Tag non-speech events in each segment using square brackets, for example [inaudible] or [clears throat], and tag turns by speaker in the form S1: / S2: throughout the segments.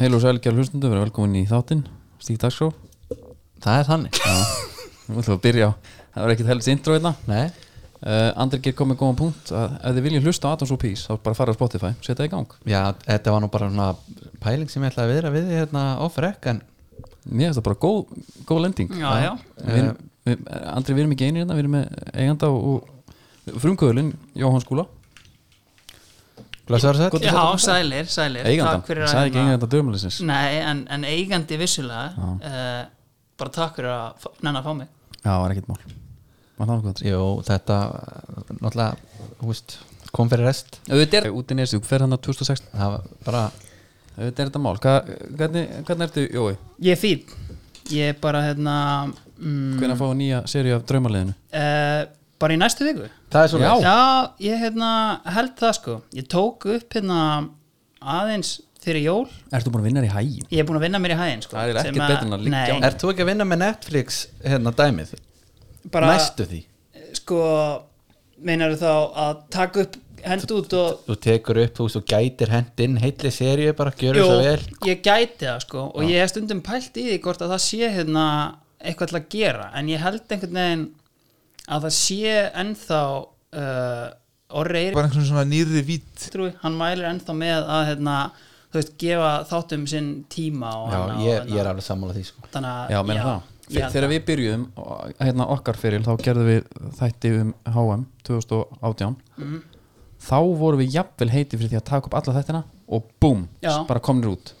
S1: Heil og sælgjál hlustundu, verið velkomin í þáttinn Stík Dagsjó
S2: Það er þannig [laughs]
S1: Nú ætlum við að byrja á, það var ekkert helst intro hérna
S2: Nei,
S1: uh, Andri ger komið góðan punkt að ef þið viljið hlusta á Adams og Peace þá bara fara á Spotify, setja í gang
S2: já, þetta var nú bara svona pæling sem ég ætlaði að viðra við þig hérna ofrek en
S1: Mér finnst það bara góð, góð lending
S3: Já, já,
S1: við, erum-
S2: eh,
S1: við, Andri, við erum ekki einir hérna, við erum með eiganda og, og frumkvöðulinn Jóhann Skúla
S2: blessaður
S1: Gott-
S2: sætt
S3: já, sælir, sælir
S1: Eigandan,
S3: Takk fyrir að
S1: sagði ekki
S3: hérna-
S1: eiganda dömulisins
S3: Nei, en, en eigandi vissulega uh, Bara takk fyrir að fá- nenna að fá mig
S1: Já, var ekkert mál Var það nokkuð Andri?
S2: Jú, þetta náttúrulega, þú veist, kom fyrir rest
S1: Auðvitað er út í nesu, fer hann að 2016
S2: það var bara,
S1: Auðvitað er þetta mál, Hva, hvernig, hvernig ertu, Jói?
S3: Ég er fín Ég er bara hérna mm,
S1: Hvernig að fá nýja seri af draumaliðinu?
S3: uh, Bara í næstu viku
S2: það er svona
S1: Já.
S3: Já, ég hérna held það sko Ég tók upp hérna aðeins fyrir jól
S1: Ertu búin að vinna þér í hægin?
S3: Ég er búin að vinna mér í hæðin sko
S1: Það er
S3: sem
S1: ekkert betra en að liggja á
S3: Nei,
S1: henni.
S2: Ert þú ekki að vinna með Netflix hérna dæmið?
S3: bara
S2: Næstu því
S3: Sko, meinar þá að taka upp hend út og
S2: Þú tekur upp, þú veist, þú gætir hend inn heilli seríu, bara gjörðu
S3: Jú,
S2: svo vel
S3: ég gæti það sko og ég hef stundum pælt í því hvort að það sé hérna eitthvað til að gera en ég held einhvern veginn að það sé ennþá uh, orri
S4: bara einhvern svona nýrri vít
S3: Eirtrúi, hann mælir ennþá með að hérna, þú veist, gefa þáttum sinn tíma og
S2: Já,
S3: hana,
S2: ég,
S3: og
S2: ég er alveg sammála því sko
S3: þannig að
S1: Já, menn það
S3: ég held
S1: Þegar við byrjuðum, og- hérna okkar fyrir þá gerðum við þætti um HM 2018
S3: Mhm.
S1: þá vorum við jafnvel heiti fyrir því að taka upp alla þættina og búm,
S3: Já.
S1: bara komnir út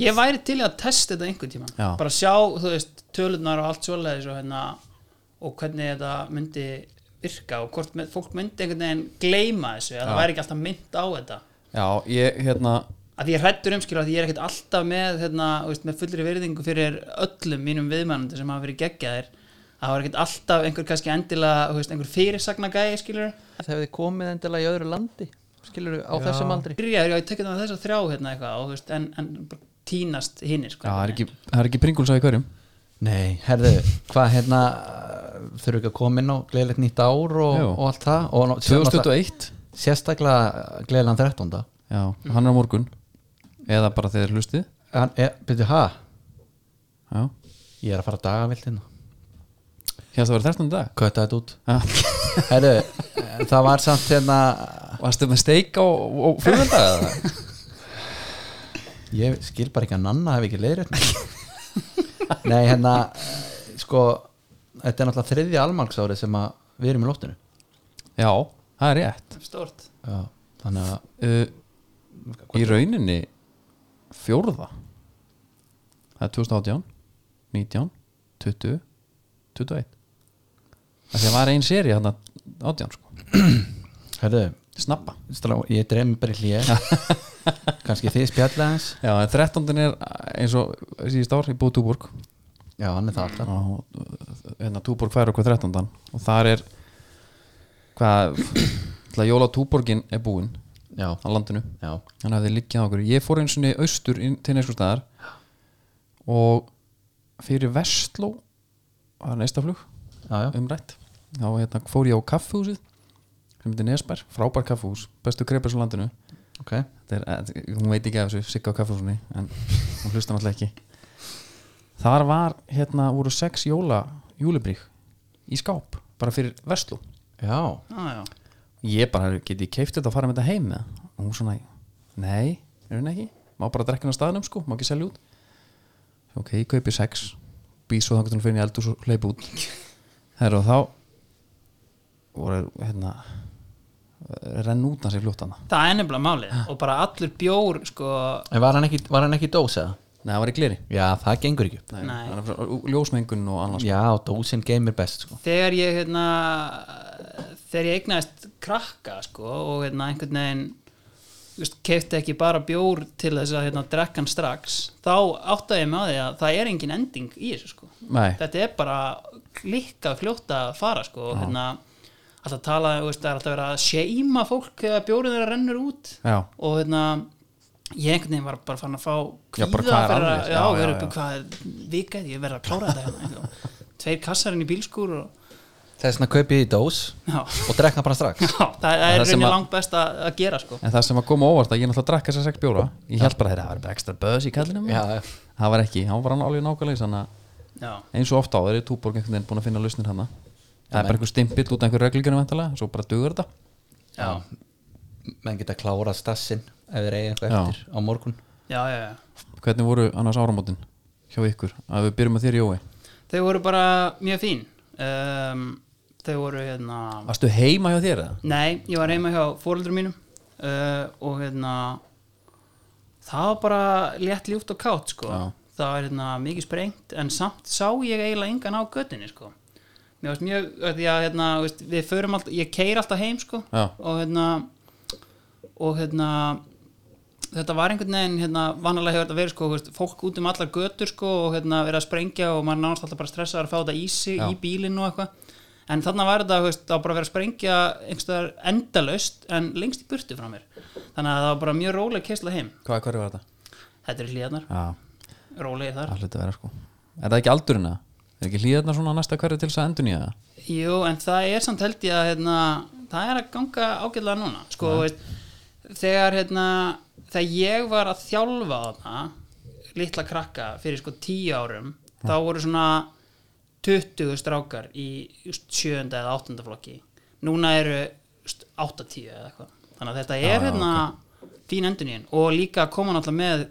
S3: Ég væri til í að testa þetta einhvern tíma
S1: Já.
S3: bara sjá, þú veist, tölunar og allt svoleiðis og hérna og hvernig þetta myndi virka og hvort með, fólk myndi einhvern veginn gleyma þessu að það væri ekki alltaf mynd á þetta
S1: Já, ég, hérna
S3: að því ég hrættur umskilur að ég er ekkert alltaf með, hérna, þú veist, með fullri virðingu fyrir öllum mínum viðmænandi sem hafa verið geggjaðir að það var ekkert alltaf einhver kannski endilega, þú veist, einhver fyrirsagnagæði skilur
S2: Það hefði komið endilega í öðru landi skilur á já. þessum aldri
S3: byrjaður, já, ég tekið það þess að þrjá hérna eitthvað og, þú veist, en, en bara tínast sko. hinnir
S1: Já, það er ekki, það er ekki pringuls í hverjum
S2: Nei, herðu, hvað hérna þurfum við ekki að koma inn á gleðilegt nýtt ár og,
S1: Jú.
S2: og allt það og ná- sér- náttúrulega-
S1: 2021
S2: sérstaklega gleðilegan 13.
S1: Já,
S3: Mhm.
S1: hann er á morgun eða bara þegar hlustið
S2: Hann, e, byrju, ha?
S1: Já,
S2: Ég er að fara dagavilt hérna
S1: hérna það var 13. [laughs] dag
S2: Kötta þetta út
S1: Já.
S2: Herðu, eh, [laughs] það var samt hérna
S1: Varstu með steik á, á fjöðundag eða?
S2: ég skil bara ekki að Nanna hef ekki leiðrétt mig Nei, hérna eh, sko, þetta er náttúrulega þriðja almarksárið sem að við erum í lóttinu
S1: Já, það er rétt
S3: stort
S2: Já, þannig að
S1: uh, í rauninni fjórða það er 2018 19, 20 21 það sem var ein seri hann 18 sko,
S2: Herðu,
S1: snappa
S2: strá, ég dreif mig bara í [laughs] hlýja kannski þið spjalla eins
S1: já, en 13 er eh, eins og síðust ár ég búið Túborg
S2: Já, hann er það alltaf
S1: og hérna Túborg fær okkur 13 og þar er hvað, ætla að jóla Túborgin er búin
S2: Já,
S1: á landinu
S2: já,
S1: hann hafði liggjað á okkur ég fór eins og niður austur inn til neins staðar og fyrir Vestló það er næsta flug
S2: já, já.
S1: umrætt þá hérna, fór ég á kaffhúsið sem heitir Nesbær, frábær kaffhús bestu kreipur sem landinu
S2: ok
S1: Þetta er, eh, hún veit ekki af þessu, Sigga á kaffhúsunni en hún hlusta náttúrulega ekki þar var, hérna voru sex jóla, júlibrík í skáp, bara fyrir Vestló
S2: Já,
S3: ah,
S1: ég bara, geti ég keift þetta og fara með þetta heim með og hún svona, nei, er hún ekki má bara drekka hann á staðnum sko, má ekki selja út ok, ég kaupi sex býð svo þangar til hún fyrir í eldur og hleypa út herra og þá voru, hérna renn út hans í fljótt hana
S3: það er nefnilega málið og bara allur bjór sko,
S2: en var hann ekki, var hann ekki dós eða?
S1: nei, það var í gleri
S2: Já, það gengur ekki
S1: Nei,
S3: Nei.
S1: það var frá- ljósmengun og annars
S2: Já, dósin geymir best sko
S3: þegar ég hérna, þegar ég eignaðist krakka sko, og hérna, einhvern veginn þú veist, kefti ekki bara bjór til þess að hérna, drekkan strax þá áttaði ég með því að það er engin ending í þessu sko.
S1: nei,
S3: þetta er bara líka fljótt að fara sko, og hérna, alltaf tala þú veist, það er alltaf verið að seima fólk þegar bjórið þeirra rennur út
S1: já,
S3: og hérna ég einhvern veginn var bara farin að fá
S1: Já, bara
S3: kvíða
S1: hvað er
S3: fyrir
S1: að þér?
S3: að,
S1: Já,
S3: já,
S1: já,
S3: já,
S1: já.
S3: hvað er vikað, ég verð að klára þetta hérna. tveir kassarinn í bílskúr og
S2: þess vegna kaupið í dós
S3: Já. [laughs]
S2: og drekna bara strax
S3: Já, það, það er
S1: það sem
S3: rauninni
S1: að-
S3: langt best að, að gera sko.
S1: En það sem að koma á óvart að ég náttúrulega drakk þessar sex bjóra Ég held bara að það var bara ekstra böðs í kallinum
S2: [laughs] Já,
S1: Það var ekki, hann var hann alveg nákvæmlega þannig að
S3: Já,
S1: eins og ofta á þeirri túborg einhvern veginn búin að finna lausnir hana Það er bara einhver stimpill út af einhver reglíkjunum vantalega Svo bara dugur þetta
S3: já,
S2: menn geta klára stassin ef þeir eigi eitthvað
S1: Já.
S2: eftir á morgun
S3: já, já, já.
S1: Hvernig voru annars áramótin hjá ykkur? Að við byrjum að þér Jói
S3: Þau voru bara mjög fín um, Þau voru hérna
S1: Varstu heima hjá þér eða?
S3: Nei, ég var heima hjá fóreldur mínum uh, og hérna það var bara létt ljúft og kátt sko.
S1: Já.
S3: það var hérna mikið sprengt en samt sá ég eiginlega engan á göttinni sko. mér varst mjög af því að hérna, þú veist, við förum alltaf, ég keir alltaf heim sko,
S1: Já.
S3: og hérna og hérna þetta var einhvern veginn, hérna, vanalega hefur þetta verið sko, þú veist, fólk út um allar götur sko, og hérna verið að sprengja og maður nánast alltaf bara stressaður að fá þetta í sig,
S1: Já.
S3: í bílinn og eitthvað en þarna var þetta, þú veist, það var bara verið að sprengja einhverstaðar endalaust en lengst í burtu frá mér, þannig að það var bara mjög róleg keisla heim,
S1: Hvað, hverju var þetta?
S3: þetta er hlíðarnar
S1: Já,
S3: rólegir þar,
S1: það hluti að vera sko Er það ekki aldurina? Er ekki hlýðarna svona næsta hverju til þess að endur nýja það?
S3: jú, en það er samt held ég að, hérna, það er að ganga ágætlega núna, sko, þú veist þegar, hérna, þegar ég var að þjálfa þarna litla krakka fyrir sko tíu árum þá voru svona 20 strákar í sjöunda eða áttunda flokki núna eru 80 eða eitthvað þannig að þetta er
S1: já,
S3: hérna fín endunín og líka koma náttúrulega með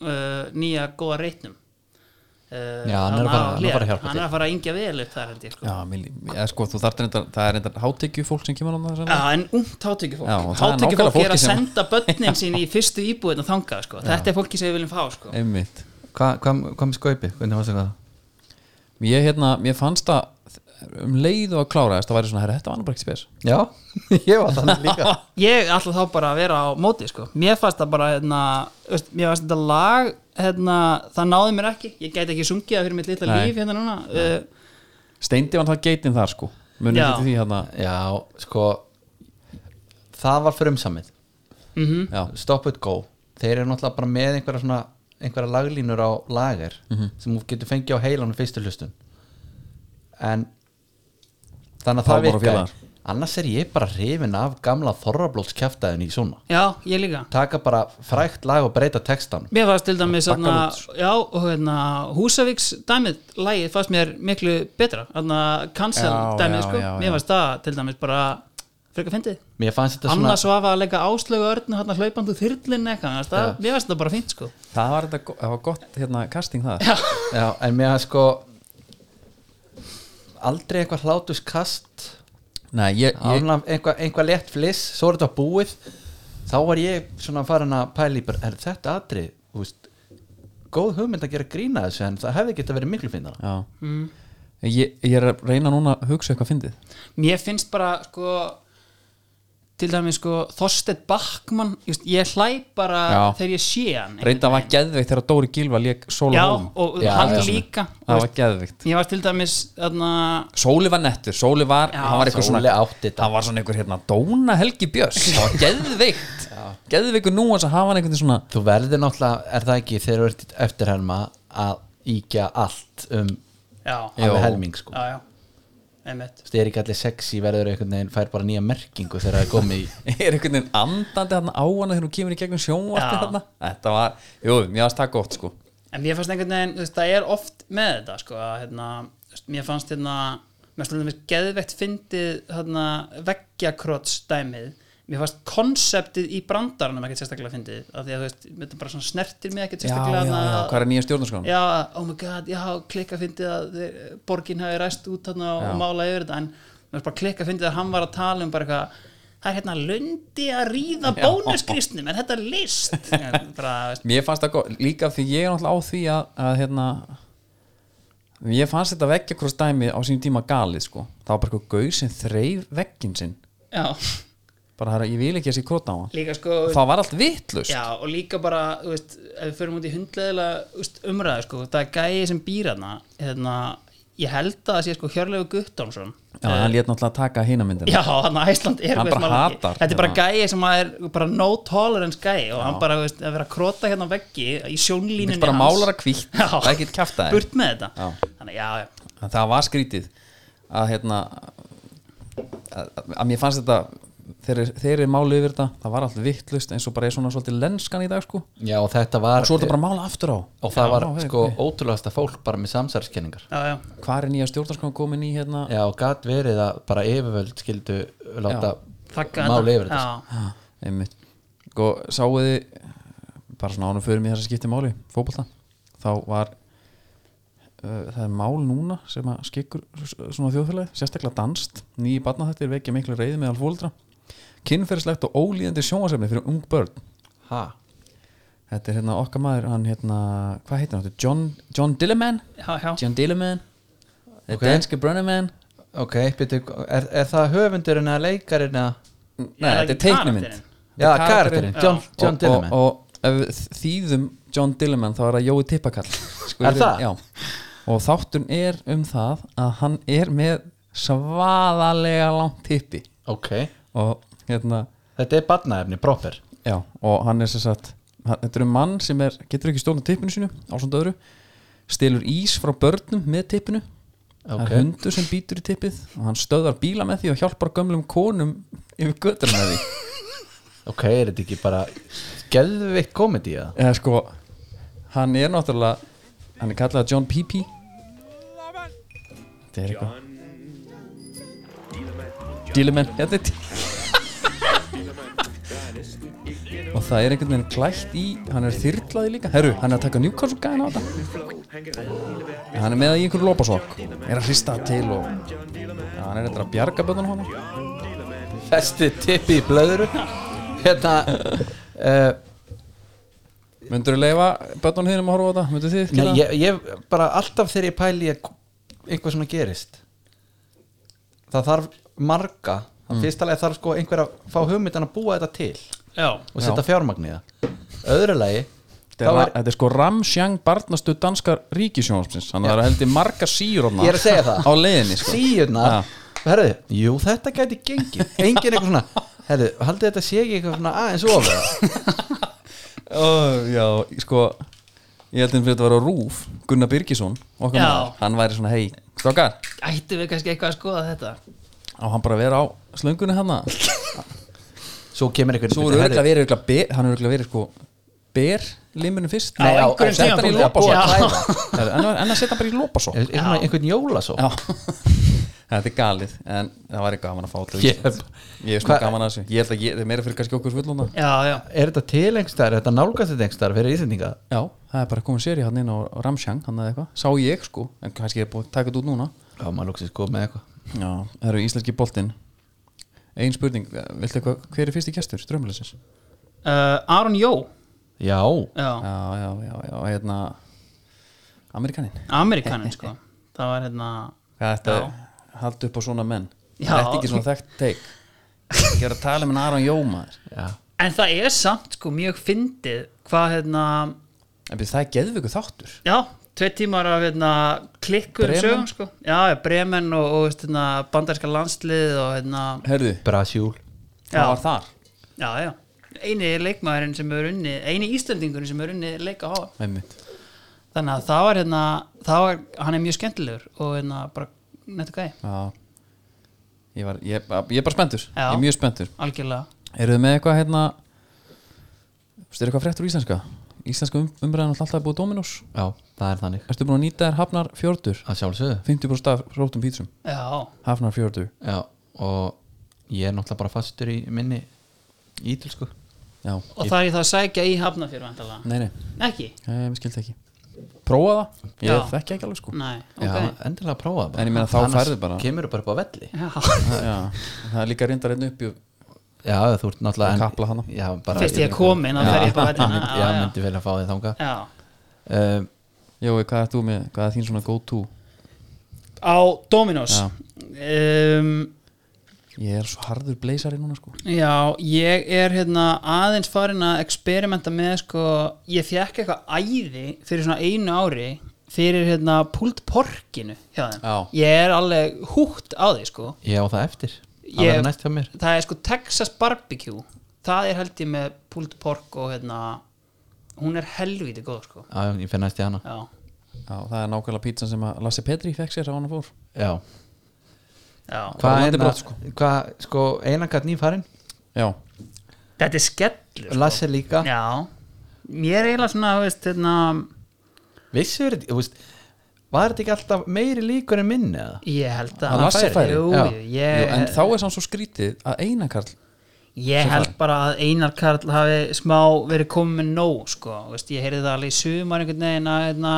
S3: uh, nýja góða reitnum Uh,
S2: Já, hann er að
S3: þarna
S2: fara- hann er að fara að
S3: á Hlér.
S2: hjálpa
S3: hann er að fara að ingja vel upp þar held ég sko.
S1: Já, mér lí- ég, sko, þú þarft reyndar, það er reyndar hátekju fólk sem kemur á það
S3: Já, en ungt hátekjufólk
S1: Já, og það er nákvæmlega
S3: Hátekjufólk er
S1: fólkið
S3: að
S1: sem-
S3: senda börnin sín í fyrstu íbúðin að þanga sko. Þetta er fólki sem við viljum fá sko.
S1: Einmitt
S2: Hva- Hvað hva, með skaupi? Hvernig varst það?
S1: Ég, hérna, mér fannst að um leið og að klára þess að væri svona, herra, þetta var nú bara ekki spes
S2: Já, [laughs] ég var þannig líka
S3: Ég ætla þá bara að vera á móti sko. Mér fannst það bara hérna, veist, Mér fannst þetta lag hérna, Það náði mér ekki, ég gæti ekki sungið það fyrir mitt litla
S1: Nei.
S3: líf hérna núna uh,
S1: Steindi var það geitin þar, sko Munið
S3: Já.
S1: þetta því, hérna
S2: [laughs] Já, sko það var frumsamið
S3: mhm.
S1: Já,
S2: Stop it go Þeir eru náttúrulega bara með einhverja svona einhverja laglínur á lager
S1: Mhm.
S2: sem þú getur fengið á heilanum fyrstu hlustun en þannig
S1: Pálmar
S2: að það
S1: og
S2: virkar
S1: félagar.
S2: annars er ég bara hrifin af gamla þorrablótskjaftaðin í svona
S3: Já, ég líka
S2: taka bara frækt lag og breyta textan
S3: Mér fannst til dæmis hérna,
S1: Baggalúts.
S3: já, og, hérna, Húsavíks dæmið lagið fannst mér miklu betra hérna, cancel
S1: Já,
S3: dæmið
S1: já,
S3: sko.
S1: já, já.
S3: Mér fannst það til dæmis bara frekar fyndið
S2: Mér fannst þetta svona
S3: Anna Svafa að leggja áslögu örnu hérna hlaupandu þyrlinn eitthvað mér fannst það- mér finnst þetta bara fínt sko
S1: það var, þetta, go- það var gott, hérna, casting það Já,
S2: Já, en mér fannst sko aldrei eitthvað hlátus kast
S1: Nei, ég, ég
S2: Ánlega einhvað einhva létt fliss svo er þetta búið þá var ég svona farin að pæla í bara, er þetta atrið, þú veist góð hugmynd að gera grína þessu en það hefði geta verið miklu finnara
S1: Já
S3: Mm.
S1: Ég, ég er að reyna núna að hugsa eitthvað fyndið
S3: mér finnst bara sko til dæmi sko Þorstedt Backmann just, ég hlæ bara
S1: Já.
S3: þegar ég sé hann
S1: Reynda var geðveikt þegar Dóri Gilva lék Sóla
S3: já
S1: Hólm
S3: og
S2: Já,
S3: hann
S2: já.
S3: líka
S1: Það
S3: veist,
S1: var geðveikt
S3: ég var til dæmis þarna
S1: Sóli var nettur, Sóli var,
S3: Já,
S1: hann var eitthvað
S2: Sóli
S1: svona
S2: átti þetta.
S1: hann var svona einhver hérna, Dóna Helgi Björns
S3: [laughs]
S1: það var geðveikt geðveikur nú að hafa hann einhvern veginn svona
S2: þú verður náttúrulega, er það ekki þegar þú ert eftirherma að íkja allt um
S3: já,
S1: Jú.
S2: alveg helming sko
S3: já, já, einmitt
S2: Þú veist, er ekki allir sexy verður einhvern veginn fær bara nýja merkingu þegar það er komið í
S1: er einhvern veginn andandi hérna á hana þegar hún kemur í gegnum sjónvarpi
S3: Já.
S1: hérna þetta var, jú, mér varst það gott sko
S3: En mér fannst einhvern veginn, þú veist, það er oft með þetta, sko, að, hérna, þú veist, mér fannst, hérna, mér fannst alveg geðvegt fyndið, hérna, veggjakrots dæmið, mér fannst konseptið í brandaranum ekkert sérstaklega fyndið, af því að, þú veist, þetta bara svona snertir mig ekkert
S1: já, já,
S3: sérstaklega,
S1: já,
S3: þarna,
S1: hvað er nýja stjórnarskrána?
S3: já, oh my god, já, klikka fyndið að þeir, borgin hafi ræst út, hérna, og
S1: Já.
S3: mála yfir þetta, en mér fannst bara klikka fyndið að hann var að tala um bara eitthvað, það er hérna lundi að ríða bónuskristnum, en þetta er
S1: [laughs]
S3: list, En bara, þú veist,
S1: mér fannst það gott, líka af því ég er náttúrulega á því að, að hérna ég fannst þetta veggjakross dæmi á sínum tíma galið sko, það var bara eitthvað gauð sem þreif veggin sinn,
S3: já.
S1: bara það er ég vil ekki að sé króta á hann,
S3: Líka sko,
S1: það var allt vittlust
S3: Já, og líka bara, þú veist, ef við förum út í hundleðilega umræðu, sko, það er gæið sem býr hana, hérna, ég held að það sé sko Hjörlegu Guttámsson.
S1: Já, hann lét náttúrulega taka hína myndina
S3: Já, hann að Æsland er
S1: Hann
S3: eitthvað
S1: bara
S3: sem hann-
S1: hatar
S3: Þetta er bara
S1: hana.
S3: gæið sem að er bara no tolerance gæi og hann bara, þú veist, að vera að krota hérna á veggi í sjónlínunni
S1: Vill bara málara hvítt,
S3: Já.
S1: það er
S3: [laughs]
S1: ekkert kjaftaði.
S3: Burt með þetta.
S1: Já.
S3: Þannig, já, já.
S1: En það var skrítið að hérna að, að mér fannst þetta þegar þeir eru máli yfir þetta, það var allt vittlust eins og bara er svona svolítið lenskan í dag sko og
S2: [laughs] já og þetta var
S1: svo er þetta bara mála aftur á
S2: og það
S1: Já,
S2: var
S1: hey,
S2: sko
S1: hey.
S2: ótrúlegasta fólk bara með samsærskenningar
S3: já, já,
S1: Hvar er nýja stjórnarskon komin í hérna
S2: já og gat verið að bara yfirvöld skildu láta
S3: þakka
S2: máli yfir þetta sko.
S3: þetta
S1: Ha, einmitt sko, sáu þið bara svona ánum fyrir mig þess að skipti máli fótbolta, þá var uh, það er mál núna sem að skikkur svona þjóðfélagi sérstaklega danst, nýji barnaþættir vekja miklu reyði meðal fóldra kynferðislegt og ólíðandi sjónasefni fyrir ung börn
S2: ha,
S1: þetta er hérna okkar maður, hann hérna hvað heitir hann, Þetta er John, John Dillerman
S3: já, já,
S1: John Dillerman the
S2: Ok.
S1: okay. danske brunnerman
S2: ok, byrju, er, er það höfundurinn eða leikarinn eða
S1: nei,
S3: Er það
S1: þetta er
S3: ekki
S1: teiknumynd
S2: já,
S3: karakterinn?
S1: Þetta er karakterinn.
S2: karakterinn, John, John
S1: Og-
S2: Dillerman
S1: og, og ef við þýðum John Dillerman þá er það Jói
S2: [laughs]
S1: Tippakall sko, í
S2: Er
S1: raun-
S2: það?
S1: Já, og þáttun er um það að hann er með svaðalega langt tippi
S2: ok,
S1: og hérna
S2: þetta er badnaefni, proper
S1: já, og hann er sem sagt hann, þetta er um mann sem er, getur ekki stólna tippinu sínu á svona öðru, stelur ís frá börnum með tippinu það
S2: Ok.
S1: er hundur sem býtur í tippið og hann stöðar bíla með því og hjálpar gömlum konum yfir göttur með því
S2: ok, er þetta ekki bara geðvikt komedi eða
S1: eða sko hann er náttúrulega hann er kallað John P.P. þetta er eitthvað Dílumenn þetta er Dílumenn [laughs] og það er einhvern veginn klætt í hann er þyrlaði líka, herru, hann er að taka Newcastle gæðin á þetta hann er með í einhverju lópasokk er að hrista til og ja, hann er eitthvað að bjarga bönnum hann
S2: festi tippi í blöðru hérna uh,
S1: myndur þú leifa bönnum þínum að horfa á þetta, myndur þið
S2: Nei,
S1: gera það?
S2: ég, ég bara alltaf þegar ég pæli að einhver svona gerist það þarf marga mm. fyrst alveg þarf sko einhver að fá hugmyndan að búa þetta til
S3: já,
S2: og setja fjármagniða öðru lagi
S1: Þetta er, er, þetta er sko Ramsjang barnastu danskar ríkisjónarpsins þannig að það er heldur marga síróna
S2: Ég er að segja það.
S1: á leiðinni sko.
S2: síðuna
S1: Ja.
S2: herðu, jú þetta gæti gengið engin eitthvað svona, herðu, haldið þetta sé ekki eitthvað svona aðeins ofið
S1: Ó, Já, sko ég heldur fyrir þetta að vera Rúf Gunnar Birgisson, okkar
S3: Já.
S1: maður, hann væri svona hei, stokkar,
S3: ættum við kannski eitthvað að skoða þetta
S1: á hann bara að vera á slöngunni hann [laughs]
S2: svo kemur einhver
S1: svo er örgulega verið, örgulega ber, hann er örgulega verið sko ber limunum fyrst
S3: Á einhverjum
S1: setja hann í
S3: tímapunkti.
S1: lópasokk
S3: [laughs]
S1: Herru, en en að setja hann bara í lópasokk
S2: er, er svona einhvern jólasók
S1: Já, [laughs] þetta er galið en það væri gaman að fá til
S2: Ég-
S1: Íslands. Ég er svona
S2: Hva-
S1: gaman að þessu Ég held að ég, það er meira fyrir kannski okkur svulluna
S3: já, já,
S2: er þetta til einhverstaðar, er þetta nálgast þetta einhverstaðar fyrir Ísendinga
S1: Já, það er bara komin séri hann inn á Ramsjang hann eða eitthvað, sá ég sko en kannski er búið að taka þetta út núna
S2: já, maður lóksist sko með eitthvað
S1: Já, það eru íslenski boltinn Ein spurning, eh, viltu eitthvað hver er fyrsti gestur, strömmulegsins?
S3: uh, Aron Jó
S2: já,
S3: já,
S1: Já, já, já, já, hérna Amerikanin
S3: Amerikanin sko það var hérna
S1: Hvað þetta er, haldu upp á svona menn
S3: Já.
S1: Þetta er ekki svona þekkt teik Ég er að tala með Aron Jómaður
S2: já
S3: en það er samt sko mjög fyndið hvað hérna,
S1: En byrju, það er geðvöku þáttur
S3: já, tvei tímar af hérna klikkur
S1: Bremen?
S3: sögum sko já, já, Bremen og, og veist, hérna, bandarska landslið og hérna,
S1: Herðu,
S2: Brasjúl
S3: Já.
S1: það var þar
S3: já, já eini leikmaðurinn sem er unni eini Íslandingurinn sem er unni leika á
S1: Einmitt.
S3: þannig að það var hérna það var, hann er mjög skemmtilegur og hérna bara nettu gæi,
S1: Já Ég, var, ég, ég er bara spenntur,
S3: Já.
S1: ég er mjög spenntur
S3: algjörlega
S1: Eruð þið með eitthvað hérna Veistu, Er eitthvað fréttur úr íslenska? Íslenska um, umræðan er alltaf búið Dominos
S2: Já, það er þannig
S1: Ertu búin að nýta þér hafnar fjördur?
S2: Að sjálfsögðu
S1: 50% af rótum pítsum
S3: já,
S1: Hafnar fjördur
S2: Já, og ég er náttúrulega bara fastur í minni sko. ítilsku
S1: Já,
S3: og það er ég þá að sækja í hafnafjörð vandalega,
S1: nei, nei,
S3: ekki?
S1: ég skildi ekki Prófa það, ég
S3: Já.
S1: þekki ekki alveg sko
S3: Nei,
S2: Já,
S3: ok
S2: endilega að prófa það bara
S1: En ég meina, þá færðu bara.
S2: Kemur bara upp á velli
S3: Já.
S1: Já, það er líka reyndar einn upp í
S2: Já, þú ert náttúrulega
S1: Og
S2: en-
S1: kapla hana.
S2: Já, bara
S3: Fyrst ég er komin, þá fer ég upp á vellina.
S2: Já,
S3: Já,
S2: já
S3: já.
S2: myndi vel að fá þig þanga
S3: Já.
S2: um,
S1: Jói, hvað er þú með, hvað er þín svona go to?
S3: Á Dominos
S1: Já.
S3: um,
S1: Ég er svo harður blazari núna sko
S3: já, ég er hérna aðeins farin að experimenta með sko, ég fekk eitthvað æði fyrir svona einu ári fyrir hérna púlt porkinu hjá þeim
S1: Já.
S3: ég er alveg hútt á því sko
S2: Ég á það eftir Það
S3: Ég-
S2: verður næst hjá mér
S3: það er sko Texas Barbecue það er held ég með púlt pork og hérna hún er helviti góð sko
S2: Já, já, ég finn næst í hana
S3: já,
S1: Já, það er nákvæmlega pítsan sem að Lasse Petri fekk sér á hann fór
S2: Já
S3: Já.
S1: Bara
S2: Hvað
S1: landi
S2: eina,
S1: brott, sko.
S2: hvað, sko, einan gætt nýfarinn
S1: Já,
S3: þetta er skellur sko.
S2: Lasse líka
S3: já, mér er eiginlega svona þú veist, hérna,
S2: Vissur, þú veist Var þetta ekki alltaf meiri líkur en minni eða?
S3: ég held
S1: Að
S3: að
S1: Lasse færi?
S3: jú,
S2: Já.
S3: jú, ég,
S1: Jú, en þá er sann svo skrítið að eina karl
S3: ég held bara að Einar Karl hafi smá verið komið með nóg sko. Þú veist, ég heyrði það alveg í sumar einhvern veginn að hérna,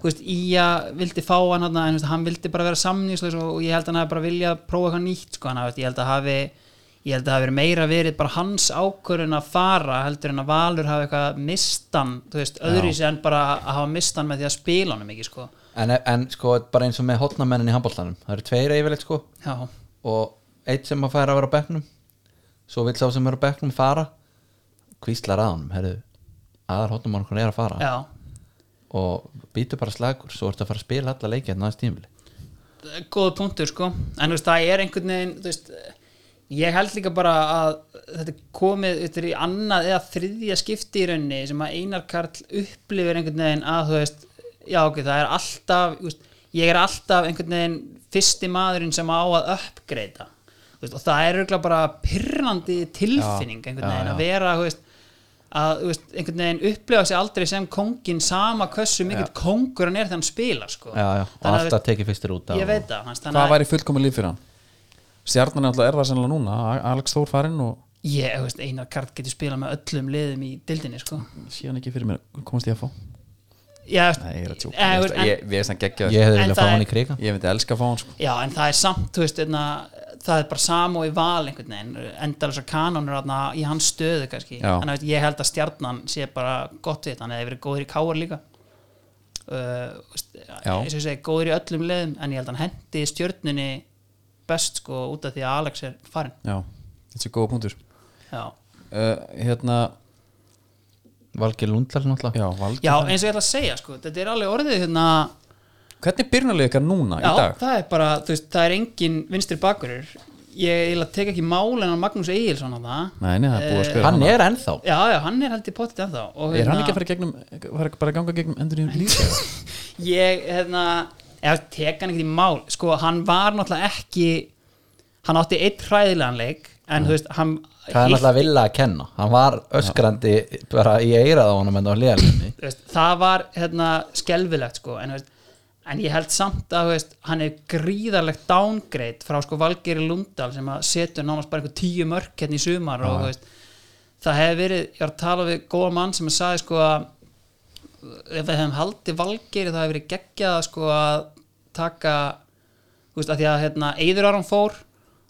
S3: þú veist, Ía vildi fá hann hérna, en þú veist, hann vildi bara vera samnýsleis og ég held að hann hafi bara viljað prófa eitthvað nýtt sko. hann, veist, ég held að hafi ég held að hafi verið meira verið bara hans ákvörun að fara heldur en að Valur hafi eitthvað mistan, þú veist, öðru en bara að hafa mistan með því að spila honum ekki sko.
S2: En, en sko, bara eins og með hotnamennin í handbóltanum Það eru tveir yfirleitt sko
S3: já,
S2: og eitt sem að færa að vera á bekknum svo vill sá sem er á bekknum fara kvíslar að honum herðu, aðar hóttum hann er að fara
S3: já
S2: og býtu bara slagur svo ertu að fara að spila alla leiki hérna aðeins tímili
S3: góð punktur sko en þú veist, það er einhvern veginn þú veist, ég held líka bara að þetta er komið þetta er í annað eða þriðja skipti í raunni sem að Einar Karl upplifir einhvern veginn að þú veist já ok, það er alltaf þú veist, ég er alltaf einhvern veginn fyrsti maðurinn sem á að uppgreita veist, og það er örugglega bara pyrrandi tilfinning einhvern veginn að vera þú veist, að þú veist, einhvern veginn upplifa sig aldrei sem kongin sama hversu mikill kongur hann er þegar hann spila sko.
S2: já, já, og
S3: Þannig að, þú
S2: alltaf tekið fyrstir út af
S3: ég veit það hans,
S1: Hvað væri fullkomið líf fyrir hann? Stjarnan er alltaf erða sennilega núna A- Alex Þór farinn og
S3: ég, þú veist, Einar Kart getur spilað með öllum liðum í dildinni sko.
S1: síðan ekki fyrir mér komast ég að fá
S3: já,
S1: Nei, ég er að tjóka
S3: Eh, þú
S1: Ég
S3: veist,
S1: veist- Ég veist hann geggja
S2: ég hefði
S3: En
S2: viljað
S3: það
S2: fá hann
S3: er-
S2: í kriga
S1: Ég myndi elska að fá hann sko
S3: já, en það er samt þú veist, einna, það er bara sam og í val einhvern veginn, endalisa kanonur einna, í hans stöðu kannski
S1: Já.
S3: en, þú veist, ég held að stjarnan sé bara gott við þetta, hann hefði verið góður í káar líka uh, þú veist, eins og ég segi góður í öllum liðum, en ég held að hann hendi stjörnunni best sko, út af því að Alex er farin
S1: Já, þetta er góða punktur
S3: já,
S1: uh, Hérna,
S2: Valgeir Lundlar náttúrulega
S1: já, Valgeir
S3: já eins og ég ætla að segja sko, þetta er alveg orðið hérna
S1: Hvernig byrnarlega ykkar núna í
S3: Já,
S1: dag?
S3: það er bara, þú veist, það er engin vinstri bakurur ég eiginlega tek ekki málin á Magnús Egilson á það
S1: Nei, nei, það Eh, er búið að spila
S2: hann er ennþá
S3: já, já, hann er haldið potið ennþá og, hérna,
S1: Er hann ekki að fara í gegnum, fara bara að ganga gegnum endur í líka?
S3: ég, hérna, ég tek hann ekkert í mál sko, hann var náttúrulega ekki hann átti eitt hræðilegan leik en þú veist, hann
S2: það er náttúrulega vilja að kenna hann var öskrandi bara í eirað á honum en það var [clears throat] liðalinni
S3: Þú veist, það var hérna skelfilegt sko en, þú veist, en ég held samt að þú veist, hann er gríðarlegt downgrade frá sko Valgeri Lundal sem að setur nánast bara einhver tíu mörk hérna í sumar og þú veist, það hefði verið, ég var að tala við góða mann sem að sagði sko að ef við hefum haldið Valgeri það hefði verið geggjað sko að taka þú veist, að því að hérna Eiður Aron fór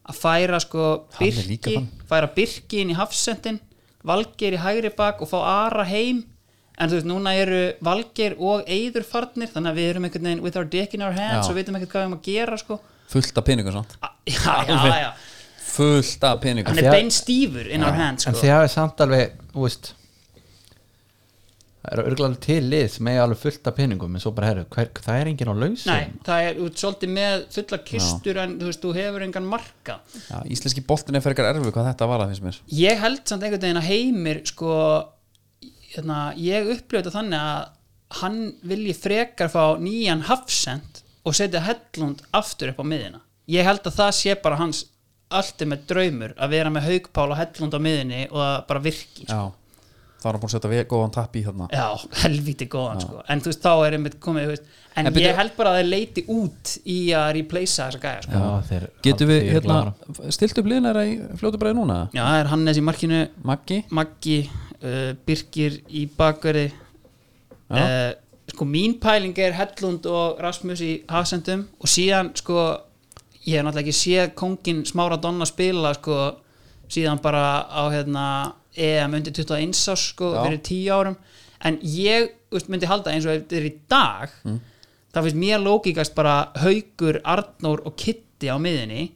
S3: að færa sko
S1: Hann er líka
S3: Birki
S1: þannig.
S3: færa Birki inn í hafsendin Valgeir í hægri bak og fá Ara heim en þú veist, núna eru Valgeir og Eiður farnir, þannig að við erum einhvern veginn with our dick in our hands
S1: Já.
S3: og veitum ekkert hvað við erum að gera sko.
S1: Fullt af peningum samt
S3: A- [laughs] já, já, já, já,
S1: Fullt af peningum
S3: hann er
S2: Þegar-
S3: bein stífur in our hands
S2: en
S3: sko.
S2: þið hafið samt alveg þú veist það eru örglega til lið sem eiga alveg fullt af peningum en svo bara herru, hver, það er enginn á lausum
S3: Nei, það er út svolítið með fulla kistur en þú veist, þú hefur engan marka
S1: já, Íslenski boltin er fyrir ykkar erfi hvað þetta var að finnst mér
S3: ég held samt einhvern veginn að heimir sko hérna, ég upplöfði þannig að hann vilji frekar fá nýjan hafsend og setja hellund aftur upp á miðina ég held að það sé bara hans alltaf með draumur að vera með haugpál og hellund á miðinni og að bara virki sko.
S1: Já, það var hann búin að setja við góðan tapp í þarna
S3: já, [laughs] helviti góðan sko en þú veist, þá er einmitt komið þú veist, en,
S1: En byrju-
S3: ég held bara að þeir leiti út í að replacea þessa gæja sko.
S2: Já, þeir
S1: Getum við,
S2: þeir eru
S1: hérna,
S2: glaðara.
S1: stilt upp liðnæra í fljótu bræði núna?
S3: já, það er Hannes í markinu
S1: Maggi?
S3: Maggi uh, Birkir í bakverði
S1: Já.
S3: uh, sko mín pæling er Hellund og Rasmus í hafsendum og síðan sko ég hef náttúrulega ekki séð kongin smára donna spila sko síðan bara á hérna EM undir 21 árs sko
S1: Já.
S3: fyrir 10 árum en ég þú veist, myndi halda eins og ef þetta er í dag
S1: Mm.
S3: það finnst mér lókikast bara Haugur, Arnór og Kitti á miðinni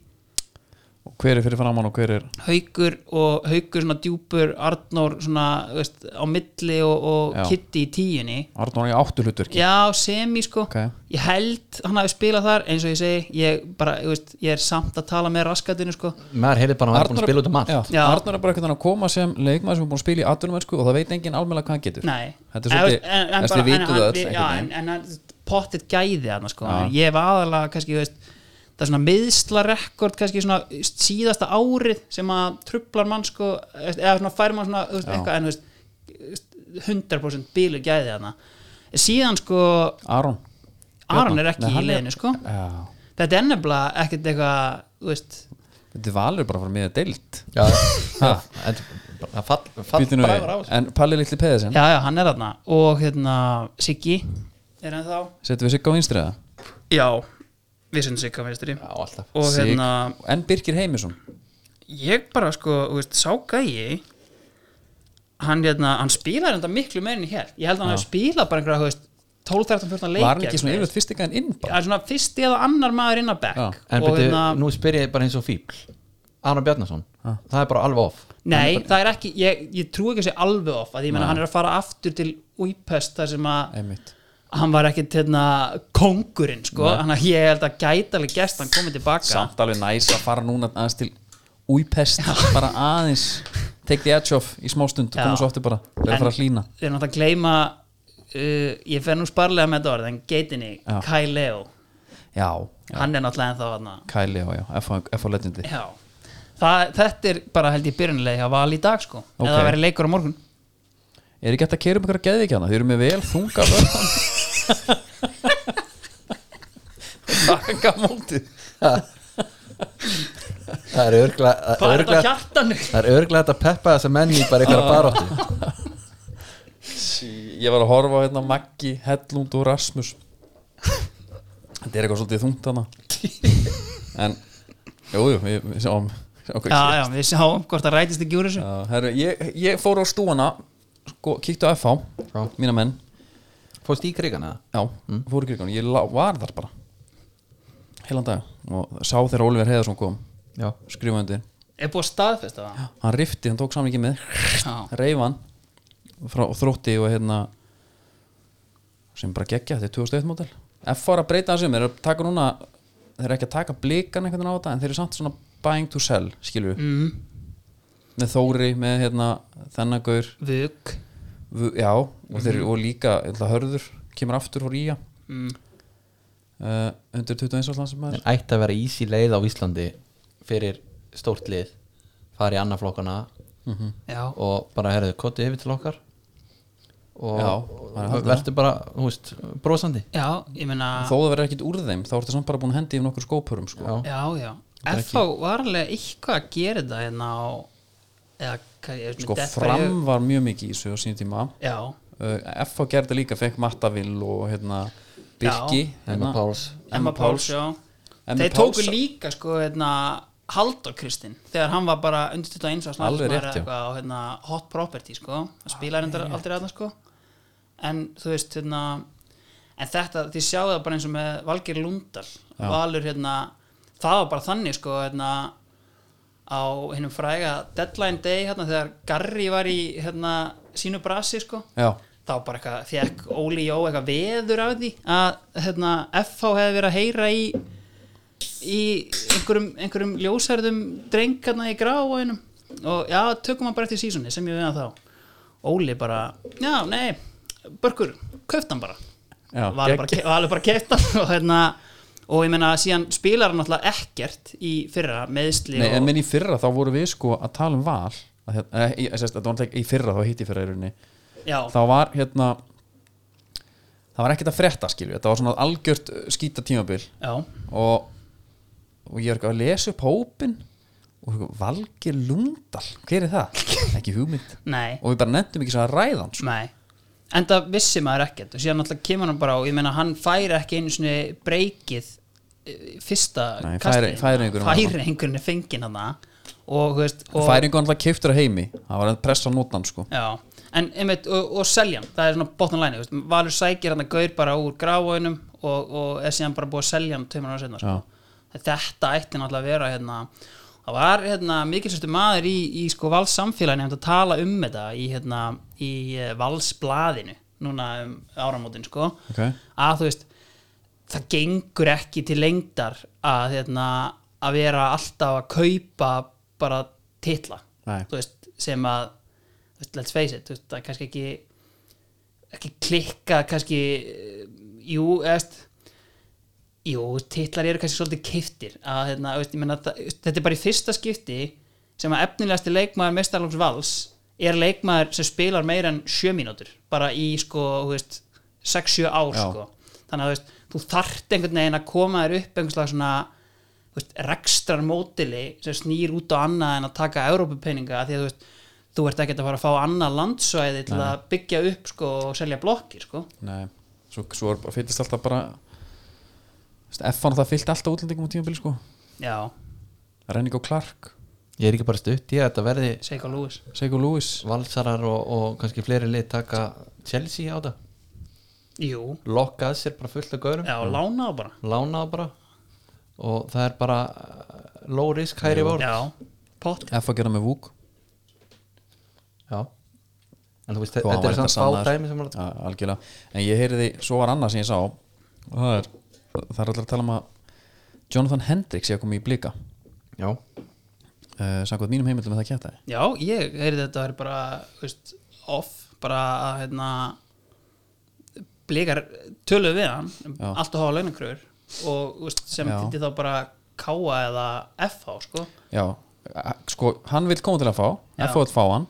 S1: Og Hver er fyrir framann og hver er
S3: haukur og haukur svona djúpur Arnór svona þú veist, á milli og, og
S1: Já.
S3: Kitty í tíunni
S1: Arnór í áttu hlutverki?
S3: já, semi sko
S1: Ok.
S3: ég held hann hafi spilað þar eins og ég segi ég, bara, þú veist, ég er samt að tala með raskatinu sko
S2: maður heyrði bara að hann er búin að spila út um allt
S1: já,
S3: Já.
S1: Arnór er bara eitthvað að koma sem leikmaður sem er búin að spila í atvinnumennsku og það veit enginn almennilega hvað hann getur
S3: Nei
S1: Þetta er svolítið,
S3: En- en- en
S1: þess
S3: bara-
S1: við
S3: en
S1: vitum það
S3: hann-
S1: öll
S3: Já, en,
S1: einhvern veginn.
S3: en hann pottet gæði hann sko.
S1: Já.
S3: Ég var aðalega kannski þú veist, það er svona miðslarekord kannski svona síðasta árið sem að trublar mann sko eða svona fær mann svona þú
S1: Já.
S3: veist, eitthvað en þú veist, 100% bílu gæði hana síðan sko
S1: Aron
S3: Aron er
S1: Nei,
S3: ekki
S1: hann
S3: í
S1: er-
S3: leiðinu sko
S1: Já
S3: þetta er nefnilega ekkert eitthvað þú veist,
S1: Þetta valur bara að fara með að deilt
S2: Já, en það fall, fall
S1: Býtu nú við.
S2: bragar á þessu
S1: En Palli litli Peðisen
S3: sko. já já hann er þarna og hérna Siggi er hann þá
S1: Settum við Sigga á vinstriða
S3: já, við sendum Sigga vinstri
S2: Já, alltaf
S3: og hérna
S1: En Birgir Heimisson
S3: ég bara sko, þú veist, sá gæi hann, hérna, hann spilaði þetta miklu meirinn hér, ég held að hann hafi spilað bara einhverja, þú veist, 12, 13, 14 leikja
S1: Var hann ekki svona
S3: eitthvað.
S1: yfirleitt fyrst eitthvað en inn
S3: Það
S1: bara
S3: er svona fyrst eða annar maður inn að
S1: Já.
S3: bekk
S2: En
S3: og
S2: byrju,
S3: hérna,
S2: nú spyr ég bara eins og fíbl Arnar Bjarnason, það er bara alveg off
S3: nei, það er ekki ég, ég trú ekki að sé alveg of að ég menna hann er að fara aftur til Úipest þar sem að
S1: Einmitt
S3: hann var ekkit hérna kongurinn, sko, hann að ég held að gæti alveg gæst hann komið tilbaka
S1: Samt alveg næs að fara núna aðeins til Újpest Bara aðeins Take the edge off í smá stund Og
S3: Já.
S1: koma svo aftur bara Verða að fara að hlína
S3: Við erum alltaf að gleyma uh, Ég fer nú sparlega með þetta orð En geitinni,
S1: Já.
S3: Kai Leo
S1: Já
S3: Hann er náttúrulega ennþá hann
S1: Kæli, já, já F.A. F.A. legendi
S3: Já Það, þetta er bara held ég byrjunlega að val í dag sko okay.
S1: Ok.
S3: eða það verið leikur á morgun
S1: Er ekki hægt að keira um ykkur að geði ekki hana? Þið eru með vel þunga vörðan Takka mótið
S2: Það er örgla
S3: Hvað er þetta á hjartanu?
S2: Það er örgla þetta að peppa þessa menn í bara eitthvað baróttu
S1: Ég var að horfa á hérna á Maggi, Hellund og Rasmus Þetta er eitthvað svolítið þungt hana En Jú, jú, við, við sjáum sjáum hvað
S3: Já,
S1: gerist.
S3: já, við sjáum hvort það rætist í gjúri þessu
S1: Já, herru, ég, ég fór á stúana sko, Kíkti á FH,
S2: Já.
S1: mína menn
S2: Fóst í krigana
S1: Já, fór í krigunum, ég lá, var þar bara Heilan dag Og sá þegar Oliver Heiðarsson kom
S2: Já
S1: Skrifandi,
S3: Er búið að staðfesta það?
S1: hann rifti, hann tók samlingi með
S3: Já,
S1: Reifan frá þrótti og hérna sem bara geggja, þetta er 2001 mótel F var að breyta þessu, þeir eru að taka núna þeir eru ekki að taka blikan einhvern veginn á þetta en þeir eru samt svona buying to sell, skilur við
S3: mm,
S1: með Þóri, með hérna þennagaur,
S3: Vuk
S1: já og þeir eru og líka, hérna hörður kemur aftur og ríja
S3: Mhm. mm.
S1: uh, undir 21 árs landsmæður
S2: En ætti að vera easy leið á Íslandi fyrir stórt lið fara í annað flokkana
S3: Já,
S2: og bara herðu kotið yfir til okkar og,
S1: Já, maður
S2: og
S1: heldur
S2: verður bara, þú veist, brosandi
S3: já, ég meina
S1: þó það verður ekkit úr þeim, þá ertu samt bara búin að hendi yfir nokkur skópurum sko.
S2: Já,
S3: Já, já FH var alveg eitthvað að gera þetta hérna á eða, hvað, ég veist
S1: sko
S3: mér dett bara í hug-
S1: fram var mjög mikið í þessu á sínum tíma
S3: Já,
S1: uh, FH gerði líka, fekk Mattavill og hérna Birki hérna.
S3: Hérna.
S2: Emma Páls
S3: Emma Páls, já
S1: Emma
S3: Þeir
S1: Páls-
S3: tóku líka sko hérna Halldór Kristinn þegar hann var bara undir 21 árs
S1: Alveg
S3: landsmaður
S1: rétt, já. Ah,
S3: eða eitthvað á hérna, Hot Property sko hann spilaði reyndar aldrei aðna sko en þú veist hérna en þetta, þið sjáu það bara eins og með Valgeir Lundal Valur hérna það var bara þannig sko hérna á hinnum fræga Deadline Day hérna þegar Garri var í hérna sínu brasi sko
S1: já,
S3: þá bara eitthvað fekk Óli Jó eitthvað veður af því að hérna, FH hefði verið að heyra í í einhverjum, einhverjum ljósærðum drengarna í gráinum og já, tökum hann bara eftir sísunni sem ég veina þá Óli bara, já, nei, Börkur köft hann bara
S1: Já,
S3: Valur bara, ke- Valur bara keft hann [laughs] og hérna og ég meina síðan spilar hann náttúrulega ekkert í fyrra meðsli
S1: Nei, en
S3: og,
S1: minn í fyrra þá voru við sko að tala um val að hérna, eh, í- sérst, þetta var náttúrulega ekki í fyrra þá hitti í fyrra í rauninni
S3: já,
S1: þá var hérna það var ekkert að frétta skilju þetta var svona algjört uh, skýta tímabil
S3: já,
S1: og, og ég er ekki að lesa upp hópin og sko, Valgir Lundal hver er það? [laughs] ekki hugmynd
S3: nei
S1: og við bara nefndum ekki sko. svo að ræða hans
S3: Nei, en það vissi maður ekkert og síðan náttúrulega kemur hann bara og ég meina hann færi ekki einu svona breykið eh, fyrsta
S1: Nei,
S3: kastið.
S1: færi- færiengurinn var hann.
S3: Færiengurinn er fenginn hann og, þú veist, og
S1: færingu hann alltaf keiftur að heimi það var að pressa nótnan sko
S3: Já, en einmitt og, og selja hann, það er svona bottom line þú veist, Valur sækir hann að gaur bara úr gráunum og, og er síðan bara búið að selja hann tveimur ára setna sko. þetta ætti náttúrulega að vera hérna það var hérna mikilsvæstu maður í, í sko valssamfélaginu hefndi að tala um þetta í hérna í eh, valsblaðinu núna um áramótin sko
S1: Ok.
S3: að þú veist það gengur ekki til lengdar að, hérna, að vera alltaf að kaupa bara titla
S1: Nei.
S3: Þú veist, sem að þú veist, let's face it, þú veist, það er kannski ekki ekki klikka kannski eh, jú, eðst Jú, titlar eru kannski svolítið kiftir að, hérna, veist, ég meina, það- þetta er bara í fyrsta skipti sem að efnilegasti leikmaður mestarlóks vals er leikmaður sem spilar meira en sjö mínútur bara í sko, þú veist, 6-7 ár
S1: Já.
S3: sko. þannig að þú veist, þú þarft einhvern veginn að koma þér upp einhverslega svona þú veist, rekstrar mótili sem snýr út á annað en að taka Európa-peninga því að þú veist, þú ert ekkert að fara að fá annað landsvæði til að byggja upp sko, og selja blokkir sko.
S1: Nei, svo, svo er, fyllist alltaf bara Vist, F-an það fyllt alltaf útlendingum á tímabili sko
S3: já,
S1: Renning og Clark,
S2: Ég er ekki bara stutt í að þetta verði
S3: Seiko Lewis
S1: Seiko Lewis
S2: valsarar og, og kannski fleiri lið taka Chelsea á þetta
S3: jú,
S2: lokka að sér bara fullt af gaurum
S3: Já, lána það bara
S2: lána það bara og það er bara uh, low risk, hæri vár
S3: Já, pott
S1: F að gera með Vúk
S2: Já. en þú veist,
S1: Þó að hann var
S2: þetta er samt
S1: reyndar
S2: fá
S1: sannaður.
S2: dæmi sem er
S1: ja, algjörlega, en ég heyriði svo var annað sem ég sá og það er, það er allir að tala um að Jonathan Hendricks ég að koma í blika
S2: Já,
S1: uh, samkvæmt mínum heimildum að það kjæta
S3: Já, ég heyrði þetta er bara veist, off, bara að hérna, blikar töluðu við hann,
S1: Já.
S3: allt og hafa launakröfur og veist, sem
S1: Já.
S3: þýtti þá bara K.A. eða F.A. sko
S1: já, eh, sko, hann vil koma til að fá
S3: Já.
S1: F.A. vil fá hann,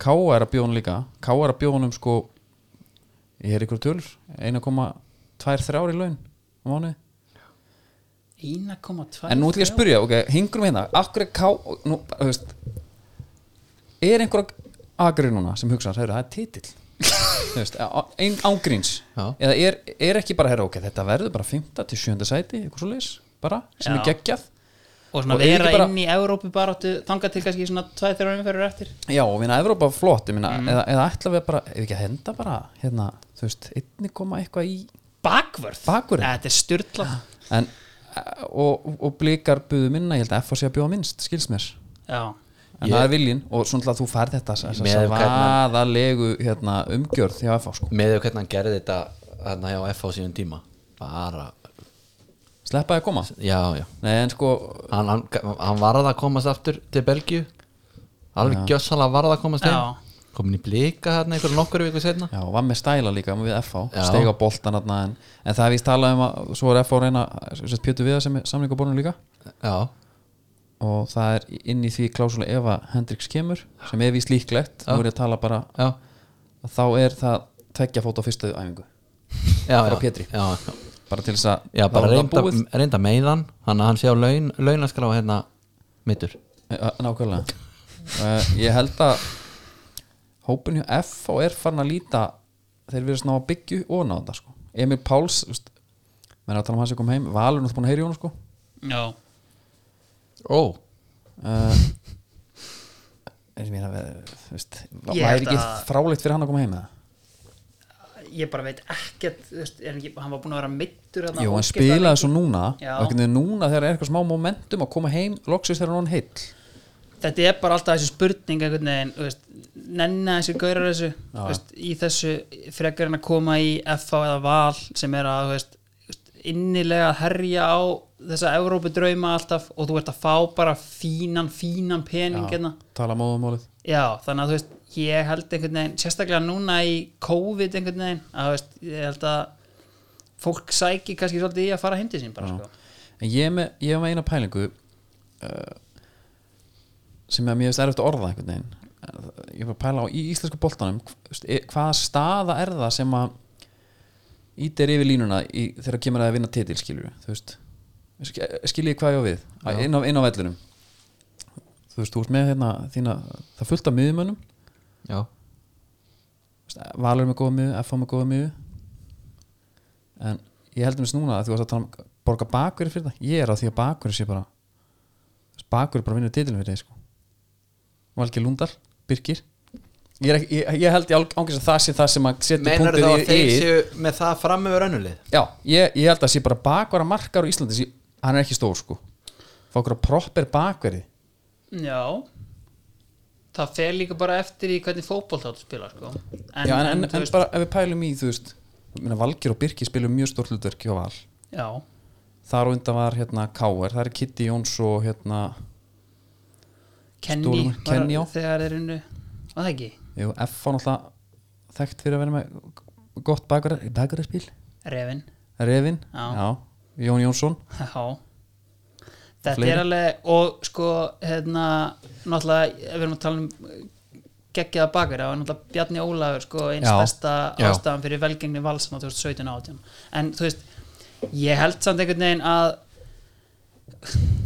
S1: K.A. er að bjóðan líka K.A. er að bjóðan um sko ég heyri ykkur tölur 1,23 í laun á mánuði
S3: 1,2
S1: En nú ætlum ég að spyrja, ok, hingrum hérna Akkur er ká, nú, þú veist Er einhver agri núna sem hugsa, heyrðu, það er titill [laughs] Þú veist, á- ein ángríns
S2: Já.
S1: Eða er, er ekki bara, heyrðu, ok, þetta verður bara 5. til 7. sæti, eitthvað svo leis bara, sem er
S3: Já.
S1: geggjað
S3: og svona
S1: og er
S3: vera
S1: ekki bara-
S3: inn í Evrópu bara þangað til kannski svona 2-3 umferður eftir
S1: Já, og minna Evrópa flott, ég minna, eða, eða ætla við bara, ef ekki að henda bara, hérna, þú veist, einni koma eitthvað í
S3: Bakvörð,
S1: Bakvörð?
S3: þetta er styrla
S1: En, eh, og, og blikar buðu minna, ég held að F.A. sé að bjóða minnst, skils mér
S3: Já,
S1: en
S2: Ég-
S1: það er viljinn og svona til að þú færð þetta þessa
S2: Með hvernig-
S1: svaðalegu hérna, umgjörð hjá FH sko
S2: með þau hvernig hann gerði þetta hérna hjá F á sínum tíma bara,
S1: sleppaði að koma
S2: já, já
S1: Nei, en sko,
S2: hann, hann, hann varð að komast aftur til Belgíu alveg gjössalega varð að komast
S3: Já.
S2: heim komin í blika hérna einhver nokkur viku setna
S1: já, var með stæla líka við FH,
S2: Já.
S1: stega boltan hérna, en, en það er víst talað um að svo er FH að reyna sem sagt, Pjötu Viða sem er samlingaborinu líka
S2: já,
S1: og það er inn í því klásula ef að Hendriks kemur sem er víst líklegt, nú er ég að tala bara
S2: já,
S1: að þá er það tveggja fót á fyrstu æfingu
S2: já,
S1: Frá
S2: já,
S1: Pétri.
S2: já, já.
S1: bara til þess að
S2: já
S1: þá
S2: bara
S1: er það
S2: reynda,
S1: búið.
S2: reynda meiðan hann að hann sé á laun, launaskrá hérna mittur
S1: Eh, Nákvæmlega uh, Ég held að hópin hjá F og er farin að líta þeir verið sná að byggju og ná þetta sko. Emil Páls þú veist, menn að tala um hans ég kom heim, Valur náttúrulega búin að heyri hún sko.
S3: já,
S2: ó,
S1: uh, en ég meina við, þú veist,
S3: Ég
S1: væri
S3: held
S1: ekki
S3: að-
S1: fráleitt fyrir hann að koma heim eða?
S3: ég bara veit ekkert þú veist, er hann ekki- hann var búin að vera mittur
S1: Jú, hann spilaði svo núna
S3: Já.
S1: og ekki núna þegar er eitthvað smá momentum að koma heim loksist þegar hann heill
S3: þetta er bara alltaf þessi spurning einhvern veginn, þú veist, nenna þessi gaurar þessu, þú veist, í þessu frekar en að koma í FH eða Val sem er að, þú veist, þú veist, innilega að herja á þessa Európu drauma alltaf og þú ert að fá bara fínan, fínan pening hérna.
S1: tala móðumálið
S3: Já, þannig að þú veist, ég held einhvern veginn, sérstaklega núna í COVID einhvern veginn, að þú veist, ég held að fólk sæki kannski svolítið í að fara hindi sín bara, sko.
S1: En ég er með, ég er með eina pælingu uh, sem er mjög erfitt að orða einhvern veginn Eh, ég var að pæla á í íslensku boltanum þú veist, eh, hvaða staða er það sem að ítir yfir línuna í, þegar kemur að vinna titil skilur þú veist Sk- skiljið hvað ég á við Að inn á, inn á vellunum þú veist, þú veist með hérna þína, það fullt af miðumönnum
S2: já,
S1: Þú veist, Valur með góða miðu, FH með góða miðu en ég heldur mér núna að þú varst að tala um borga bakverði fyrir það ég er á því að bakverði sé bara bakverði bara vinnur titilin fyrir þig sko. Valgi Lundar, Birkir ég, er ekki, ég, ég held ég ángjörs að það sé það sem að setja
S2: meinar
S1: punktið
S2: þá
S1: í,
S2: að þeir
S1: í
S2: séu með það fram yfir önnulið
S1: já, ég, ég held að sé bara bakvara markar á Íslandi, sé, hann er ekki stór sko fá okkur að proper bakverði
S3: Já, það fer líka bara eftir í hvernig fótboll þáttu spila, sko.
S1: já, en, en,
S3: þú
S1: en
S3: veist-
S1: bara ef við pælum í þú veist, ég meina, Valgir og Birkir spilum mjög stórt hlutverk hjá Val
S3: Já,
S1: þar og undan var hérna K.R. það er Kitty Jóns og hérna
S3: Kenny,
S1: Stólum-
S3: var-
S1: Kenny, já.
S3: þegar þeir unnu var það ekki,
S1: jú, F á náttúrulega þekkt fyrir að vera með gott bakverðarspil
S3: Revin
S1: Revin,
S3: Já.
S1: já Jón Jónsson
S3: [laughs] Já Þetta
S1: Fleiri?
S3: er alveg og sko hérna náttúrulega ef við erum að tala um geggjaða bakverja og náttúrulega Bjarni Ólafur sko eins
S1: Já.
S3: besta
S2: Já.
S3: ástæðan fyrir velgengni valsana 2017-18 en þú veist, ég held samt einhvern veginn að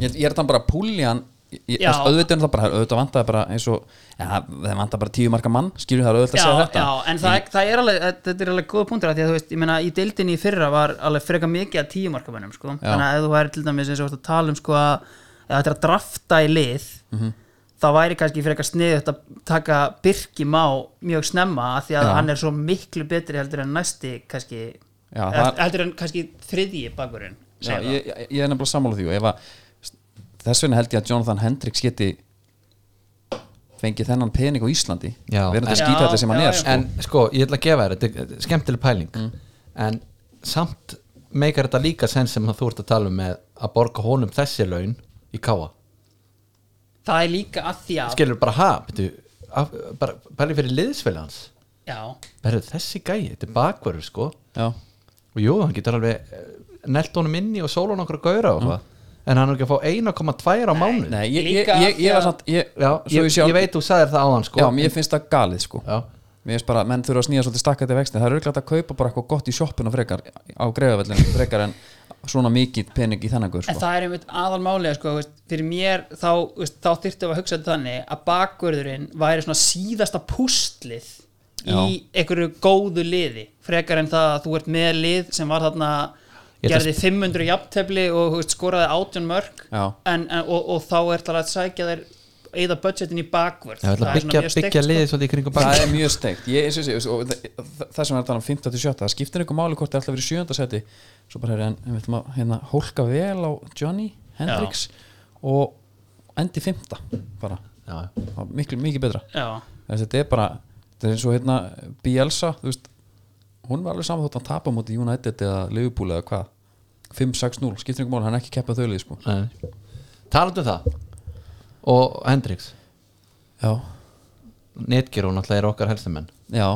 S1: ég, ég er þannig bara að púli hann ég, ég-
S3: Já.
S1: auðvitað er það bara, auðvitað vantaði bara eins og ja, þeim vantaði bara tíu marka mann skilur það er auðvitað að segja þetta
S3: já, en það, það er alveg, þetta er alveg góða punktur af því að þú veist, ég meina í deildinni í fyrra var alveg frekar mikið að tíu markamönnum sko.
S1: Já.
S3: þannig að ef þú væri til dæmis eins og vart að tala um sko að ef þetta er að drafta í lið
S1: Mhm.
S3: þá væri kannski frekar sniðut að taka Birki Má mjög snemma af því að
S1: Já.
S3: hann er svo miklu betri heldur en næsti kannski,
S1: Já, það-
S3: heldur en kannski þriðji bakurinn
S1: Já, ég, ég, ég er nefnilega sammála því og ef að, þess vegna held ég að Jonathan Hendricks geti fengið þennan pening á Íslandi
S2: Já.
S1: verðandi
S3: En-
S1: að skýta þetta sem hann
S3: Já,
S1: er
S3: já,
S1: sko.
S2: en sko, ég ætla að gefa þér þetta er skemmtileg pæling en samt meikar þetta líka sen sem að þú ert að tala um með að borga honum þessi laun í káa
S3: það er líka að því að
S2: skilur bara ha, betu, af, bara pæli fyrir liðsfélag hans
S3: já,
S2: bara þessi gæi, þetta er bakverður sko
S1: já,
S2: og jú, hann getur alveg eh, nelt honum inni og sóla hann okkur að gauðra og hvað en hann er ekki að fá 1,2 á mánu
S1: nei, ég, ég,
S3: Líka
S1: ég, ég var
S3: því að-
S1: samt ég,
S2: Já,
S1: svo
S2: ég,
S1: ég, sjálf,
S2: ég veit þú sagðir það á hann sko
S1: já, mér finnst það galið sko
S2: Já.
S1: mér finnst bara, að menn þurfa að snýja svolítið stakka þetta vexti það er örglægt að kaupa bara eitthvað gott í sjoppuna frekar á greiðavellinu frekar en svona mikið pening í þennan guð
S3: En
S1: sko.
S3: það er einmitt aðal málega sko, þú veist, fyrir mér þá, þú veist, þá þyrftum við að hugsa þetta þannig að bakvörðurinn væri svona síðasta pústlið í einhverju góðu liði frekar en það að þú ert með lið sem var þarna
S2: Ég ætla að-
S3: gerði 500 jafntefli og þú veist, skoraði 18 mörg
S1: Já.
S3: en, en, og, og þá er það að sækja þér eða budgetin í bakvörð
S2: ég ætla að byggja, byggja liðið
S3: sko.
S2: svolítið í kringum
S1: það
S2: bakverð
S1: er mjög steikt ég, eins og ég, segi, og það- það- það sem er að tala um 15 til 7 það skiptir einhver máli hvort það er alltaf verið 7. seti svo bara er hann, við ætlum að hérna, hólka vel á Johnny Hendrix og endi 5. bara,
S2: já,
S1: Það var miklu, mikið betra
S3: Já,
S1: Þessi, þetta er bara, þetta er eins og hérna Bielsa, þú veist hún var alveg saman þótt að tapa múti United eða Liverpool eða hvað 5-6-0, skiptir einhver máli, hann er ekki keppað þaulið sko.
S2: nei. talandu um það og Hendrix
S1: já,
S2: Netgear og náttúrulega er okkar helstumenn
S1: já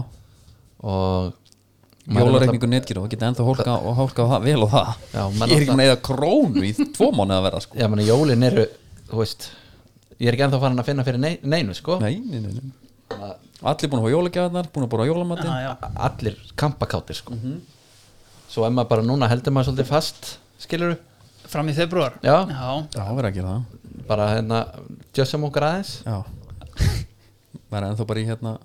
S2: og
S1: Jólareikningu netgíru og geta enda hólka og hólka á það, vel og það
S2: Já,
S1: ég
S2: menn
S1: er ekki
S2: alltaf-
S1: með eða krónu í tvo mánu að vera sko.
S2: já, meni, jólin eru, þú veist ég er ekki ennþá farin að finna fyrir nei- neinu sko
S1: nei, nei, nei, nei. allir búin að fá jólagjafarnar búin að búin að jólamatinn
S3: já, já.
S2: allir kampakáttir sko svo er maður bara núna heldur maður svolítið fast skilur
S3: fram í februar
S2: Já.
S3: já.
S1: já, verður að gera það
S2: bara hérna, djössum okkur aðeins
S1: já verður ennþá bara í hérna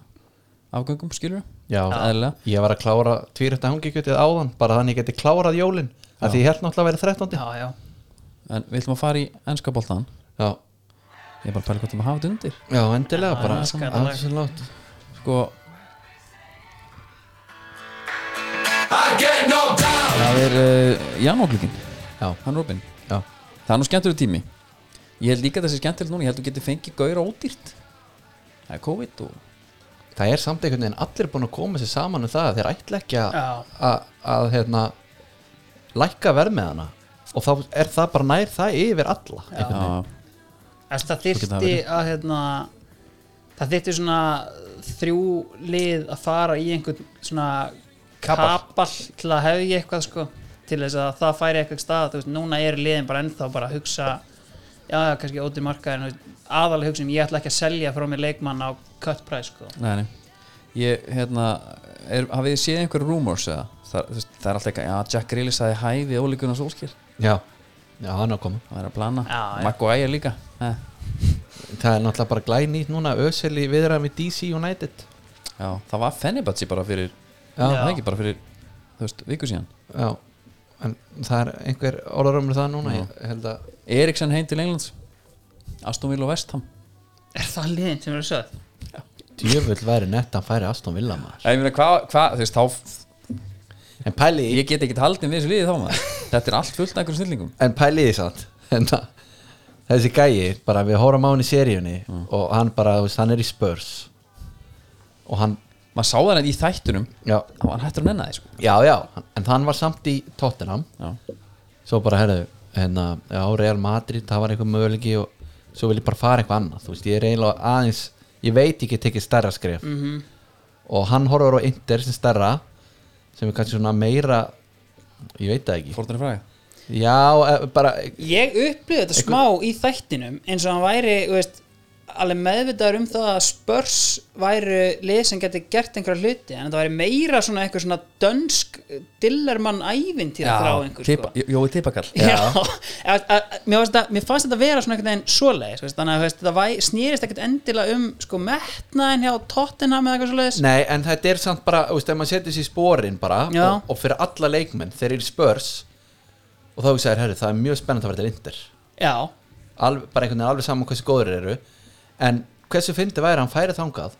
S1: afgöngum skilur
S2: Já,
S1: eðlilega.
S2: ég var að klára tvírötta hangikjötið áðan bara þannig ég geti klárað jólin að því ég held náttúrulega að vera 13.
S3: já, já
S1: en við ætlum að fara í ennska boltan
S2: Já,
S1: ég er bara að pæla hvort það maður hafa þetta undir
S2: já endilega bara
S3: Ah, skandalag.
S2: alls er látt
S1: sko, það er uh, janóklukkin,
S2: Já,
S1: hann Robin
S2: já,
S1: það er nú skemmtileg tími ég held líka að þessi skemmtileg núna, ég held að þú getur fengið gauðra ódýrt það er COVID og
S2: það er samt einhvern veginn allir búin að koma sér saman um það að þeir ætla ekki að-
S3: Já.
S2: að- að hérna lækka verð með hana og þá er það bara nær það yfir alla já.
S1: já,
S3: Þess, það
S1: getur það
S3: þyrfti að hérna, það þyrfti svona þrjú lið að fara í einhvern svona
S2: Kapall.
S3: kapall til að hefja eitthvað sko, til þess að það færi eitthvað stað þú veist, núna er liðin bara ennþá bara að hugsa já, já, kannski óti markaðin aðalega hugsa um ég ætla ekki að selja frá mér leikmann á cut price sko.
S1: nei, nei ég, hérna, er, hafið þið séð einhver rumors eða, það, þú veist, það er alltaf eitthvað já, Jack Grealish sagði hæ við Óli Gunnar Solskjær
S2: já, já, hann er að koma
S1: það er að plana,
S3: Já, já.
S1: Maguire líka eh,
S2: Það er náttúrulega bara glænýtt núna Ösel í viðræðum við DC United
S1: já, það var Fenebatsi bara fyrir
S2: Já.
S1: það er ekki bara fyrir, þú veist, viku síðan
S2: Já, en það er einhver orðarömmur um það núna, ég held að
S1: Eriksen heim til Englands Aston Villa og Vestham
S3: er það liðin sem eru sögð?
S2: djöfull væri nett að færi Aston Villa maður
S1: ég meina, hvað, hva, þú veist, þá
S2: en pæli í,
S1: ég get ekki haldin við þessu liði þá maður þetta er allt fullt af einhverjum snillingum
S2: en pæli í satt en það- þessi gæi, bara við horfum á hann í seríunni og hann bara, þú veist, hann er í spörs og hann,
S1: maður sá það í þættunum
S2: já,
S1: þá var hann hættur að nenna því sko.
S2: já, já en hann var samt í Tottenham
S1: já.
S2: svo bara, herðu, hérna já, Real Madrid, það var eitthvað möguleiki og svo vil ég bara fara eitthvað annað, þú veist, ég er eiginlega aðeins, ég veit ekki tekið stærra skref -hmm. og hann horfur á Inter sem stærra, sem er kannski svona meira ég veit það ekki
S1: fórtunni fræði
S2: já, eh, bara
S3: Ég upplýði þetta smá í þættinum eins og hann væri, þú veist, alveg meðvitaður um það að spörs væru lið sem geti gert einhverja hluti en það væri meira svona eitthvað svona dönsk dillermann ævintýra frá einhver
S1: tipa,
S3: sko.
S1: Jó- Jói Tipakall
S3: Já, [laughs] að, að, mér, fannst þetta, mér fannst þetta vera svona einhvern veginn svoleiðis, þú veist, þannig að þú veist, þetta væ, snýrist ekkert endilega um sko metnaðin hjá Tottenham eða eitthvað svoleiðis
S2: Nei, en þetta er samt bara, þú veist, ef maður setjast í spórin bara
S3: Já.
S2: og, og fyrir alla leikmenn, þeir eru í spörs og þá hugsaðir, herri, það er mjög spennandi að vera til Inder
S3: Já,
S2: alveg, bara einhvern veginn alveg saman hversu góður þeir eru en hversu fyndi væri að hann færi þangað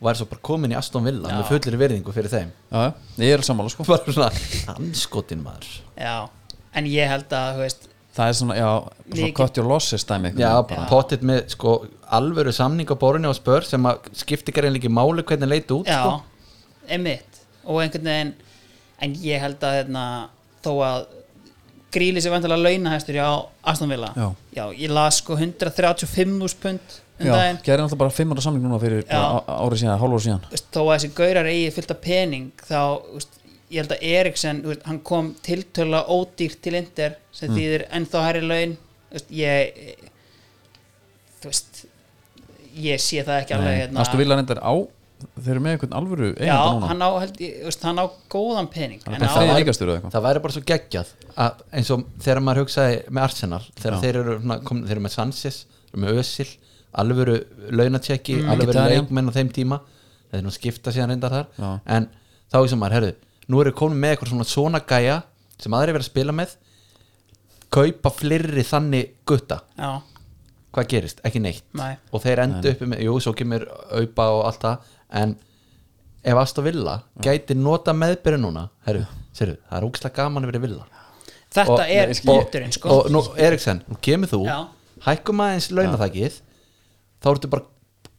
S2: og væri svo bara komin í Aston Villa
S3: Já.
S2: með fullir virðingu fyrir þeim [laughs]
S1: Já, já, ég er sammála sko
S2: bara svona, anskotin maður
S3: já, en ég held að, þú veist,
S1: Það er svona, já, bara svona
S3: Líki-
S1: cut your losses dæmi einhvern
S2: já,
S1: veginn.
S2: bara pottit með sko alvöru samning á borunni á spör sem að skipti ekki reynleiki máli hvernig leit út
S3: Já,
S2: sko.
S3: einmitt og einhvern veginn, en ég held að hérna, þó að gríli sér vantilega launahæstur hjá Aston Villa
S1: Já.
S3: ég las sko 135.000 pund um
S1: Já,
S3: daginn
S1: gerði náttúrulega bara 5 ára samling núna fyrir
S3: Já.
S1: bara á- ári síðan, hálf ári síðan
S3: Þú veist, þó að þessi gaurar eigi fyllt af pening þá, þú veist, ég held að Eriksen þú veist, hann kom tiltöla ódýrt til Inder sem
S1: Mm.
S3: þýðir ennþá hærri laun Þú veist, ég þú veist ég sé það ekki alveg hérna.
S1: Nei, Astu Villan endar á þeir eru með einhvern alvöru
S3: Já,
S1: eiganda núna
S3: hann á, held, ég, þú veist, hann á góðan pening
S1: Hann er
S3: en
S1: bara
S3: á-
S1: þriðji
S2: væri-
S1: ríkastur eða eitthvað
S2: það væri bara svo geggjað að, eins og þegar maður hugsaði með Arsenal þegar
S1: Já.
S2: þeir eru, svona komin, þeir eru með Sanchez þeir eru með Özil, alvöru launatjekki,
S1: Mm.
S2: alvöru
S1: Mkhitaryan.
S2: leikmenn á þeim tíma þeir eru nú að skipta síðan reyndar þar
S1: Já.
S2: en þá sem maður, herðu, nú eru komin með eitthvað svona svona gæja sem aðri verið að spila með kaupa flirri þannig gutta
S3: Já,
S2: hvað gerist, ekki neitt
S3: Nei.
S2: og þeir endu uppi með, jú, svo kemur aupa og allt það, en ef Asta Villa gæti nota meðbyrði núna herru, sérðu, það er ógislega gaman að vera Villa
S3: þetta
S2: Og-
S3: er
S1: Nei, ég skil.
S3: hluturinn sko
S2: og nú, Eriksen, nú kemur þú
S3: Já.
S2: hækkum aðeins launathækið þá ertu bara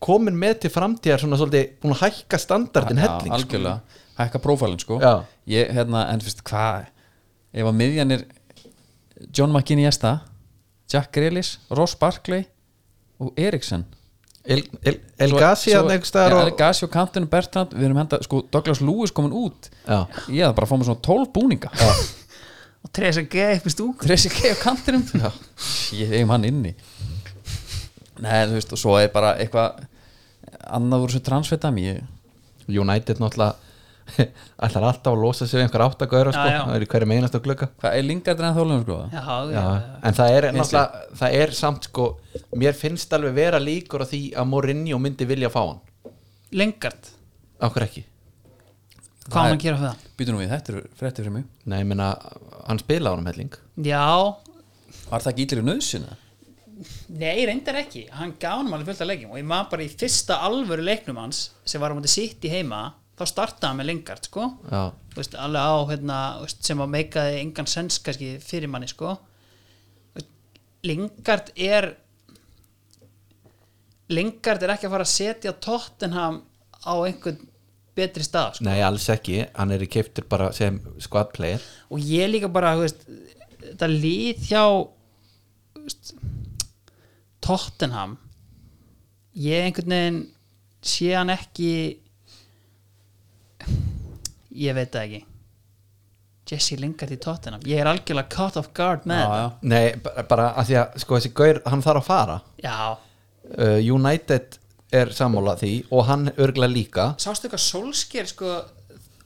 S2: komin með til framtíðar svona svolítið búin að hækka standardin
S1: Já,
S2: helling sko.
S1: algjörlega, hækka prófælinn sko
S2: Já.
S1: ég, hérna, en fyrst, hvað ef að miðjan er John McKinney Esta Jack Grealish, Ross Barkley og Eriksen
S2: El, El, El Gassi
S1: Svo-
S2: hann einhvers staðar
S1: Já,
S2: og-
S1: El Gassi og Kantinu Bertrand, við erum henda sko, Douglas Lewis komin út
S2: Já.
S1: ég hefði bara að fá mér svona 12 búninga
S3: og treyðis að geða eitthvað stúk
S1: Tracy K á kantinum ég eigum hann inni Nei, þú veist, og svo er bara eitthvað annað voru svo transfetam ég,
S2: United náttúrulega [laughs] ætlar alltaf að losa sér einhver áttagöður sko.
S3: Já, já.
S2: það er í hverju meinast að glugga
S1: hvað er lingað en þólum sko?
S3: Já, já,
S2: Já,
S3: já,
S2: en það er
S1: Vinstri.
S2: náttúrulega það er samt sko, mér finnst alveg vera líkur á því að Mourinho myndi vilja fá hann
S3: lengart
S2: okkur ekki,
S3: Hvað á hann að gera fyrir það?
S1: býtum við, þetta eru fréttir fyrir mig
S2: nei, ég meina hann spila á hann helling
S3: Já,
S1: var það ekki ítlur í nöðsina?
S3: nei, reyndar ekki Hann gaf hann alveg fullt af leikjum og ég maður bara í fyrsta alvöru leiknum hans sem var á mútið sitt í heima þá startaði hann með lengart sko
S2: já,
S3: Þú veist, alveg á hérna, þú veist, sem að meikaði engan sens kannski fyrir manni sko Þú veist, Lingard er Lingard er ekki að fara að setja Tottenham á einhvern betri stað sko.
S2: nei, alls ekki hann er í keiptur bara sem squad player
S3: og ég líka bara þú veist, þetta lið hjá þú veist, Tottenham ég einhvern veginn sé hann ekki ég veit það ekki Jesse Lingard í Tottenham ég er algjörlega caught off guard með
S1: já, já.
S2: nei, bara, bara að því að sko, þessi gaur, hann þarf að fara
S3: þetta já,
S2: uh, United er sammála því og hann örgla líka
S3: sástu eitthvað Solskjær sko,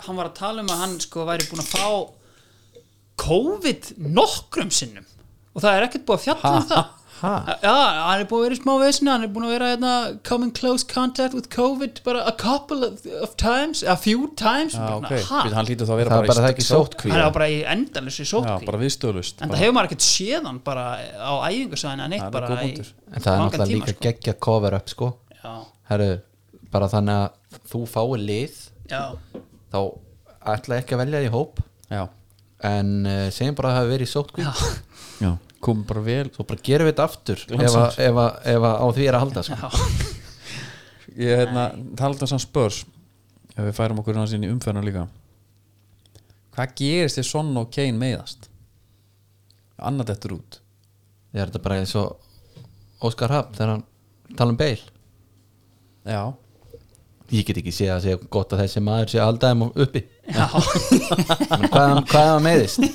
S3: hann var að tala um að hann sko væri búin að fá COVID nokkrum sinnum og það er ekkert búið að fjalla um það
S2: ha.
S3: já, hann er búin að vera í smá vesinu hann er búin að vera hérna, come in close contact with COVID bara a couple of, of times a few times
S1: Já,
S3: Bara,
S1: ok,
S3: ha?
S1: Býtu, hann lítur þá að vera
S2: það er bara það
S1: bara
S2: ekki
S3: hann
S2: sótkvíða
S3: er bara í endalessu
S1: Já,
S3: sótkví
S1: bara viðstöðlust
S3: en það hefur maður ekkert séð hann bara á æfingarsæðinu en
S1: Það er
S3: eitt bara
S1: góð
S3: í
S1: punktur.
S2: en það er
S3: langan
S2: náttúrulega
S3: tíma,
S2: líka geggja cover up sko,
S3: sko.
S2: herru, bara þannig að þú fáir lið
S3: já, já,
S2: þá ætla ég ekki að velja því hóp
S1: Já,
S2: en uh, segjum bara að það hafi verið í sótkví
S1: já, kom bara vel
S2: svo bara gerum við þetta aftur ef, að,
S1: Glansaður.
S2: ef, að, ef að á því er að halda sko.
S3: já.
S1: Ég hérna, talaði um sann spörs ef við færum okkur hans inn í umferðinu líka Hvað gerist þið Son og Kane meiðast? Annað þetta út
S2: ég er þetta bara eins og Óskar Hafn þegar hann tala um beil
S1: Já,
S2: ég get ekki séð að segja gott að þessi maður sé að halda þeim uppi
S3: já.
S2: hvað, hvað hann meiðist
S3: [laughs]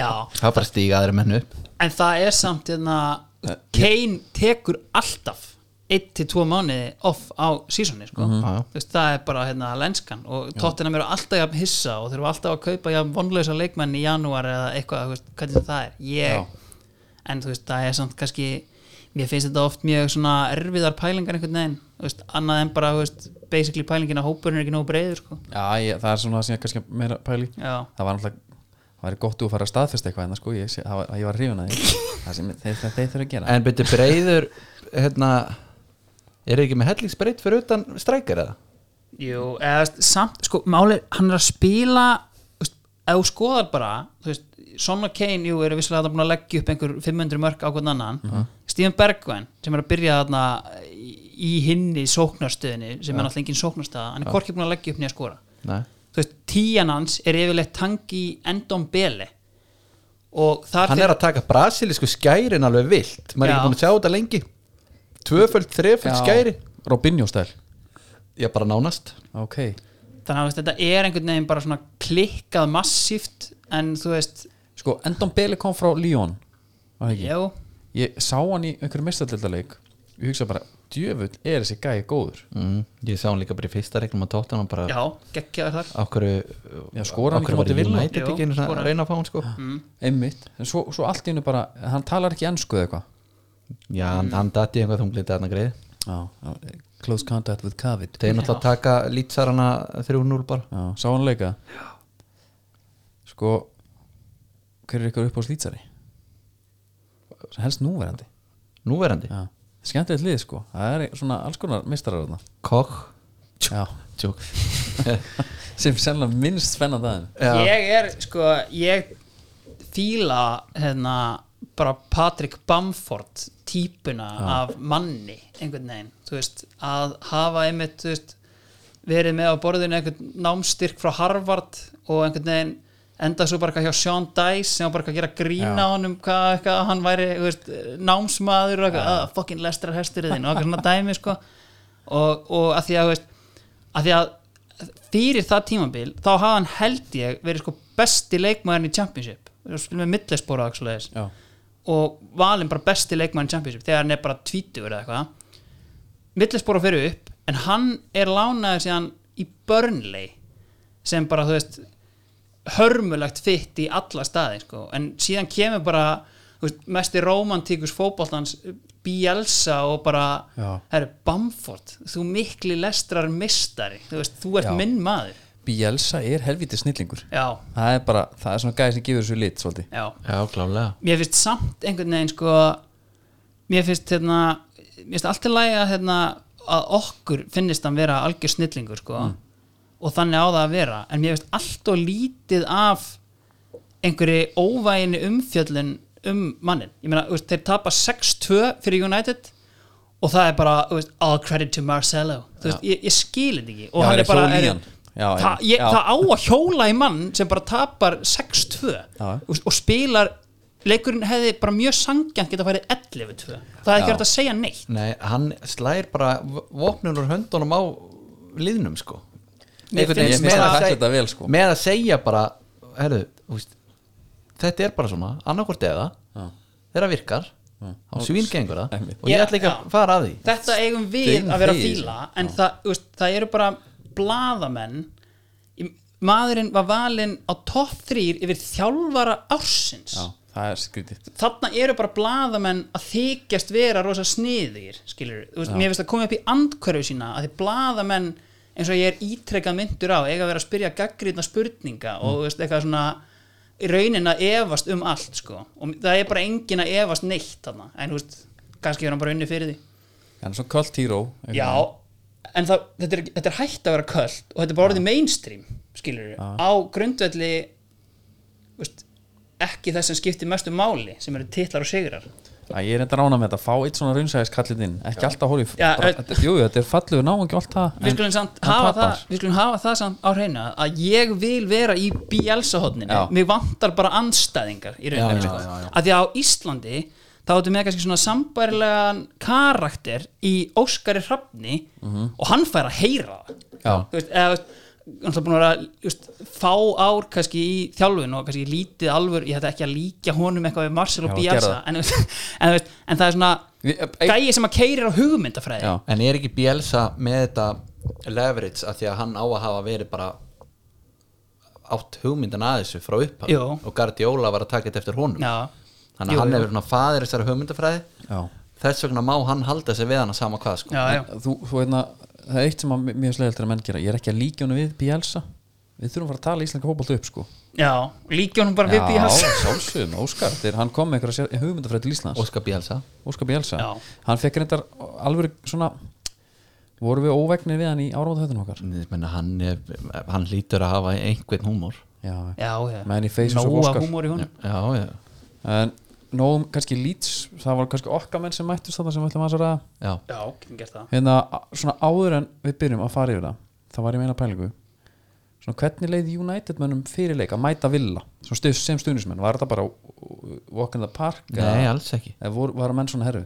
S3: já,
S2: [laughs] það er bara að stíga aðra menn upp
S3: en það er samt hérna, Kane tekur alltaf 1-2 mánuði off á sísoni sko.
S2: Já, já.
S3: Þú veist, það er bara hérna, lenskan og tóttina mér alltaf jafn hissa og þurfa alltaf að kaupa jafn vonlausa leikmenn í janúar eða eitthvað, þú veist, hvernig sem það er ég,
S1: Já.
S3: en þú veist, það er samt kannski mér finnst þetta oft mjög svona erfiðar pælingar einhvern veginn, þú veist, annað en bara þú veist, basically pælingin að hópurinn er ekki nógu breiður sko.
S1: Já, ég, það er svona sem ég kannski meira pæli
S3: Já.
S1: Það var náttúrulega Það væri gott úr að fara að staðfesta eitthvað en það sko, ég, sé- það var, ég var hrifun að því Það sem þeir, þeir, þeir þurfa að gera
S2: en byrju breiður hérna, er ekki með hellingsbreyt fyrir utan strækir eða?
S3: Jú, eða veist, samt, sko, málið, hann er að spila þú veist, ef þú skoðar bara þú veist, Son og Kane, jú, eru visslega að búin að leggja upp einhver 500 mörg á hvern annan
S2: Mhm.
S3: Steven Bergwijn, sem er að byrja þarna í, í hinni sóknarstöðinni sem er alltaf engin sóknarstaða, hann er hvorki búin að leggja upp nýja skora
S2: Nei.
S3: þú veist, tíjan hans er yfirleitt tangi í endom beli og þar
S2: hann er að taka brasilísku skærin alveg vilt maður er
S3: Já.
S2: ekki búin að sjá þetta lengi tvöföld, þreföld skæri
S1: Robinho stæl
S2: ég bara nánast
S1: Ok
S3: þannig að þú veist, þetta er einhvern veginn bara svona klikkað massíft en þú veist,
S1: Sko, Endon Bele kom frá Lyon Var það ekki?
S3: jú
S1: Ég sá hann í einhverjum mistadildaleik Ég hugsa bara, djöfull er þessi gæi góður
S2: mm. ég sá hann líka bara í fyrsta reglum að tóttan hann bara
S3: já, geggjaður þar
S2: á hverju
S1: Já, skorar hann
S2: á
S1: ekki
S2: hverju
S1: móti
S2: var
S1: Villa?
S2: United
S3: Jú,
S2: ekki einu sinni
S3: skorar.
S2: að reyna að fá hann sko
S1: Einmitt En svo, svo allt í hennu bara, hann talar ekki ennsku eða eitthvað
S2: já,
S1: Mm.
S2: hann, hann dati einhvað þunglítið hann að greið
S1: Já, já, Close contact with COVID
S2: þeir náttúrulega að taka lýtsarana 3-0 bara
S1: Já, sá hann leika Já Sko Hver er ykkur upp á slýtsari? Sem helst núverandi
S2: núverandi,
S1: Já Skemmtilegt lið sko Það er svona alls konar mistarar þarna
S2: kokk
S1: Já
S2: tjók
S1: Sem sennilega minnst spennan daginn
S3: ég er sko ég fíla hérna bara Patrick Bamford típuna af manni einhvern veginn, þú veist að hafa einmitt, þú veist verið með á borðinu einhvern námstyrk frá Harvard og einhvern veginn enda svo bara eitthvað hjá Sean Dice sem var bara eitthvað að gera grína á honum hvað, hvað hann væri þú veist, námsmaður og eitthvað, "Ah, að fokkin lestra hesturðin og eitthvað svona dæmi sko og, og að því að, þú veist, að því að fyrir það tímabil þá hafa hann held ég verið sko besti leikmæðin í Championship spilum við millespora og eitthvað svoleiðis.
S1: Já
S3: og valin bara besti leikmæðin í Championship þegar hann er bara tvítugur eða eitthvað millespora fyrir upp en hann er lánaður síðan í Burnley sem bara þú veist hörmulegt fitt í alla staði sko. en síðan kemur bara þú veist, mesti romantíkus fótboltans Bielsa og bara
S1: Já.
S3: herru, Bamford, þú mikli lestrar mistari, þú veist, þú ert
S1: Já.
S3: minn maður
S1: Bielsa er helviti snillingur
S3: já,
S1: Það er bara, það er svona gæði sem gefur þessu lit svolítið
S3: já
S2: já, klálega
S3: mér finnst samt einhvern veginn sko mér finnst hérna mér finnst allt í lagi að hérna að okkur finnist hann vera algjör snillingur sko
S1: Mm.
S3: og þannig á það að vera en mér finnst allt og lítið af einhverju óvæginni umfjöllin um mannin ég meina, þú veist, þeir tapa 6-2 fyrir United og það er bara þú veist, all credit to Marcelo Þú veist, ég, ég skil þetta ekki og
S1: Já,
S3: hann
S1: er
S3: er bara
S1: hjól í
S3: er-
S1: hann. Já,
S3: Þa,
S1: já,
S3: ég,
S1: já.
S3: það á að hjóla í mann sem bara tapar 6-2
S1: Já.
S3: og, og spilar leikurinn hefði bara mjög sangjant geta farið 11-2 það er
S1: Já.
S3: ekki hægt að segja neitt
S2: Nei, hann slær bara v- vopnin úr höndunum á liðnum sko
S3: Mér
S2: Einhvern veginn
S3: finnst
S2: með
S1: það
S2: að
S1: fælt
S2: seg-
S1: þetta vel, sko.
S2: Með að segja bara, herru, úst, þetta er bara svona, annarkvort eða þeirra virkar, þá svíngengur það
S1: Einmitt.
S2: og ég
S3: Já,
S2: ætla ekki
S3: já.
S2: að fara að því
S3: þetta eigum við
S1: Þinn
S3: að vera að
S1: þegið,
S3: fíla en það, þú veist, það eru bara blaðamenn Í- maðurinn var valinn á topp þrýr yfir þjálfara ársins
S1: Já, það er skrítið
S3: þarna eru bara blaðamenn að þykjast vera rosa sniðir skilur, þú veist, mér finnst að koma upp í andkörfu sína að því blaðamenn eins og ég er ítrekkað myndur á eiga að vera að spyrja gaggrinna spurninga og þú veist, eitthvað svona í raunin að efast um allt sko. og það er bara engin að efast neitt þarna. en þú veist, kannski er hann bara unni fyrir því
S1: Hann er svona kvöld híró
S3: Já, en það, þetta, er, þetta er hægt að vera kvöld og þetta er bara orðið mainstream skilur á grundvelli þú veist, ekki þess sem skiptir mestu máli sem eru titlar og sigrar
S1: Æ, ég er enda rána með þetta, fá eitt svona raunsæðiskallin inn ekki alltaf horið,
S3: Já,
S1: bara,
S3: en-
S1: þetta, jú, jú, þetta er fallegur ná ekki allt það
S3: við
S1: en
S3: skulum, samt
S1: hann
S3: hafa
S1: tapar.
S3: það, við skulum hafa það samt á hreina að ég vil vera í Bielsa-hodninu
S1: Já.
S3: mig vantar bara anstæðingar í
S2: Já,
S3: rauninu
S2: já,
S3: sko.
S2: já, já.
S3: að því að á Íslandi þá áttu með kannski svona sambærilegan karakter í Óskari Hrafni og hann fær að heyra það
S1: Mhm. Já.
S3: Þú veist, eða, þú veist, náttúrulega búin að vera just, fá ár kannski í þjálfun og kannski lítið alvör, ég ætla ekki að líka honum eitthvað við Marcelo
S1: Já, gerðu
S3: Bielsa
S1: það.
S3: en, þú veist- [laughs] en, þú veist, en það er svona gæi sem að keirir á hugmyndafræði
S1: Já.
S2: En er ekki Bielsa með þetta leverage að því að hann á að hafa verið bara átt hugmyndan að þessu frá upphaf
S3: Jú.
S2: og Guardiola var að taka þetta eftir honum
S3: Já.
S2: þannig
S3: Jú,
S2: að hann
S3: jú.
S2: hefur svona faðir þessari hugmyndafræði
S1: Já.
S2: þess vegna má hann halda sig við hann að sama hvað sko.
S3: Já, já.
S1: þú, þú veitna, það er eitt sem að mér- mér slegiltir að menn gera ég er ekki að líka honum við Bielsa við þurfum að fara að tala íslenska fótbolta upp sko
S3: já, líkja honum bara við Bielsa
S1: sjálfsögum, Óskar þegar hann kom með einhverja hugmyndafræð til Íslands
S2: Óskar Bielsa
S1: Óskar Bielsa,
S3: Já.
S1: hann fekk reyndar alveg svona voru við óvegnir við hann í áramóðahöðunum okkar
S2: Menna, hann, er, hann lítur að hafa einhvern húmor
S1: já,
S3: Já, já,
S1: Man in faces of
S3: nóa
S1: Oscar.
S3: húmór í honum
S2: já, já,
S1: en nógum kannski lýts það var kannski okkar menn sem mættust þarna sem við ætlum að ræða
S2: já.
S3: Já, getum gert það
S1: hérna a- svona áður en við byrjum að fara yfir það það var ég meina pælingu svona hvernig leið United mönnum fyrirleik að mæta villa svona stu, sem stuðnismenn var þetta bara uh, walk in the park
S2: nei, alls ekki Mm,
S1: eða voru, var menn svona herru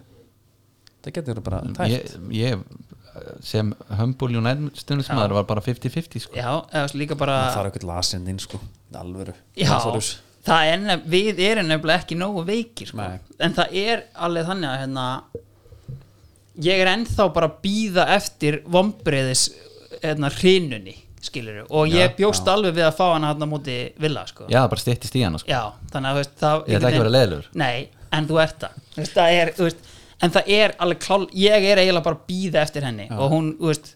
S1: það getur verið bara tætt
S2: ég, ég sem Humble United stundismæður var bara 50-50 sko.
S3: Já, eða svo líka bara
S1: það er eitthvað lasinn inn sko alvöru
S3: Já,
S1: Lazarus.
S3: það er nefn, við erum nefnilega ekki nógu veikir sko.
S1: Nei.
S3: en það er alveg þannig að hérna, ég er ennþá bara að býða eftir vombriðis hérna, hrinunni skilur og ég bjóst alveg við að fá hana hérna á móti vilja sko.
S2: já, það bara styttist í hann sko.
S3: Já, þannig að þú veist það,
S2: Ég ætla ekki að vera leiðilegur.
S3: Nei, en þú ert það, Þú veist, það er, þú veist, En það er alveg klál Ég er eiginlega bara að býða eftir henni Og hún, þú veist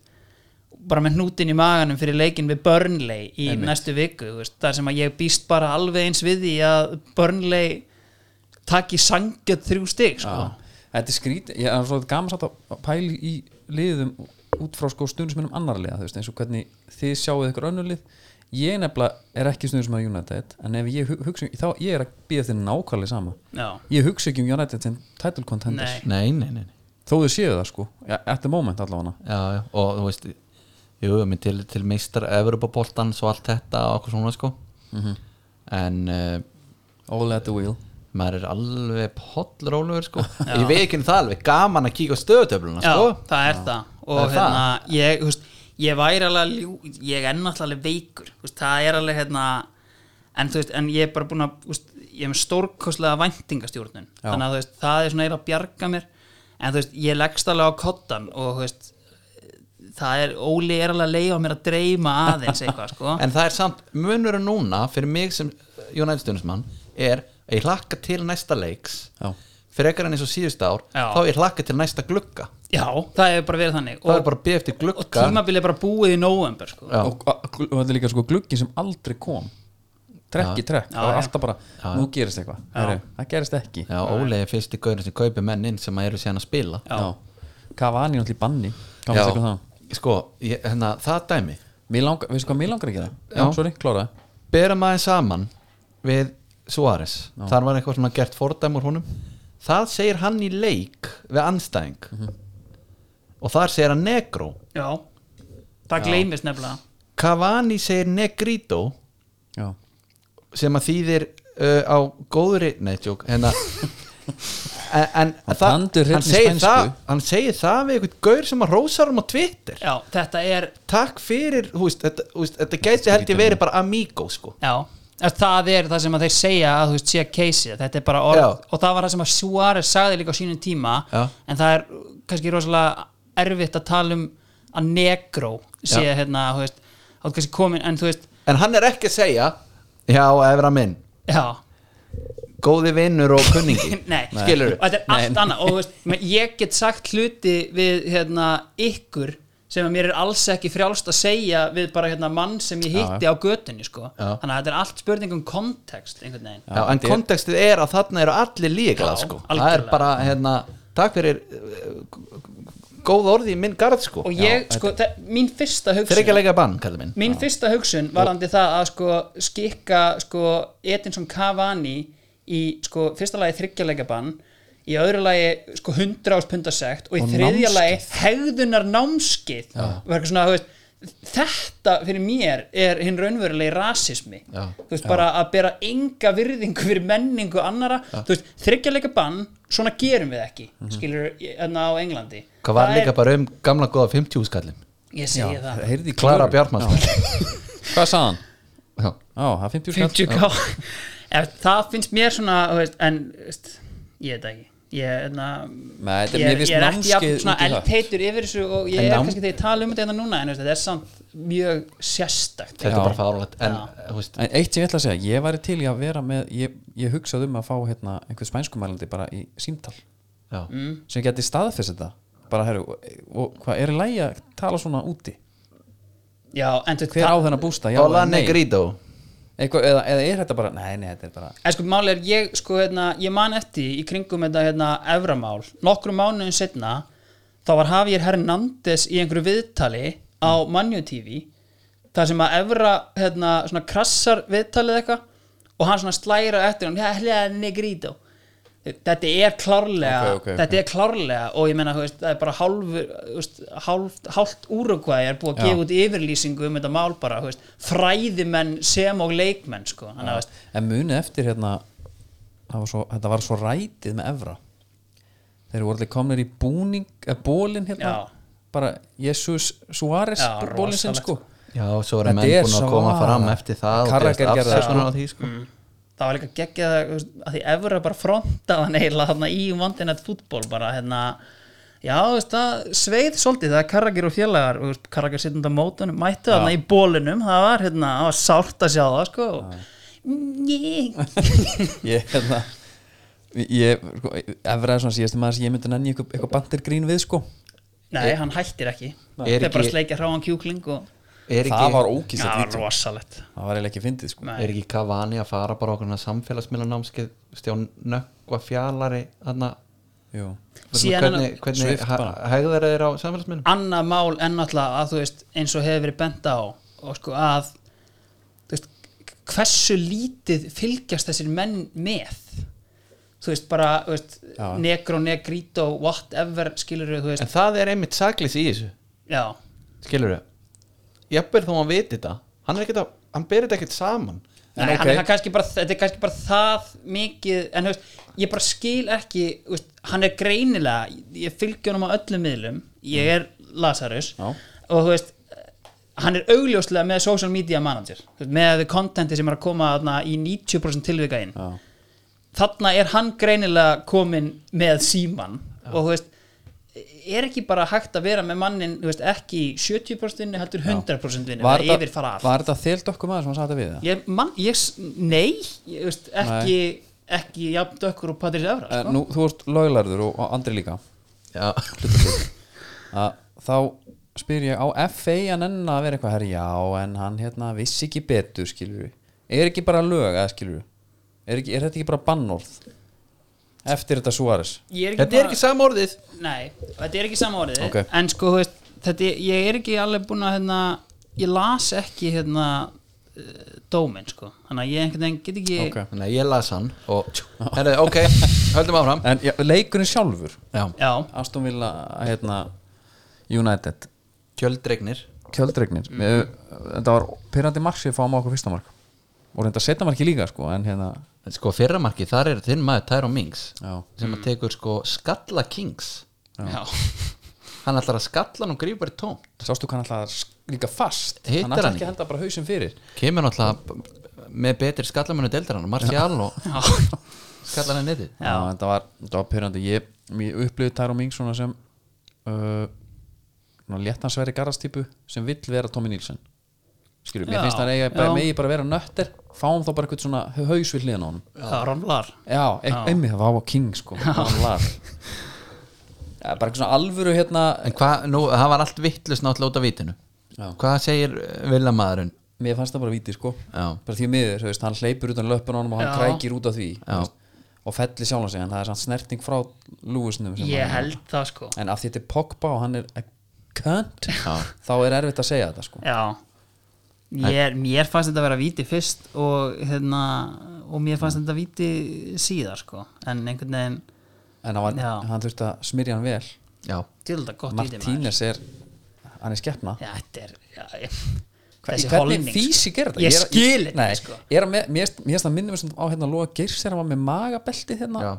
S3: bara með hnútin í maganum fyrir leikin við Burnley í næstu viku, þú veist, þar sem að ég býst bara alveg eins við því að Burnley taki sangjöð þrjú stig sko.
S1: þetta er skrítið, ég er svo gaman satt að pæli í liðum út frá sko stundismennum annar liða, þú veist, eins og hvernig þið sjáuð ykkur önnur lið ég nefnilega er ekki stundismenn á United en ef ég hu- hugsa, þá ég er að býða þér nákvæmlega sama,
S3: Já.
S1: ég hugsa ekki um United sem title contenders,
S3: Nei.
S2: nei, nei, nei, nei.
S1: þó þau séu það sko ja, at the moment allavega
S2: já, já. og þú veist jú, menn til, til meistar Evropaboltans og allt þetta og okkur svona sko.
S3: Mhm.
S2: en uh,
S1: all at the wheel
S2: maður er alveg pollrólugur
S3: [laughs]
S2: sko. ég veit ekki um það alveg gaman að kíka á stöðutöfluna
S3: Já,
S2: sko.
S3: það er það og
S2: Það er
S3: hérna, ég, þú veist, ég væri alveg að ljú, ég er náttúrulega alveg veikur þú veist, það er alveg hérna en, þú veist, en ég er bara búin að þú veist, ég er með stórkoslega væntingastjórnun
S1: Já.
S3: þannig að þú veist, það er svona eiginlega að bjarga mér en þú veist, ég leggst alveg á kottan og þú veist það er, Óli er alveg að leifa mér að dreyma aðeins eitthvað, sko
S2: en það er samt, munurinn núna fyrir mig sem United Stundismann er að ég hlakka til næsta leiks
S1: Já.
S2: frekar en eins og síðust ár
S3: Já.
S2: þá ég hlakka til næsta glugga
S3: já, það hefur bara verið þannig
S2: það er
S3: og,
S2: bara að byrja eftir
S3: og
S2: glugga
S3: tímabilið er bara búið í november, sko
S2: Já.
S1: og, og, og þetta er líka sko glugginn sem aldrei kom trekk í trekk, það var alltaf bara nú gerist eitthvað, Heru, það gerist ekki
S2: Já, Óli er fyrsti gaurin sem kaupir menn inn sem að eru síðan að spila
S3: Já.
S1: Cavani náttúrulega í banni Hvað fannst ykkur um það?
S2: sko, ég, hérna, það dæmi
S1: Mér langar, veistu hvað mér langar að gera? Já,
S2: Já.
S1: sorry, klára það
S2: bera maður saman við Suárez þar var eitthvað svona gert fordæm úr honum það segir hann í leik við anstæðing
S1: Mhm.
S2: og þar segir hann Negro
S3: já, það gleymist nefnilega
S2: Cavani segir Negrito
S1: Já,
S2: sem að þýðir uh, á góðri, nei, tjók
S1: [laughs]
S2: hérna en, en
S1: Hann
S2: það-
S1: tandur hreinni
S2: hann, segir
S1: spænsku.
S2: það, hann segir það við eitthvað gaur sem að rósar um á Twitter
S3: já, þetta er
S2: takk fyrir, þú veist, þetta, þú veist, þetta gæti held ég verið bara amigo sko
S3: Já, að það er það sem að þeir segja að þú veist sé að keisi, þetta er bara orð
S2: Já.
S3: og það var það sem að Suárez sagði líka á sínum tíma
S2: Já.
S3: en það er kannski rosalega erfitt að tala um að negró sé
S2: Já.
S3: hérna, þú veist, átt kannski komin en þú veist,
S2: En hann er ekki að segja Já, Efra minn,
S3: já [clears throat]
S2: góði vinnur og [laughs] kunningi
S3: Nei,
S2: Skilurðu?
S3: og þetta er allt annað og þú veist, men- ég get sagt hluti við hérna, ykkur sem að mér er alls ekki frjálst að segja við bara hérna, mann sem ég hitti á götunni sko.
S2: Já.
S3: þannig að þetta er allt spurning um kontekst einhvern veginn
S2: Já, En kontekstið er að þarna eru allir líklað
S3: Já,
S2: sko. Það er
S3: algjörlega.
S2: bara, hérna, takk fyrir eh, góð orði í minn garð sko.
S3: og ég, sko, þetta... mín fyrsta
S2: Þeir eru ekki að
S3: hugsun
S2: leika bann, kallar minn
S3: mín fyrsta hugsun varandi það að sko skikka sko Edinson Cavani í sko fyrsta lagi þryggjalegabann í öðru lagi sko 100 áspunda sekt og í
S1: Og
S3: þriðja
S1: námskeið.
S3: lagi hegðunar námskið og eitthvað svona, þú veist, þetta fyrir mér er hinn raunverulegi rasismi
S2: Já.
S3: þú veist bara að bera enga virðingu fyrir menningu annara þú veist þryggjalegabann, svona
S2: Mhm.
S3: gerum við ekki skilur, hérna á Englandi
S2: Hvað var
S3: Það er-
S2: líka bara um gamla góða 50 skallin
S3: ég segi það
S1: heyrði í
S2: Klara
S1: Klöru.
S2: Bjartmann
S1: Hvað sagði hann?
S2: Já.
S1: Já, það er 50 skall
S3: 50 k [laughs] það finnst mér svona þú veist, en þú veist, ég veit það ekki ég, na,
S1: Nei, þetta er
S3: ég,
S1: mér
S3: er-
S1: vist
S3: ég er ekki
S1: námskeið
S3: jafn, svona
S1: út í það.
S3: eldheitur yfir þessu og ég
S2: En
S3: er
S2: nám-
S3: kannski þegar ég tala um þetta hérna núna en þú veist, þetta er samt mjög sérstakt
S2: Þetta er bara fáránlegt En eh,
S3: Já.
S2: þú veist,
S1: En eitt sem ég ætla að segja, ég væri til í að vera með ég, ég hugsað um að fá hérna, einhvern spænskumælandi bara í símtal
S2: já.
S1: sem geti staðfess þetta bara herru, og, og hvað er í lægi að tala svona úti?
S3: já, en þú veist,
S1: Hver á
S3: það-
S1: þennan bústa? Já,
S2: Hola
S1: eða nei?
S2: Negrito
S1: Eitthvað, eða, eða er þetta bara, nei, nei, þetta er bara
S3: En sko máli er ég sko hérna, ég man eftir í kringum þetta hérna evramál, nokkrum mánuðin setna þá var Javier Hernández í einhverju viðtali á
S1: Mm.
S3: Manju TV þar sem að evra hérna svona krassar viðtalið eitthvað og hann svona slæra eftir hann hérna negrító þetta er klárlega
S1: Ok, ok, ok.
S3: þetta er klárlega og ég meina þú veist, það er bara hálfur þú veist, hálft, hálft úrugvæði er búið að
S1: Já.
S3: gefa út yfirlýsingu um þetta mál bara þú veist, fræðimenn sem og leikmenn sko, þannig að þú veist,
S1: en munið eftir hérna það var svo, þetta var svo rætið með Evra þeir voru allir komnir í búning eða bólin hérna
S3: Já.
S1: bara Jesus Suárez
S3: Já,
S1: bólin sinn
S3: rosalegt.
S1: sko [laughs]
S2: Já, svo
S1: Þetta
S2: eru menn
S1: er
S2: búin að
S1: svo-
S2: koma fram eftir það og
S1: Carragher
S2: gerast
S1: gerði það,
S2: afsökunar á því, sko.
S3: það var líka geggjað að- þú veist, að því Evra bara frontaði hann eiginlega þarna í vandinnett fútból bara hérna já, þú veist, það sveið svolítið það er Karagir og félagar, þú veist, Karagir sittund á mótunum mættu þarna í bólunum, það var hérna, það var sárt að sjá það, sko njí
S1: ég hérna ég, sko, Evra er svona síðast maður sem ég myndi nenni eitthvað, eitthvað bandirgrín við sko
S3: nei, hann hættir ekki
S2: Er
S3: þeir bara
S2: ekki-
S3: sleikja hráan kjúkling og
S2: Er
S1: það
S2: ekki,
S1: var
S3: já,
S1: ókýrslega
S3: það var
S1: vítum
S3: rosalegt
S1: það var eiginlega ekki fyndið sko
S3: Nei.
S2: er ekki Cavani að fara bara okkur samfélagsmiðlanámskeið Stján Nökkva Fjallari þarna
S1: Jú.
S3: Síðan
S2: hvernig,
S3: hann-
S2: hvernig
S1: Swift
S2: hæ-
S1: bara.
S2: hegðu þeir þeir á samfélagsmiðlum?
S3: annað mál en náttúrulega að þú veist eins og hefur verið bent á og sko að þú veist, hversu lítið fylgjast þessir menn með þú veist bara þú veist,
S1: Já.
S3: negro, negrito, whatever skilur þú veist,
S2: En það er einmitt saklis í þessu
S3: já
S2: skilur þau jafnvel þó hann viti þetta hann er ekkert að, hann ber þetta ekkert saman
S1: En
S3: Nei,
S1: ok.
S3: hann, hann kannski bara, þetta er kannski bara það mikið, en þú veist, ég bara skil ekki, þú veist, hann er greinilega ég- ég fylgja honum á öllum miðlum ég er Lazarus
S1: Já.
S3: og þú veist, hann er augljóslega með social media manager, þú veist, með kontenti sem er að koma þarna í 90% tilvika inn
S1: Já.
S3: þarna er hann greinilega komin með síman og þú veist er ekki bara hægt að vera með mannin þú veist, ekki í 70% vinnu heldur 100% vinnu,
S1: var
S3: það
S1: þetta-
S3: yfir fara allt
S1: var þetta þelt okkur maður sem hann sagði þetta við það?
S3: ég, man, ég, s- nei, ég, veist, ekki ekki jafn dökkur og Patrís Evra
S1: Eh,
S3: sko.
S1: Nú, þú ert löglarður og og Andri líka
S2: já,
S1: að þá spyr ég á FA að nenn að vera eitthvað herri já en hann hérna vissi ekki betur skilur við, er ekki bara lög eða skilur við, er, ekki, er þetta ekki bara bannorð eftir þetta Suárez
S3: ég er ekki,
S2: þetta er ekki sama orðið
S3: nei, þetta er ekki sama orðið
S1: Ok.
S3: en sko, þú veist, þetta, er- ég er ekki alveg búin að hérna, ég las ekki hérna eh, dóminn sko, þannig að ég einhvern veginn get ekki
S1: Ok.
S2: þannig að ég las hann og herri, ok, höldum áfram
S1: en já, leikurinn sjálfur
S2: já,
S3: já,
S1: Aston Villa hérna United
S2: kjöldregnir
S1: kjöldregnir mm. þetta var pyrrandi mark sem fáum á okkur fyrsta mark og reynda setna marki líka sko en hérna
S2: en sko fyrramarki, þar er þinn maður Tyrone Mings
S1: já,
S2: sem að tekur sko skalla Kings
S3: já.
S2: hann ætlar að skalla hann og grífa bara í tóm
S1: sástu hvað hann alltaf líka fast
S2: Hittir
S1: hann alltaf
S2: hann
S1: ekki
S2: ekki?
S1: að henda bara hausum fyrir
S2: kemur náttúrulega með betri skallamönu deildar hann, Martial og skallar hann neytið
S1: Já, þetta var, þetta var pyrrandi Ég, ég upplifði Tyrone Mings svona sem uh, svona léttansveri garastýpu sem vill vera Tommy Nílsen Skilju, mér
S3: Já,
S1: finnst hann eiga bara,
S3: já.
S1: megi bara vera nötter fáum þá bara eitthvað svona haus við hliðan á honum
S3: það ramlar
S1: Já, ein- einmitt, það var á King sko hann var Já, bara eitthvað svona alvöru hérna
S2: En hvað, nú, það var allt vittlust náttúrulega út af vitinu
S1: Já.
S2: Hvað segir viljamaðurinn?
S1: Mér fannst það bara víti sko
S2: Já.
S1: bara því miður, þú veist, hann hleypur utan löpun á honum og hann
S3: Já.
S1: krækir út af því þú
S2: Já.
S1: veist, og fellir sjálf sig, en það er samt snerting frá Lewisnum sem hann-
S3: ég held það sko
S1: en af því þetta er Pogba og hann er a cunt
S2: Já.
S1: þá er erfitt að segja þetta sko
S3: Já Mér, mér fannst þetta að vera víti fyrst og, hérna, og mér fannst þetta víti síðar sko. en einhvern veginn
S1: en hann,
S3: Já.
S1: var, hann þurfti að smyrja hann vel
S2: Já,
S3: til þetta gott víti maður.
S1: Martínez er hann er skeppna
S3: Já, þetta er já, ég,
S1: Hva-
S3: þessi
S1: hvernig
S3: holning
S1: físi gerir þetta
S3: Ég skil
S1: þetta
S3: þetta sko.
S1: mér finnst mér finnst það minnum sem á hérna Lóa Geirs þegar hann var með magabeltið hérna
S2: Já.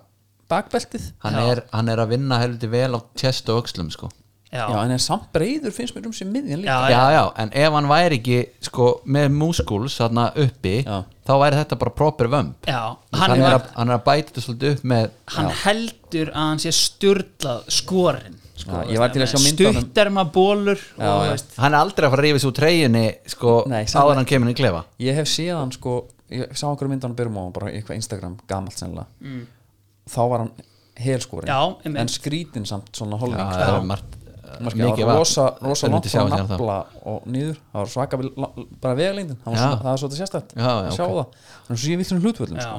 S1: bakbeltið
S2: hann er, hann er að vinna helviti vel á tjest og öxlum sko
S3: já,
S1: Já, en er samt breyður finnst mér um sér miðjan líka
S3: Já,
S2: já, já, en ef hann væri ekki sko, með múskúls þarna uppi
S1: Já.
S2: þá væri þetta bara proper vömb
S3: já.
S2: hann,
S3: Hann,
S2: er
S3: var,
S2: að- hann er að bæta þetta svolítið upp með
S3: hann heldur að hann sé styrlað skorinn sko,
S1: Já, ég var til að sjá mynd á honum.
S3: stutterma bólur
S1: Já,
S3: og
S1: já.
S3: veist
S2: hann er aldrei að fara að rífa svo treyjunni sko,
S1: Nei, sannlega.
S2: áður en hann kemur inn í klefa
S1: Ég hef séð hann sko Ég sá einhverju mynd á hann byrjum á hann bara í eitthvað Instagram gamalt sennilega mm. Þá var hann helskorin
S3: Já, einmitt.
S1: En skrítin samt svona holning
S2: Já,
S1: sko.
S2: það er margt eh,
S1: Maður skilur,
S2: mikið
S1: það var rosa,
S2: vatn.
S1: rosa
S2: Þeir
S1: langt
S2: myndi sjá hérna.
S1: frá
S2: sér það.
S1: nafla og niður það var svaka við, la- bara vegalindin það var
S2: Já.
S1: svona- það var svolítið sérstætt
S2: Já, já,
S1: að sjá
S2: ok.
S1: það þannig sé ég vittur um hlutvöldum
S3: já.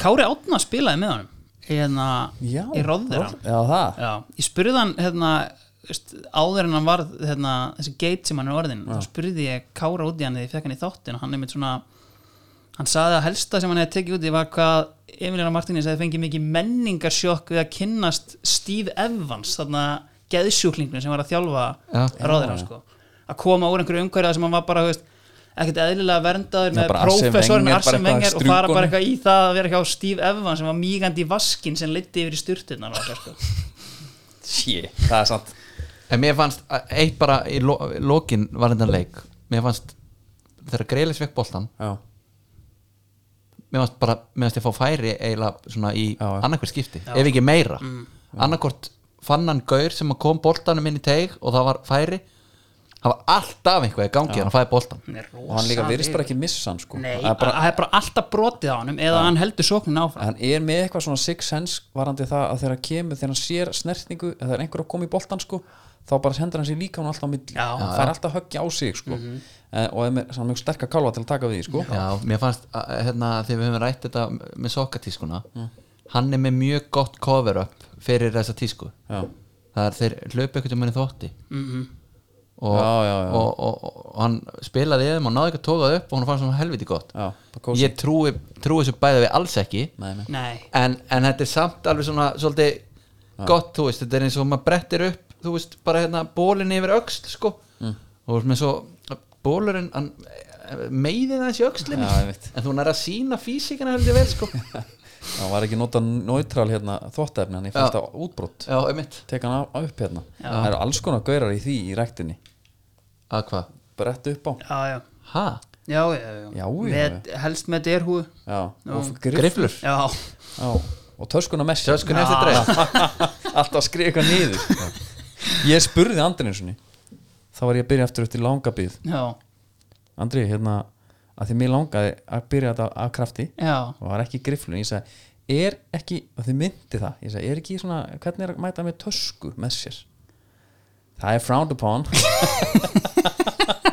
S3: Kári Átna spilaði með honum hérna
S1: já,
S3: í Róðir
S1: Roð- já, það
S3: Já, ég spurði hann hérna, veist, áður en hann varð hérna, þessi geit sem hann er orðin þá spurði ég Kára út í hann þegar ég fekk hann í þáttin og hann er mitt svona hann saði að helsta sem hann hefði tekið úti var hvað Emiliana Martínez hefði fengið mikið menningarsjokk við að kynnast Steve Evans þarna geðsjúklingnum sem var að
S2: Já.
S3: þjálfa ráðir hann sko að koma úr einhverju umhverja sem hann var bara þú veist, ekkert eðlilega verndaður
S1: Já,
S3: með
S1: bara Arsene
S3: prófessorinn
S1: Wenger, bara
S3: Arsene
S1: eitthvað
S3: Wenger og fara bara
S1: strjúkunum.
S3: eitthvað í það að vera hjá Steve Evans sem var mígandi í vaskin sem leiddi yfir í styrtunar sko.
S1: sí, það er sant
S2: en mér fannst að- eitt bara í lo lokin var þetta leik mér fannst þegar Greilis vekk boltan
S1: já,
S2: mér fannst bara, mér fannst ég að fá færi eiginlega svona í
S1: Já, já.
S2: annarkvært skipti ef ekki meira mm. annarkvært fann hann gaur sem að kom boltanum inn í teig og það var færi það var alltaf einhver í gangi hann fæði boltan
S3: Hann er
S1: og hann líka
S3: rosa
S1: virðist
S3: hrifinn.
S1: bara ekki missa hann sko
S3: Nei,
S1: Það er bara,
S3: það er bara alltaf brotið á honum eða hann heldur sóknin áfram
S1: hann er með eitthvað svona six sense varandi það að þegar hann kemur þegar hann sér snertningu eða það er einhver að koma í boltan sko þá bara hendur hann sér líka hann alltaf á milli
S3: Já. Mhm.
S1: hann fær alltaf höggja á sig sko Eh, og er með svona mjög sterka kálva til að taka við því sko
S2: já, mér fannst að, hérna, þegar við höfum rætt þetta með sokkatískuna hann er með mjög gott cover up fyrir þessa tísku
S1: já,
S2: það er þeir hlöpu ekkert um henni þótti
S3: mm
S2: og,
S1: Já, já, já.
S2: Og, og, og, og hann spilaði eða og náði ekki að tóka það upp og hann fann svona helviti gott
S1: já, bara kósi
S2: ég trúi, trúi þessu bæði við alls ekki
S1: nei, nei.
S3: Nei,
S2: en, en þetta er samt alveg svona svolítið gott, þú veist, þetta er eins og maður brettir upp, þú veist, bara hérna bólin yfir öxl, sko
S1: Mm.
S2: og þú veist, með svo, bólurinn hann meiðið aðeins í öxlinni
S1: Já, ég veit.
S2: en þú nær að sína físikana heldur vel, sko
S1: [laughs] Það var ekki nota neutral hérna þvottefni hann ég fannst
S2: Já.
S1: það útbrott
S2: Já, einmitt,
S1: tek hann á- upp hérna það eru alls konar gaurar í því í ræktinni
S2: að hvað?
S1: brett upp á
S3: já, já
S2: Ha?
S3: Já, já, já,
S1: Já, já,
S3: Með, Helst með derhúu
S1: já. og griff
S2: Griflur?
S3: Já,
S1: já. og töskuna messi
S2: Sjöskun eftir dreif
S1: [laughs] alltaf að skrifa eitthvað niður ég spurði Andri eins og ni þá var ég að byrja aftur eftir langa bíð
S3: já,
S1: Andri hérna að því mér langaði að byrja þetta af krafti
S3: já
S1: og það var ekki grifflun ég sagði er ekki og þið myndi það ég sagði er ekki svona hvernig er að mæta með tösku með sér það er frowned upon og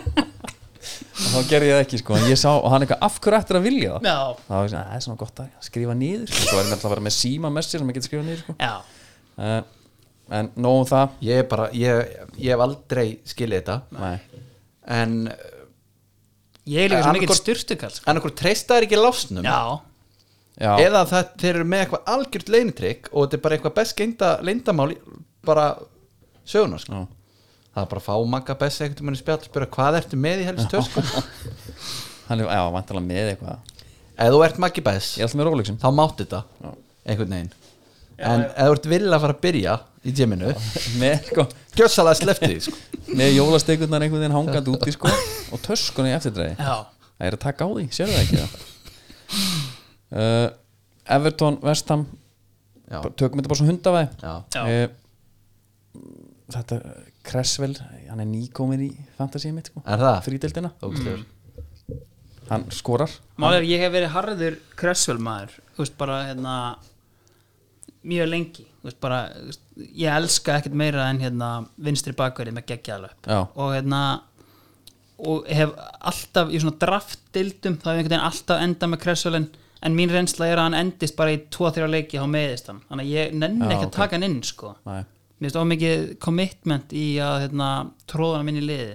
S1: þá gerði ég það ekki sko en ég sá og hann eitthvað af hverju ættir að vilja það
S3: Já,
S1: þá var ég svona "Æ, það er svona gott að skrifa niður sko. svo er ég alltaf að vera með síma með sér sem ég geti skrifað niður sko.
S3: já,
S1: uh, en nóg um það
S2: Ég er bara, ég, ég hef aldrei skilið þetta
S1: Nei.
S2: en
S3: ég er líka svo
S2: Annað
S3: mikill
S2: hvort-
S3: styrtukall sko.
S2: annarkur treysta er ekki lásnum
S3: Já,
S1: Já,
S2: eða það, þeir eru með eitthvað algjört leinitrygg og þetta er bara eitthvað best geinda leindamál bara sögunar sko.
S1: Já.
S2: það er bara að fá magga best eitthvað manni spjall spyrja hvað ertu með í helst törsku
S1: hann er já, vantalega með eitthvað
S2: ef þú ert maggi best
S1: ég ætla með rólegsum
S2: þá mátt þetta einhvern veginn en ef þú ert vilja að fara að byrja í gyminu
S1: [laughs] með, sko,
S2: gjössalega sleftið sko.
S1: með jólastekurnar einhvern veginn hangandi úti sko, og töskunni í eftirdreiði
S3: já,
S1: Það er að taka á því, sér það ekki það? uh, Everton, Vestham
S2: já,
S1: Tökum þetta bara svona hundavæði
S2: já,
S3: já,
S1: uh, Þetta uh, Cresswell, hann er nýkomin í fantasíum mitt
S3: Ah.
S1: sko,
S2: er það
S1: frídeldina
S2: mm.
S1: Hann skorar
S3: Mál er, ég hef verið harður kressvölmaður, þú veist, bara hérna, mjög lengi, þú veist, bara, þú veist, ég elska ekkert meira en hérna vinstri bakverði með geggjalöp
S1: Já.
S3: og hérna, og hef alltaf í svona draftdildum, þá hef ég einhvern veginn alltaf endað með kressvölin, en mín reynsla er að hann endist bara í 2-3 leiki á meðist hann, þannig að ég nenni
S1: Já,
S3: ekki að
S1: ok.
S3: taka hann inn, sko.
S1: Nei.
S3: Mér finnst ómikið commitment í að hérna, tróða hann minni í liði.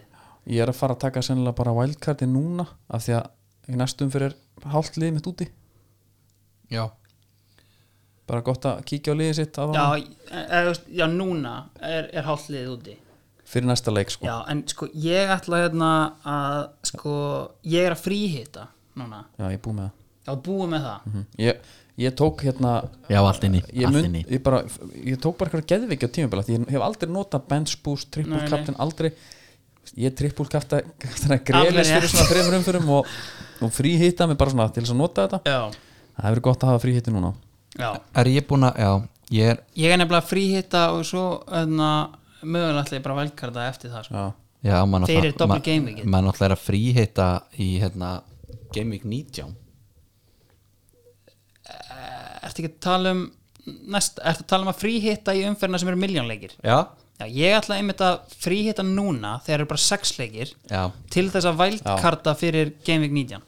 S1: Ég er að fara að taka sennilega bara wildcardi núna af því að í næstum fyrir hálft liðið mitt úti
S2: já,
S1: Bara gott að kíkja á liðið sitt að
S3: Já, e, e, þú veist, já núna er, er hálfliðið úti.
S1: fyrir næsta leik sko.
S3: Já, en sko ég ætla hérna að sko, ég er að fríhita núna
S1: Já, ég er búið með það Hm.
S3: þá búum með það
S1: ég, ég tók hérna
S4: Já, allt inn í,
S1: ég,
S4: allt
S1: mun,
S4: inn í.
S1: ég, bara, ég tók bara eitthvað geðviki á tímabila því ég hef aldrei notað bench boost, triple
S3: Nei, nei.
S1: captain aldrei, ég triple captain að
S3: Alveg
S1: greiðis
S3: rétt.
S1: fyrir svona þreymur umfyrum og, og fríhitta mig bara svona til þess að nota þetta
S3: Já,
S1: það hefur gott að hafa fríhitti núna
S3: já
S2: er ég búin að, já, ég er
S3: Ég er nefnilega fríhitta og svo öðna, mögulega ætla ég bara velkarta eftir það sko.
S1: já,
S2: já, man
S3: Fyrir
S2: náttúrulega-
S3: double
S2: man-
S3: game weekið.
S2: man náttúrulega er að fríhita í hérna, Game Week 19
S3: Ertu ekki að tala um næst, ertu að tala um að fríhitta í umferðina sem eru miljónleikir
S2: já,
S3: Já, ég ætla einmitt að fríhitta núna þegar eru bara sex leikir
S2: já
S3: til þess að vælkarta fyrir Game Week 19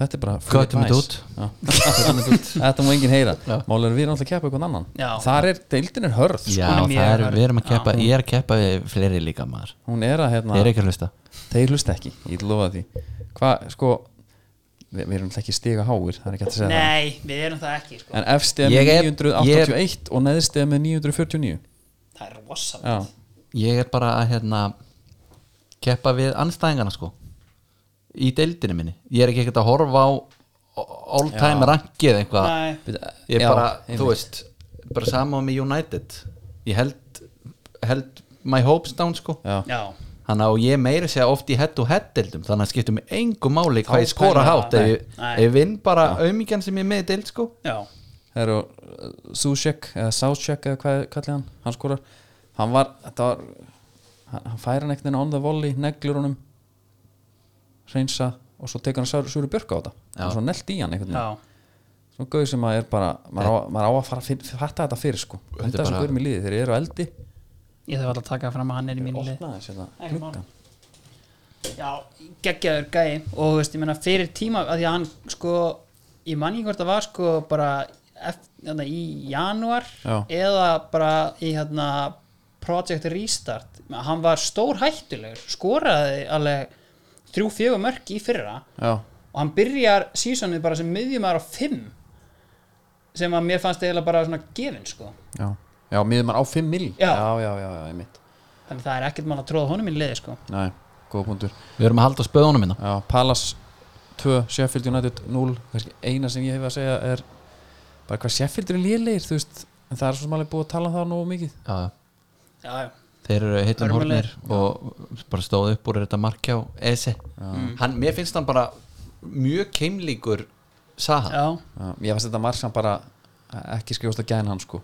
S1: þetta er bara free
S2: Köttum
S1: advice.
S2: þetta út.
S4: [laughs]
S1: Já. þetta má enginn heyra málega er við náttúrulega að keppa eitthvað annan
S3: Já.
S1: þar er, deildin er hörð sko.
S4: Já,
S3: Hún er mjög
S4: það er,
S3: hörð.
S4: við erum að keppa Ég er að keppa við fleiri líka maður
S1: hún er að
S4: Þeir
S1: hérna,
S4: eru ekki að hlusta
S1: þeir hlust ekki ég lofa því, hvað sko við, við erum náttúrulega ekki stiga háir það er ekki hægt að segja það
S3: Nei, við erum það ekki sko.
S1: En efstið
S2: Ég
S1: með
S2: er-
S1: 981 og neðstið með 949
S3: Það er rosalega
S1: Já,
S2: ég er bara að hérna keppa við anstæðingana sko í deildinu minni ég er ekki ekkert að horfa á all time rankið eitthvað
S3: Nei.
S2: ég er
S1: Já,
S2: bara,
S1: einmitt.
S2: þú veist bara sama með United ég held, held my hopes down sko
S1: já.
S3: Já,
S2: þannig að ég meira segja oft í head to head deildum þannig að skiptum mig engu máli hvað ég
S3: pælir
S2: skora
S3: það.
S2: hátt ef, ég-
S3: Nei.
S2: ef ég vinn bara auðmíkjan sem ég er með í deild sko
S3: já,
S1: Það eru uh, Susek eða Southsek eða hvað kallið hann hann skorar hann var, þetta var hann, hann færa hann einhvern veginn on the volley neglur honum reynsa og svo tekur hann Sá- Súri Björk á þetta og svo nelt í hann einhvern
S3: já
S1: veginn svo gauð sem maður er bara maður á, maður á að fara að finn- fatta þetta fyrir sko þetta er svo
S2: bara-
S1: gauðum í liði þeir eru á eldi
S3: Ég þarf alltaf að taka fram að hann er í mínu lið
S1: opnaði þess þetta
S3: Ekki mál.
S1: klukkan
S3: Já, geggjaður gæi og þú veist, ég meina fyrir tíma að því að hann sko, ég man ekki hvort það var sko bara eft, hérna, í janúar
S1: Já.
S3: eða bara í hérna Project Restart, hann var stór hættulegur, skoraði alveg þrjú fjögur mörk í fyrra
S1: já,
S3: og hann byrjar sísonið bara sem miðjumar á fimm sem að mér fannst eiginlega bara svona gefin sko,
S1: já, já, miður maður á 5 mil
S3: Já.
S1: já, já, já, já, ég mitt
S3: þannig að það er ekkert mann að tróða honum í liði sko,
S1: næ, góða punktur
S2: við erum að halda á spöðunum hérna. minna
S1: Já, Palace 2, Sheffield United 0 kannski eina sem ég hef að segja er bara hvað Sheffield eru lélegir þú veist, en það er svo sem alveg búið að tala um það nógu mikið
S2: já, já
S3: já, já
S2: þeir eru hittum hornir
S3: Hörmulegir.
S2: og bara stóðu upp úr þetta markjá Ese Mm. hann, mér finnst hann bara mjög keimlíkur Saha,
S3: Já,
S1: Já, ég fannst þetta marg sem bara ekki skrifast að gæna hann sko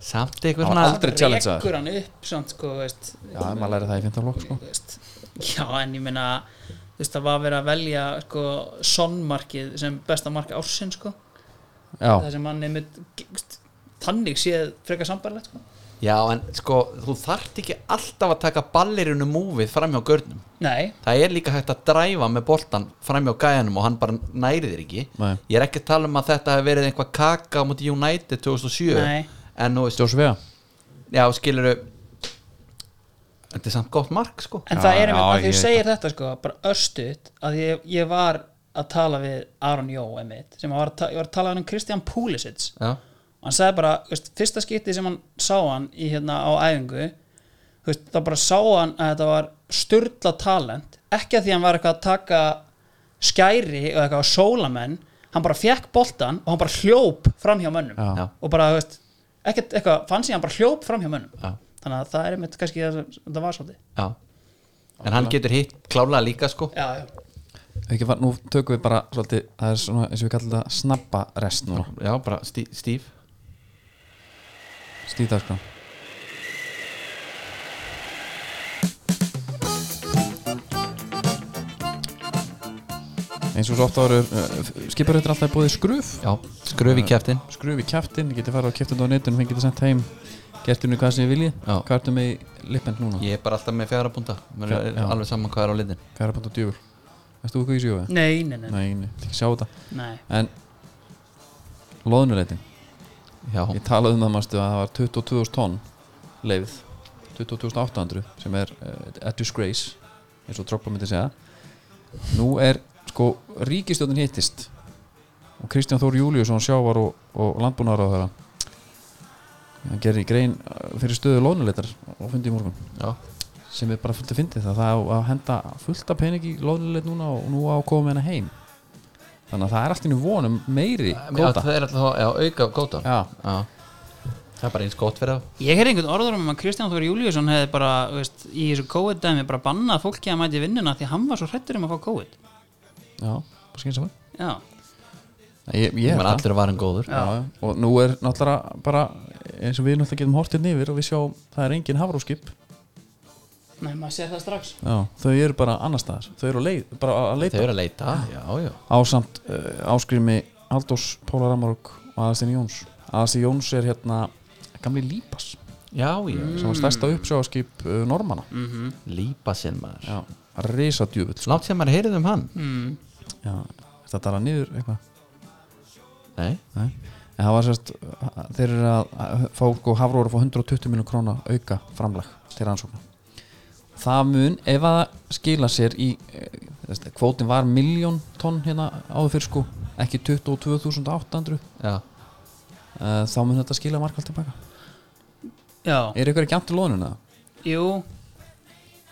S2: samt eitthvað
S1: Hann
S2: svona
S1: var aldrei challengeaður.
S3: rekur hann upp samt sko, veist,
S1: Já, ef maður læri það í 15 flokk sko
S3: veist. já en ég meina þú veist það var verið að velja sko sonnmarkið sem besta mark ársin sko það
S1: Já,
S3: sem hann er með g- veist, þannig séð frekar sambarlegt sko
S2: já, en sko, þú þarft ekki alltaf að taka ballirinu múfið framjá görnum
S3: nei
S2: það er líka hægt að dræfa með boltan framjá gæjanum og hann bara næri þér ekki
S1: Nei.
S2: ég er ekki að tala um að þetta hefur verið einhvað kaka á móti United 2007
S3: Nei.
S2: en nú, veist,
S1: Josh Vea
S2: já, skilur þetta er samt gott mark sko
S3: en
S1: Já,
S3: það er einmitt
S1: já,
S3: að
S1: ég-
S3: þú segir þetta sko bara östuð að ég, ég var að tala við Aron Jó einmitt sem var að, ta- ég var að tala við hann um Kristján Púlisits
S2: já,
S3: og hann sagði bara, veist, fyrsta skipti sem hann sá hann í hérna á æfingu þú veist, þá bara sá hann að þetta var styrla talent ekki að því hann var eitthvað að taka skæri og eitthvað á sólamenn hann bara fekk boltan og hann bara hljóp fram hjá mönnum
S1: Já.
S2: Já.
S3: og bara, þú veist, ekkert eitthvað fann sig hann bara hljóp fram hjá mönnum
S2: Já.
S3: þannig að það er einmitt kannski það sem það var svolítið
S2: já en hann getur hitt klálega líka sko
S3: já, já,
S1: ekki, fara- Nú tökum við bara svolítið, það er svona eins og við kallum þetta snappa rest núna
S2: Já, bara stí, stíf
S1: Stíðdagskrá eins og svo oft áru uh, skiparhættir alltaf búið skruf
S2: Já, skröfi kjæftin
S1: skruf í kæftin, getið farið á kæftinu á netinu fengið það sent heim, gertinu hvað sem ég vilji
S2: Já.
S1: hvað ertu með í lippend núna?
S2: Ég er bara alltaf með fjara búnda Mér er
S1: Já.
S2: alveg saman hvað er á litin
S1: fjara búin á djúvul, veist þú hvað ég séu það?
S3: nei, nei, nei, nei.
S1: Nei, nei, ekki sjá þetta
S3: nei.
S1: en loðnuleitin,
S2: Já,
S1: ég talaði um það mástu að það var 22.000 tonn leifið 22.800 sem er uh, at disgrace eins og Drogba myndi segja nú er sko ríkistjóðin hittist og Kristján Þór Júliusson sjávar og, og landbúnar á þeirra hann gerir grein eh, fyrir stöðu lónuleitar og fundi í morgun
S2: já,
S1: sem er bara fullt að fyndi það það á að henda fullt af pening í lónuleit núna og nú á að koma með hana heim þannig að það er allt í einu von um meiri
S2: Já,
S1: kvóta
S2: það er alltaf já, auka á kóta
S1: Já.
S2: það er bara eins gott fyrir þá
S3: Ég er einhvern orður um að Kristján Þóri Júliusson hefði bara, þú veist, í þessu COVID-dæmi bara bannað fólki að mæti vinnuna því að hann var svo hrettur um að fá COVID
S1: já, bara skynsa mig
S3: Já,
S1: ég, ég,
S2: menn
S1: held það.
S2: allir var en góður
S1: já. já. og nú er náttúrulega bara eins og við náttúrulega getum hortið yfir og við sjáum það er engin hafróskip
S3: nei, maður sér það strax
S1: já. þau eru bara annar staðar þau eru á leið, bara að
S2: þau
S1: leita
S2: eru að leita, já, já
S1: ásamt uh, áskrimi Aldós Póla Ramarok og Aðastin Jóns Aðastin Jóns er hérna gamli Lípas
S2: já, já,
S1: sem var stærsta uppsjáðaskip uh, normana mm.
S2: lípa sinn maður
S1: já, risadjöfull sko.
S2: langt sem maður heyrið um hann
S3: mm.
S1: já, þetta tala niður eitthvað
S2: nei,
S1: Nei. en það var sérst uh, þeir eru að að fá sko hafróður að fá 120 miljón króna auka framlag til rannsóknar það mun ef að það skila sér í eh, kvótin var miljón tonn hérna áður fyrir sko ekki 22.800
S2: já,
S1: uh, þá mun þetta skila markvælt tilbaka
S3: Já,
S1: Er ykkur ekki antur lónuna?
S3: jú,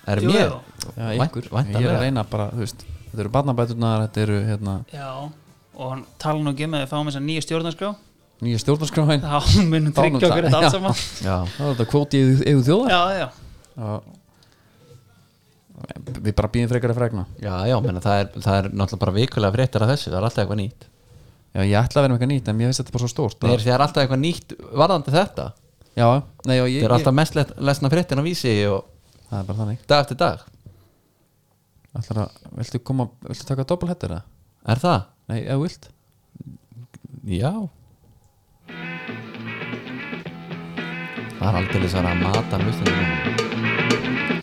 S2: er
S3: Jú,
S2: mér
S3: jú.
S1: Já,
S2: Vænt-
S1: ykkur, ég er
S2: væntanlega.
S1: að reyna bara, þú veist Þetta eru barnabæturnar, þetta eru hérna,
S3: já Og hann tala nú ekki um að við fáum þess að nýja stjórnarskrá
S1: nýja stjórnarskráin
S3: [laughs] Þá munum tryggja okkur þetta allt saman
S2: já,
S1: Það er þetta kvóti yfir, yfir þjóðar
S3: Já, já,
S1: Og Við bara býðum frekar að fregna
S2: já, já, menna það er, það er náttúrulega bara vikulega fréttir af þessu, það er alltaf eitthvað nýtt
S1: Já, ég ætla að vera með eitthvað nýtt en mér finnst þetta bara svo stórt
S2: Nei, það er alltaf eitthvað nýtt varðandi þetta
S1: Já, nei, já, ég,
S2: það er
S1: ég,
S2: alltaf mest let- lesna fréttin á vísi og
S1: það er bara þannig
S2: dag eftir dag
S1: Ætlar að, viltu koma, viltu taka doppelhettir það?
S2: er það?
S1: Nei, eða þú vilt
S2: já það er aldrei þess að mata hlustinu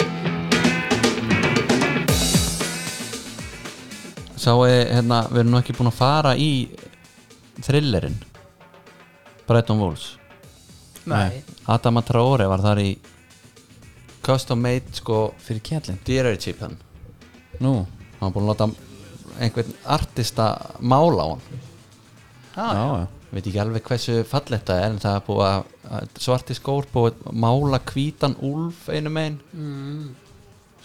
S2: sá ég hérna, við erum nú ekki búin að fara í thrillerinn Bretton Woods
S3: nei,
S2: Adama Traore var þar í custom made sko
S1: Fyrir kjallin
S2: dýrari chipan
S1: Nú,
S2: hann var búin að láta einhvern artista mála á hann
S1: já,
S3: já,
S1: já,
S2: Ég veit ekki alveg hversu fallegt það er en það er búið að, að svarti skór búið að mála hvítan úlf einu megin
S3: mm.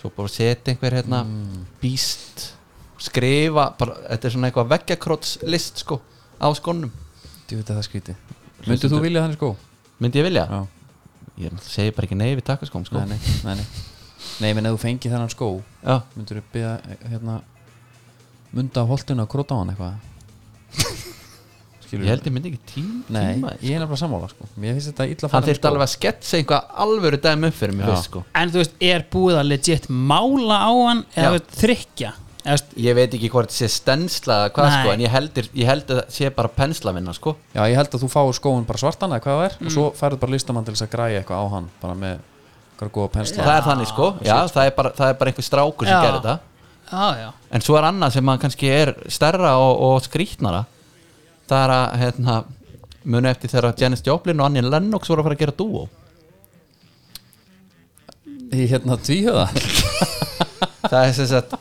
S2: svo búið að setja einhver hérna
S1: Mm.
S2: býst, skrifa bara, þetta er svona eitthvað veggjakróts list sko, á skónum
S1: þú veit að það skríti Myndu þú vilja þannig sko?
S2: myndi ég vilja?
S1: Já,
S2: Ég náttúrulega segi bara ekki nei við takkaskóm sko
S1: nei, nei, nei Nei, nei, menn ef þú fengi þennan skó
S2: Já,
S1: myndur þú byggja hérna mynda á holtinu að króta á hann [laughs] eitthvað skilur
S2: ég held ég myndi ekki tím,
S1: nei,
S2: tíma
S1: ég er nefnilega sammála sko mér finnst þetta illa
S2: hann
S1: farið með
S2: þyrfti
S1: skó.
S2: alveg að sketsa einhvað alvöru dæmi upp fyrir mig
S1: Já.
S2: fyrst sko
S3: En þú veist, er búið að legit mála á hann
S2: Já.
S3: eða þú veist, þrykkja Eða, þú veist,
S2: ég veit ekki hvort sé stensla eða hvað
S3: Nei.
S2: sko, en ég heldur, ég held að sé bara penslavinna sko
S1: já, ég held að þú fáir skóin bara svartan eða hvað það er
S2: Mm.
S1: og svo færðu bara listamann til þess að græja eitthvað á hann bara með eitthvað góða pensla
S2: það er þannig sko, já, það er bara, það er bara einhver strákur sem
S3: Já.
S2: gerir þetta
S3: Já, já,
S2: en svo er annað sem að kannski er stærra og, og skrýtnara það er að hérna, muni eftir þegar að Janis Joplin og Annie Lennox voru að fara að gera dúo
S1: í hérna tvíhjöða
S2: það er sem sagt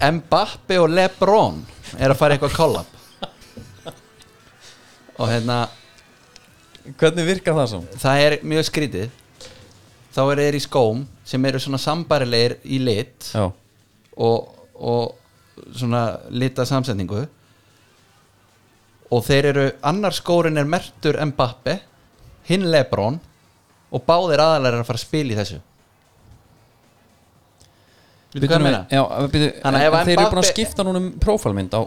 S2: Mbappe og Lebron er að fara í eitthvað collab og hérna
S1: [laughs] hvernig virkar það svo?
S2: það er mjög skrítið þá eru þeir í skóm sem eru svona sambarilegir í lit
S1: já,
S2: og, og svona lita samsetningu og þeir eru annar skórin er mertur Mbappe hinn Lebron og báðir aðalega er að fara að spila í þessu Veitu hvað
S1: Bíddu
S2: ég
S1: nú
S2: meina?
S1: við- já, byrju, en,
S2: Þannig að ef
S1: en þeir eru búin að
S2: Mbappé-
S1: skipta núna um prófálmynd á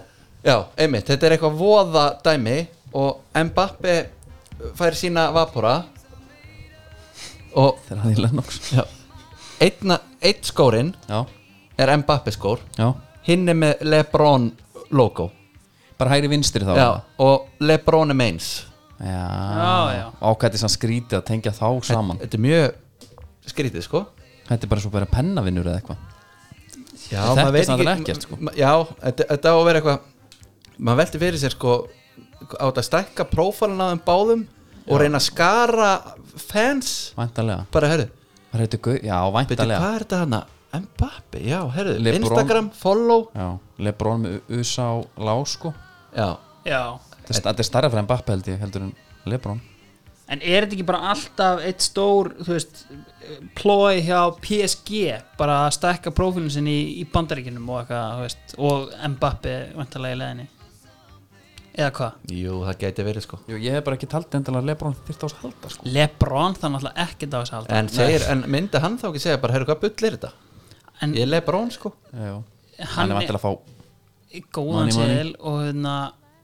S2: Já, einmitt, þetta er eitthvað voða dæmi og Mbappe fær sína vapora og
S1: þegar hann er Lennox
S2: já, einna, einn skórin
S1: já,
S2: er Mbappe skór
S1: já,
S2: hinn er með Lebron logo
S1: bara hægri vinstri þá
S2: Já, og Lebron er meins
S1: já,
S3: Já, já.
S1: ákvæði sem skrítið að tengja þá saman
S2: Þetta er mjög skrítið sko
S1: Þetta er bara svo bara pennavinnur eða eitthvað
S2: Já,
S1: Þetta
S2: maður
S1: er
S2: veit
S1: samt
S2: ekki-
S1: ekkert, sko.
S2: ma- Já, þetta, þetta á að vera eitthvað maður velti fyrir sér sko á þetta að stækka prófálina á þeim báðum og reyna að skara fans
S1: Væntalega
S2: bara herðu,
S1: Bara heitir Gau- Já,
S2: betur
S1: væntalega
S2: hvað er þetta hana? Mbappi, já, herðu,
S1: LeBron.
S2: Instagram, follow
S1: Já, Lebron með USA lá sko
S2: Já,
S3: já
S1: Þetta er- þetta er starra fyrir en Bappe held ég heldur en Lebron
S3: En er þetta ekki bara alltaf eitt stór þú veist, plói hjá PSG bara að stekka prófílun sinni í, í bandaríkinum og eitthvað þú veist, og Mbappi vantarlega í leðinni eða hvað?
S2: Jú, það gæti verið sko
S1: Jú, ég hef bara ekki taldi endalega Lebron þyrst á þess að halda sko.
S3: Lebron þannig alltaf ekkert á þess að halda
S2: En, segir, en myndi hann þá ekki segja bara, heyrðu hvað bull er þetta?
S3: En-
S2: Ég er Lebron sko
S1: Já,
S3: Hann
S1: hann er
S3: er-
S1: vantilega að fá
S3: góðan
S1: Money, money.
S3: séðil og hérna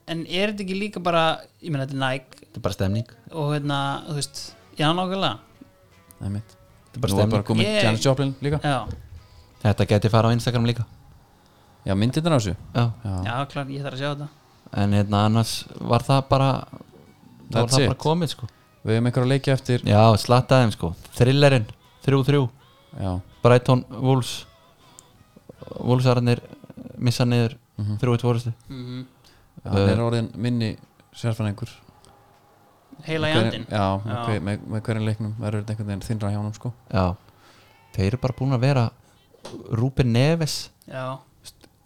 S3: en er þetta ekki líka bara ég meina þetta er Nike
S2: Þetta er bara stemning
S3: og hérna, þú veist, já nákvæmlega
S1: Nei, mitt
S2: er
S1: Nú
S2: bara
S1: er
S2: stemning.
S1: bara komin
S3: Ég-
S1: Janis Joplin líka
S3: já,
S2: Þetta gæti fara á Instagram líka
S1: Já, myndir á þessu
S2: Já.
S1: Já,
S3: já klart, ég þarf að sjá þetta
S2: En hérna annars var það bara Það var
S1: That's
S2: það
S1: it.
S2: bara komið sko
S1: við hefum einhverja að leikja eftir
S2: Já, slattaði þeim sko Thrillerinn, 3-3
S1: Já,
S2: Brighton, Wolves Wolvesararnir missa niður mm -hmm. 3-2 orustu
S1: Mhm. hann
S3: Uh.
S1: er orðin minni sérfæðingur
S3: heila í andin
S1: Já, með,
S3: Já.
S1: hver- með, með hverjum leiknum verður þetta einhvern veginn þinnra hjá hann sko
S2: Eh, Já, þeir eru bara búin að vera Rúben Neves
S3: já,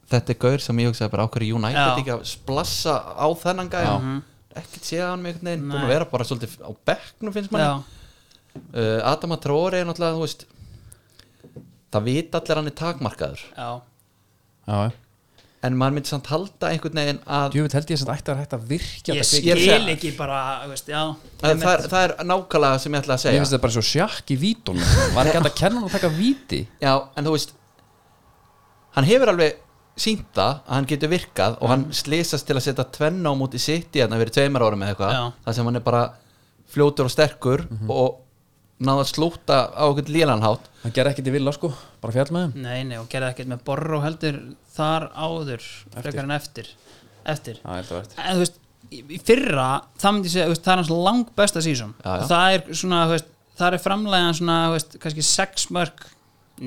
S2: Þetta er gaur sem ég hugsaði bara ákveður United
S3: Já.
S2: ekki að splassa á þennan gæja
S1: Já.
S3: Mhm.
S2: ekkert séð hann með einhvern veginn
S3: Nei.
S2: búin að vera bara svolítið á bekknum finnst manni
S3: já,
S2: uh, Adama Traore er náttúrulega þú veist það vita allir að hann er takmarkaður
S3: já
S1: Já, já
S2: en maður myndi samt halda einhvern veginn að,
S1: Djúvitt held ég sem þetta ætti að hætta að virkja
S3: ég
S1: þetta
S2: Ég er að
S3: skil
S2: segja-
S3: ekki bara, þú veist, já
S2: að það, er, það er nákvæmlega sem ég ætla að
S1: Ég
S2: segja
S1: finnst þetta bara svo sjakk í vítunum Var ekki hægt að kenna hann að taka víti
S2: Já, en þú veist hann hefur alveg sínt það að hann getur virkað og hann slýsast til að setja tvenna á múti sitt í hann að vera tveimur árum eða eitthvað
S3: Já.
S2: það sem hann er bara fljótur og sterkur og náða að slúta á okkur lílanhátt
S1: Hann gerði ekkert í vilja sko, bara fjall með þeim
S3: nei, nei, og gerði ekkert með borru heldur þar áður, frekar en eftir eftir,
S1: Já, þetta var eftir
S3: en þú veist í í fyrra, það myndi ég segja, þú veist, það er hans lang besta sísum,
S2: Já, já.
S3: það er svona þú veist, það er framleiðan svona, þú veist, kannski 6 mörg,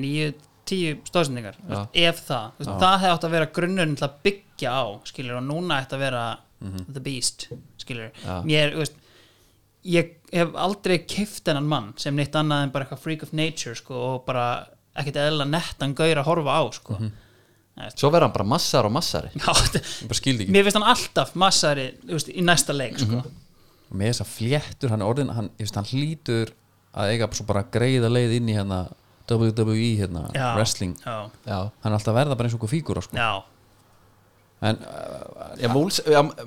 S3: 9 10 stóðsendingar, ef það þú veist, það hefði átt að vera grunnurinn til að byggja á skilur, og núna ætti að vera
S2: Mhm.
S3: the beast, skilur mér, þú veist, ég hef aldrei kift hennan mann sem neitt annað en bara eitthvað freak of nature, sko, og bara ekkert eðla nettan gaur að horfa á, sko
S2: Mhm. svo verður hann bara massar og massari
S3: Já,
S1: Ég bara skildi ekki
S3: mér finnst hann alltaf massari þú veist, í næsta leik sko.
S2: Mhm.
S1: og með þess að fléttur hann er orðin hann, ég veist, hann hlýtur að eiga svo bara greiða leið inn í hérna WWE hérna,
S3: já,
S1: wrestling
S3: já,
S2: Já,
S1: hann er alltaf að verða bara eins og fígúra sko.
S3: já,
S1: en uh,
S2: já Wolves, já,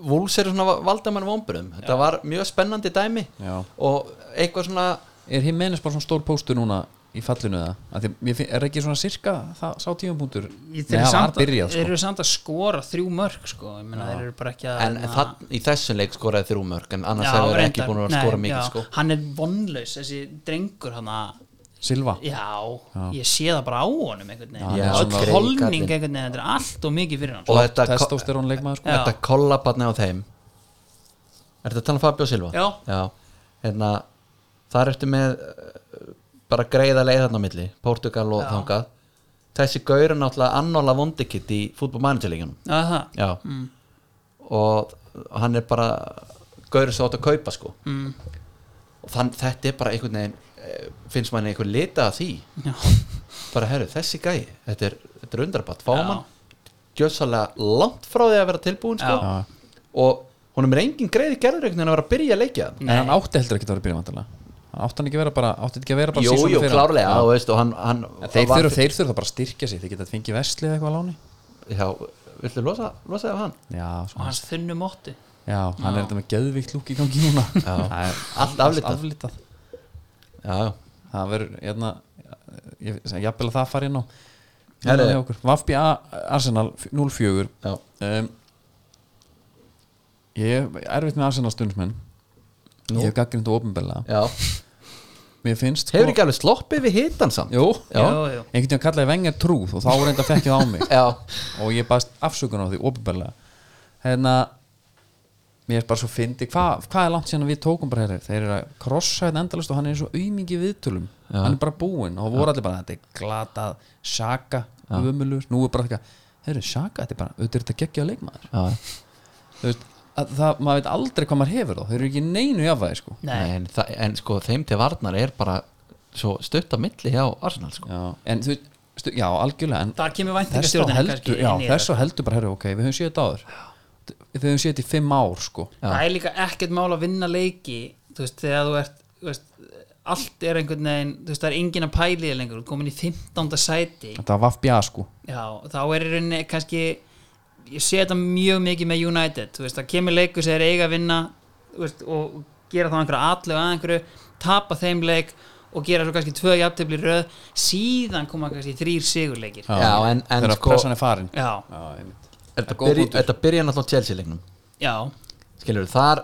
S2: Wolves eru svona valdamann vomburum þetta var mjög spennandi dæmi
S1: Já.
S2: og eitthvað svona
S1: er hinn meðins bara svona stór póstur núna í fallinu það, af því mér finn, er ekki svona sirka það sá tímapunktur
S3: Í-
S1: Nei,
S3: þeir
S1: það
S3: eru
S1: var
S3: samt,
S1: byrjað
S3: þeir
S1: sko.
S3: eru samt að skora þrjú mörg sko. Ég meina, þeir eru bara ekki að
S2: en það, í þessum leik skoraði þrjú mörg en annars
S3: Já,
S2: hefur þeir ekki
S3: reyndar.
S2: búin að
S3: Nei,
S2: skora mikið
S3: já.
S2: sko.
S3: hann er vonlaus, þessi drengur hann að
S1: Silva,
S3: já, ég sé það bara á honum einhvern veginn,
S2: Já,
S3: öll
S2: svona-
S3: holning
S2: Kallinn.
S3: einhvern veginn, þetta er allt og mikið fyrir hann
S2: og
S3: sko.
S2: þetta,
S1: testósterón leikmaður sko.
S3: Já.
S2: þetta kollabatni á þeim Er þetta að tala um Fabio Silva?
S3: Já.
S2: Hérna, þar ertu með uh, bara greiða leið þarna á milli Portugal og þangað Þessi gaur er náttúrulega annóla vondikitt í fútbolmanagerleikunum
S3: Já, það,
S2: Já Og hann er bara gaur sem átt að kaupa sko mm. Og þann, þetta er bara einhvern veginn eh, finnst manni einhver lita að því
S3: já,
S2: bara herru, þessi gæi, þetta er, þetta er undrabatt fáman,
S3: Já.
S2: gjössalega langt frá því að vera tilbúin sko.
S3: Já.
S2: og honum er engin greiði gerður einhvern veginn að vera að byrja að leikja hann.
S1: en hann átti heldur ekki að vera byrjað vantarlega hann átti hann ekki að vera bara, átti ekki að vera bara
S2: jú,
S1: season
S2: jú,
S1: fyrir hann.
S2: klárlega
S1: Já.
S2: og, veist, og hann, hann
S1: En þeir
S2: var-
S1: þurfa þeir þurfa bara að styrkja sig, þeir geta að fengi veslið eitthvað á láni
S2: já, villu losa, losa þig af hann
S1: já, sko.
S3: og
S1: svona
S3: hans þunnu móttu
S1: Já, hann er þetta með geðvikt lúk í gangi
S2: [laughs]
S1: núna Það er
S2: Allt aflitað.
S1: aflitað.
S2: já,
S1: Það verður, hérna ég, jafnvel að það fari inn á
S2: Herri.
S1: Vafbi A Arsenal 0-4
S2: já,
S1: um, Ég er erfitt með Arsenal stundsmenn Ég hef gaggrind og ofinbella
S2: já.
S1: Mér finnst sko-
S2: hefur ekki alveg sloppið við hitan samt
S1: Jú,
S2: já,
S3: Jú, jú.
S1: einhvern veginn kallaði vengar trúð og þá reynda að fekkja það á
S2: [laughs]
S1: mig
S2: já.
S1: og ég baðst afsökun á því ofinbella hérna mér er bara svo fyndi, hvað hva er langt síðan að við tókum bara hérna, þeir eru að krossa þetta endalast og hann er eins og aumingi í viðtölum hann er bara búinn og það voru allir bara þetta er glatað, sjaka, umulur nú er bara þetta, heyrðu sjaka þetta er bara auðvitað er þetta geggja leikmaður
S4: Já.
S1: Þú veist, að það, maður veit aldrei hvað maður hefur þá þeir eru ekki í neinu jafnvæði sko
S3: nei,
S2: En, það, en sko þeim til varnar er bara svo stutt á milli hjá Arsenal sko.
S1: já, en þú veist, stu- já algjörlega en
S3: það kemur
S1: þess þá
S3: væntingastjórnina kannski
S1: heldur, já,
S3: inn í
S1: þess
S3: þetta.
S1: þá heldur bara heyrðu, ok, við höfum séð þetta áður við höfum séð þetta í fimm ár sko
S3: það er líka ekkert mál að vinna leiki þú veist, þegar þú ert þú veist, allt er einhvern veginn þú veist, það er engin að pæli þér lengur þú ert komin í 15. sæti
S1: Þetta var vaffbjá sko
S3: já, þá er í rauninni kannski ég sé þetta mjög mikið með United þú veist, það kemur leikur sem er eiga að vinna þú veist, og gera þá einhverja atlegu að einhverju, tapa þeim leik og gera svo kannski tvö jafntefli í röð síðan koma kannski þrýr sigurleikir já,
S2: Já, en- en
S1: Þegar
S2: sko-
S1: pressan er farin
S3: já,
S1: Já, einmitt.
S2: Þetta
S1: góð
S2: byrja,
S1: punktur.
S2: þetta byrja náttúrulega á Chelsea-leiknum
S3: já.
S2: Skilur, þar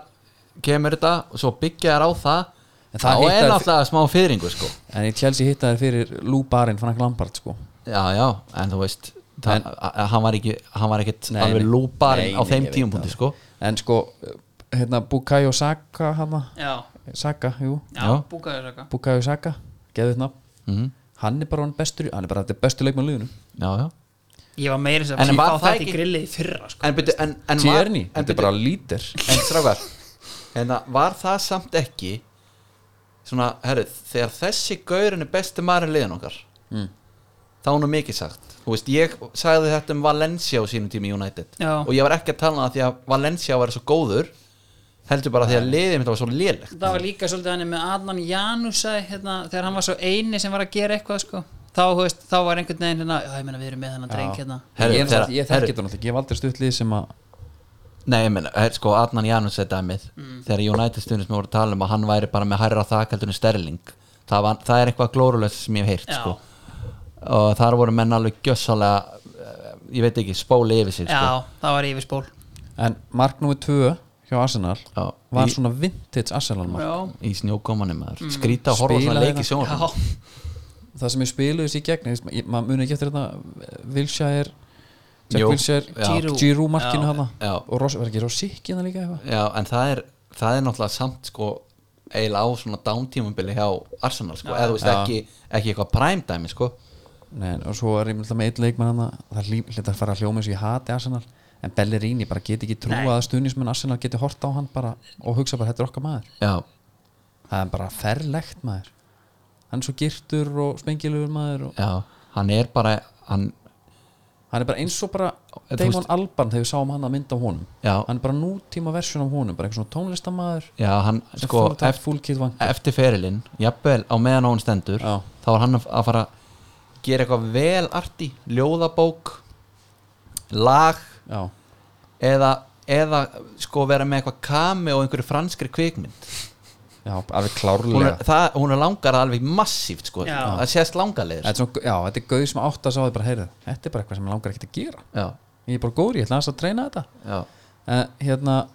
S2: kemur þetta og svo byggja þær á það
S1: En það
S2: og er
S1: hittar-
S2: náttúrulega smá fyrringu sko
S1: En í Chelsea hittaði fyrir Lou Barinn Frank Lampard sko
S2: Já, já, en þú veist það,
S1: En-
S2: a- a- hann var ekki, hann var ekkit
S1: Nei,
S2: alveg
S1: nei.
S2: lúparinn
S1: Nei,
S2: á
S1: nei,
S2: þeim
S1: ég veit
S2: tímapunkti
S1: það.
S2: sko
S1: En sko, hérna Bukayo Saka hana
S3: já,
S1: Saka, jú
S3: já,
S2: Já.
S3: búkaðu þess eitthvað
S1: Bukayo Saka, geðið nafn
S2: mm,
S1: Hann er bara hann bestur, í- hann er bara þetta er bestu leikmann í liðinu
S2: Já, já
S3: ég var meira sem
S2: En
S3: að fá
S2: var það
S3: þetta
S2: ekki-
S3: í grillið í fyrra sko.
S2: En byrju, en, en var
S1: Tjerni,
S2: En
S1: þetta er
S2: byrju,
S1: bara lítir
S2: en strákar En það- var það samt ekki svona, herru, þegar þessi gaurin er besti maður í liðan okkar
S1: Mm.
S2: þá er nú mikið sagt Þú veist, ég sagði þetta um Valencia á sínum tíma í United
S3: Já.
S2: og ég var ekki að tala um það því að Valencia var svo góður heldur bara því að liðið mitt var svo lélegt
S3: það var líka svolítið hann með Adnan Janusæ hérna, þegar hann var svo eini sem var að gera eitthvað sko. þá, þú veist, þá var einhvern veginn hérna, já, ég meina við erum með hennan dreng hérna
S2: Herru,
S1: Ég,
S2: þeirra-
S1: ég
S2: herru.
S1: þekki þetta náttúrulega, ég hef aldrei stutt lið sem að
S2: Nei, ég meina, er, sko, Adnan Janus er dæmið
S3: Mm.
S2: þegar United stundin sem voru að tala um að hann væri bara með hærra þakaldur en Sterling það, var, það er eitthvað glórulöst sem ég hef heyrt
S3: Já.
S2: sko. og þar voru menn alveg gjössalega, eh, ég veit ekki spóli yfir sig sko.
S3: já, það var yfirspól
S1: En mark númer 2 hjá Arsenal
S2: Já.
S1: var
S2: Í-
S1: svona vintage Arsenal mark
S3: já,
S2: í snjókomanum maður, mm. skrýta og horfa á svona
S1: Spilaði
S2: leik í
S1: það.
S2: sjónum
S3: já,
S1: það sem ég spiluðis í gegn ég- ég- maður muni ekki eftir þetta Vilshire Jack
S2: Jú,
S1: Wilshere,
S2: já.
S3: Giroud.
S1: Giroud markinu
S3: Já,
S1: hana
S2: já.
S1: og Ros, var ekki Rosicky hana líka eitthvað
S2: Já, en það er, það er náttúrulega samt sko, eiginlega á svona dántímumbili hjá Arsenal, sko, eða þú veist ekki, ekki eitthvað prime dæmi, sko
S1: Nei, en- og svo er ég myndið með eitt leikmann hana það hlýtt að fara að hljóma eins og ég hati Arsenal en Bellerini bara get ekki
S3: Nei.
S1: trúa að stuðnismenn Arsenal geti hort á hann bara og hugsa bara þetta er okkar maður
S2: Já,
S1: það er bara ferlegt maður hann er svo girtur og spengilugur maður og
S2: já, hann er bara hann,
S1: hann er bara eins og bara
S2: En þú
S1: Damon Albarn þegar við sáum hann að mynda á honum
S2: Já.
S1: hann er bara nútíma versjón af honum bara einhver svona tónlistamaður
S2: já, hann
S1: sem
S2: sko,
S1: fór að full kit vank
S2: eftir ferilinn jafnvel á meðan á hún stendur
S1: Já.
S2: þá var hann að að fara að gera eitthvað vel arti, ljóðabók lag
S1: já
S2: eða, eða sko vera með eitthvað kami og einhverju franskri kvikmynd
S1: Já, alveg
S2: hún
S1: klárlega
S2: er, það, hún er langar alveg massíft sko,
S3: Já.
S2: það sést langarleir
S1: Þetta er, svona, já, þetta er gauð sem átt að sá þið bara heyrðu Þetta er bara eitthvað sem mig langar ekkert að gera
S2: já,
S1: Ég er bara góður, ég ætla aðeins að treyna þetta
S2: já,
S1: uh, Hérna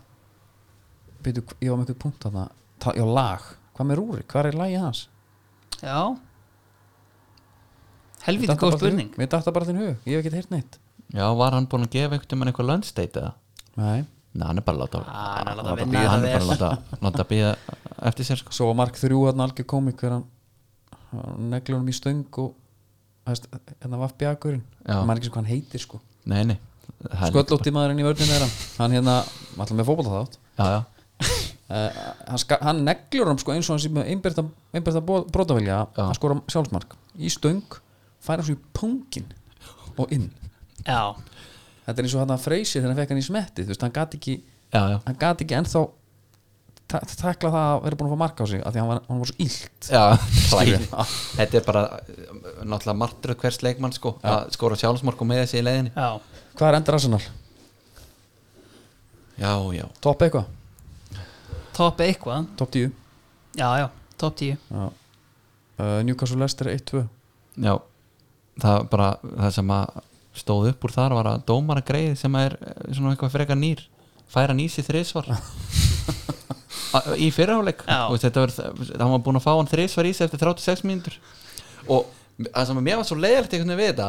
S1: byrju, Ég var með eitthvað punkt þarna Ta- Já, lag, hvað með Rúri, hvað er lagið hans?
S3: já. helvítið góð spurning
S1: Mér datta bara þinn hug, ég hef ekkert heyrt neitt
S2: já, var hann búin að gefa einhvern tímann eitthvað lönnsteit eða?
S1: Nei,
S2: Nei, hann er bara að láta
S3: Ah, hann er að láta
S2: láta
S3: vinna
S2: bíða, hann
S3: það
S2: er bara að láta, láta býða eftir sér sko
S1: svo var Mark 3 hann algjör komik hver hann, hann neglir honum í stöng og hefst, hérna vaff bjakurinn
S2: Já.
S1: maður ekki sem hvað hann heitir sko
S2: nei, nei, það er-
S1: sköllótti maðurinn í vörninu er hann hann hérna, alltaf með fótbolta þátt
S2: já, já,
S1: uh, hann, ska- hann neglur hann sko eins og hann sem einbyrta, einbyrta brotavilja
S2: Já.
S1: að skora sjálfsmark í stöng færa svo í punkin og inn
S3: já,
S1: þetta er eins og hann að freysi þegar hann fekk hann í smetti þú veist, hann gat ekki,
S2: já, já
S1: hann gat ekki ennþá ta takla það að vera búin að fá mark á sig af því að hann var, hann var svo illt
S2: Já,
S1: Skilurðu?
S2: Já. þetta er bara uh, náttúrulega martröð hvers leikmann sko, að skora sjálfsmarku með þessi í leiðinni
S3: já
S1: hvað er endur Arsenal?
S2: Já, já,
S1: topp eitthvað?
S3: topp eitthvað,
S1: topp 10
S3: já, já, topp 10
S1: Já. uh, Newcastle Leicester 1-2
S2: já það er bara það sem að stóð upp úr þar var að dómara greið sem er eh, svona eitthvað frekar nýr færa nýsi þrisvar A- í fyrirháleik
S3: Já.
S2: þetta var, það var búin að fá hann þrisvar í sig eftir 36 mínútur og það sem að mér var svo leiðilegt einhvern veginn við þetta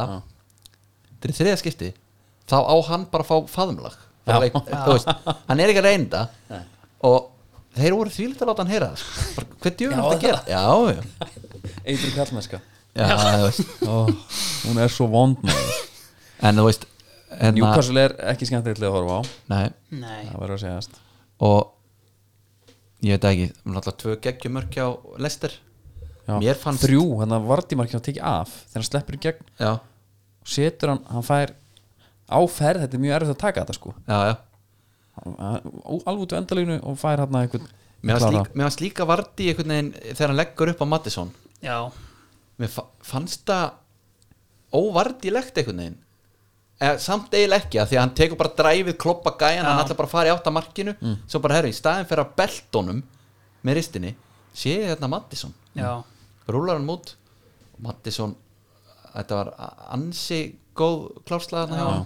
S2: þetta er í þriða skipti þá á hann bara að fá faðumlag Bara [laughs] leik- þú veist, hann er ekki að reynda og þeir voru þvílíkt að láta hann heyra það sko. Bara, hvað djúin er þetta að gera já, já,
S1: Eitri Kallmesska
S2: já, þú veist
S1: oh, hún er svo vond maður.
S2: en þú veist hérna,
S1: Newcastle er ekki skemmtilega að horfa á
S2: nei,
S3: nei,
S1: það verður að segjast
S2: og ég veit það ekki, náttúrulega tvö geggjumörk hjá Lester
S1: Já.
S2: mér fannst
S1: þrjú, hérna þannig að Vardimarkin að tekja af þegar hann sleppur í gegn,
S2: já,
S1: setur hann hann fær áferð, þetta er mjög erfitt að taka þetta sko
S2: já, já,
S1: Hann- hann- alveg út á endaleginu og fær hann einhvern
S2: Mér fannst
S1: Klára.
S2: líka- mér fannst líka varti einhvern veginn þegar hann leggur upp á Mattisson
S3: já,
S2: Mér fa- fannst það óvardilegt einhvern veginn Eða, samt eiginlega ekki að því að hann tekur bara dræfið kloppa gæjan,
S3: Já.
S2: hann ætlar bara að fara í átt að markinu svo bara herri, í staðin fyrir að beltonum með ristinni, sé ég þetta Mattisson
S3: já
S2: rúlar hann út Mattisson, þetta var ansi góð klárslaðan hjá hann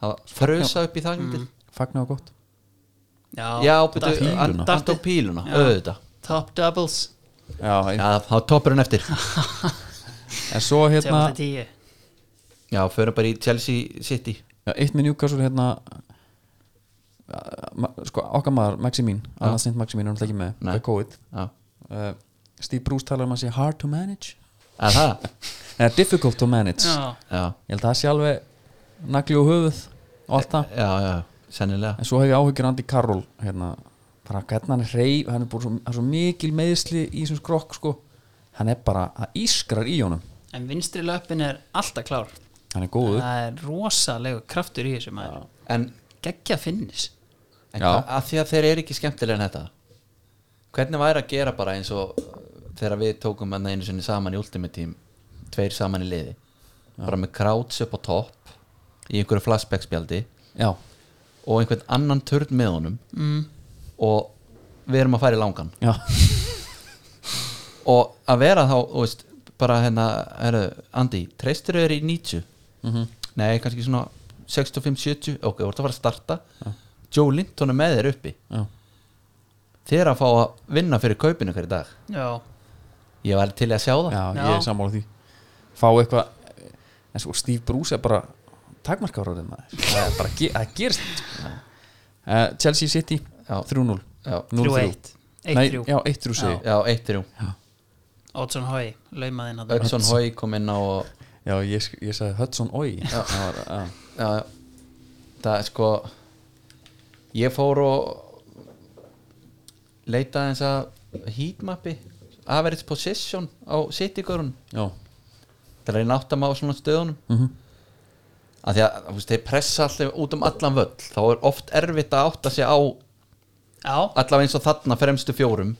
S2: það var frösa upp í það mm.
S1: fagna og gott
S3: Já,
S2: já,
S3: datt-
S2: betur, hann
S3: datt-
S2: hann tók píluna
S3: Já.
S2: auðvitað,
S3: Top doubles
S1: Já, ein,
S2: já, þá toppur hann eftir
S1: en svo hérna
S3: 10
S2: já, förum bara í Chelsea City
S1: já, eitt með Newcastle hérna uh, ma- sko okkar maður Maximín, annars nýtt Maximín er náttúrulega ekki með
S2: Nei.
S1: það er COVID
S2: já,
S1: uh, Steve Bruce talar um að sé hard to manage
S2: að það
S1: eða difficult to manage
S3: Já,
S2: já,
S1: ég held að það sé alveg nagli og höfuð og allt það
S2: já, já, sennilega
S1: en svo hef ég áhyggjur Andy Carroll hérna, bara hvernig hann er reyf hann er búin svo, hann er svo mikil meðsli í þessum skrokk sko. hann er bara, það ískrar í honum
S3: en vinstri löpin er alltaf klár
S1: hann er góður
S3: Það er rosalegu kraftur í þessu maður
S2: en,
S3: Gekkja finnis
S2: en
S1: Já.
S2: að því að þeir eru ekki skemmtilega en þetta hvernig væri að gera bara eins og uh, þegar við tókum hann einu sinni saman í Ultimate Team tveir saman í liði bara með Krauts upp á topp í einhverju flashback spjaldi
S1: já,
S2: og einhvern annan törn með honum mm. og við erum að fara í langan
S1: já,
S2: og að vera þá, þú veist bara hérna, heru, Andi, treystir þau í 90
S1: Mhm,
S2: nei, kannski svona 65-70, ok, þú ert að fara að starta Joe Linton er með þér uppi
S1: já.
S2: þið er að fá að vinna fyrir kaupinu hverju dag
S3: Já,
S2: ég var til í að sjá það
S1: já,
S3: Já.
S1: ég er sammála því fá eitthvað en svo Steve Bruce er bara takmarkáraðið maður það er bara, ge- það gerist uh, Chelsea City
S2: Já.
S1: 3-0
S2: já,
S1: 0-3.
S3: 3-1
S1: Nei,
S3: 1-3
S1: já, 1-3 segi ég.
S2: já eitt þrjú,
S3: Oddsson Hói, laumaðinn að
S2: Öksson Hói kom inn á og,
S1: já, ég, sk- ég sagði Hudson Oi Það var, já.
S2: já, já. það er sko ég fór og leitaði eins að heatmapi average position á City-görun
S1: já, Mhm.
S2: til að reyna átt að má svona stöðunum mm að því að þú veist, þeir pressa alltaf út um allan völl þá er oft erfitt að átta sig á
S3: Já,
S2: allavega eins og þarna fremstu fjórum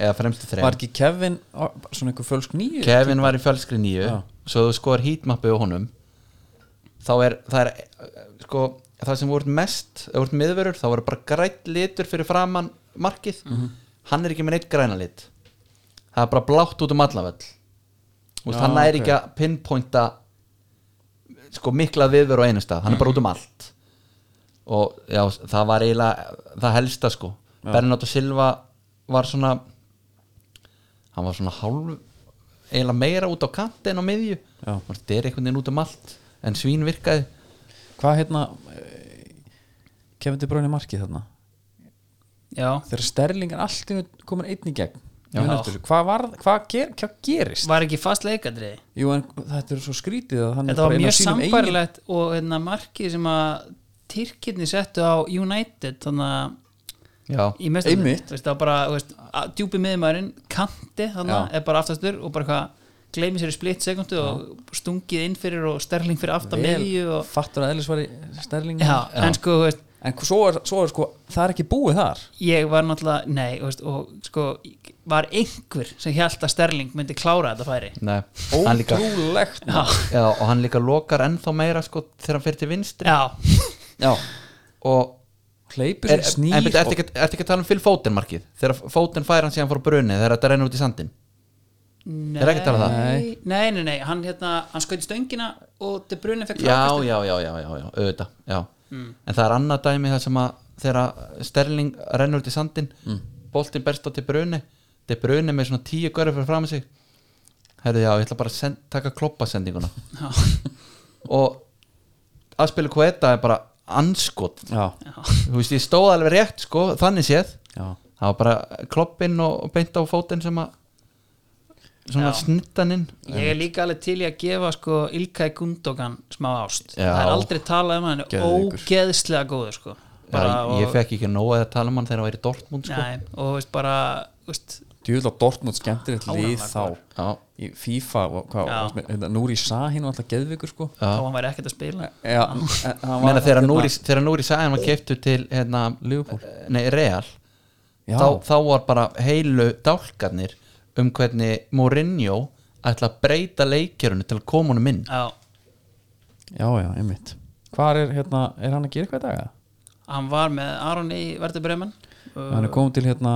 S2: eða fremstu þreim
S1: var ekki Kevin á- svona einhver fölsk nýju
S2: Kevin var í fölskri nýju
S1: Já.
S2: svo þú skoðar heatmappi á honum þá er það er eh, sko það sem voru mest það voru miðverur þá voru bara grætt litur fyrir framann markið hann er ekki með neitt græna lit það er bara blátt út um allavell Vist,
S1: Já,
S2: hann er
S1: ok.
S2: ekki að pinpointa sko mikla viðveru á einu stað hann er bara út um allt og já, það var eiginlega það helsta sko Bernardo Silva var svona hann var svona hálf eiginlega meira út á kanti en á miðju
S1: Já.
S2: og þetta er einhvern veginn út um allt en svín virkaði
S1: hvað hérna eh, Kevin De Bruyne í markið þarna
S3: já
S1: þegar Sterling er allt í einu komin einn í gegn
S3: Já.
S1: Muna eftir þessu. hvað, var, hvað, ger, hvað gerist
S3: Var ekki fast leikadriði
S1: Jú, en þetta er svo skrítið að hann er
S3: Þetta
S1: bara
S3: var
S1: inn á
S3: mjög
S1: sínum eigin-
S3: sambarlegt og hérna, markið sem að Tyrkirni settu á United þannig að
S2: já,
S3: í mestum
S1: Einmitt.
S3: veist, það var bara, þú veist, að, djúpi miðmaðurinn kanti þannig
S1: Já.
S3: að er bara aftastur og bara hvað gleymi sér í splitt sekundu og stungið inn fyrir og sterling fyrir aftan miðju
S1: vel
S3: og,
S1: fattur að eðlisvari sterling
S3: já, en sko þú veist,
S1: en svo er, svo er sko, það er ekki búið þar
S3: ég var náttúrulega nei, þú veist, og sko var einhver sem held að sterling myndi klára þetta færi
S2: nei, hann líka
S1: ótrúlegt
S3: já,
S2: já, og hann líka lokar ennþá meira sko þegar hann fyrir til vinstri
S3: já,
S1: já,
S2: og
S1: hleypur
S2: er,
S1: sér
S2: en
S1: snýr
S2: betur, ertu ekki, ertu ekki að tala um fyrir fótinn markið þegar fótinn fær hann síðan fór brunni þegar þetta rennur út í sandin
S3: nei
S2: Er ekki að tala um það?
S3: nei, nei, nei, nei, hann, hérna, hann skauti stöngina og De Bruyne fekk
S2: já, já, já, já, já, já, auðvitað já. en það er annað dæmi það sem að þegar Sterling rennur út í sandin mm. boltin berst á til bruni til bruni með svona tíu görður fyrir fram sig herðu já, ég ætla bara að send, taka kloppasendinguna [laughs] og aðspilu hvað þetta er bara anskot
S1: já,
S2: þú veist, ég stóð alveg rétt sko, þannig séð
S1: já,
S2: það var bara kloppinn og og beint á fótinn sem að svona
S3: Já.
S2: snittaninn
S3: Ég er líka alveg til í að gefa sko Ilkay Gundogan smá ást
S2: Já.
S3: Það er aldrei talað um hann, hann er
S1: Geðveikur.
S3: ógeðslega góður sko
S2: bara,
S3: og,
S2: ég fekk ekki nóg að tala um hann þegar hann væri í Dortmund sko.
S3: Nei, og veist bara veist,
S1: djúðla Dortmund skemmtir eitt
S3: Hálan
S1: lið
S3: var
S1: þá
S2: Já.
S1: í FIFA, og hvað,
S3: Já.
S1: varst með- hérna, Núri Sahin var alltaf geðvikur sko
S3: þá hann væri ekkert að spila
S1: já, en hann var
S2: Meina, þegar
S1: hérna-
S2: Núri, þegar Núri Sagan var keiftur til hérna,
S1: Liverpool.
S2: Nei, Real
S1: Já.
S2: þá, þá var bara heilu dálkarnir um hvernig Mourinho ætla að breyta leikjörunni til að koma honum inn
S3: Já,
S1: já, já, einmitt Hvar er, hérna, er hann að gera eitthvað í dag? eða?
S3: hann var með Aron í Verður Bremen
S1: Hann er komið til hérna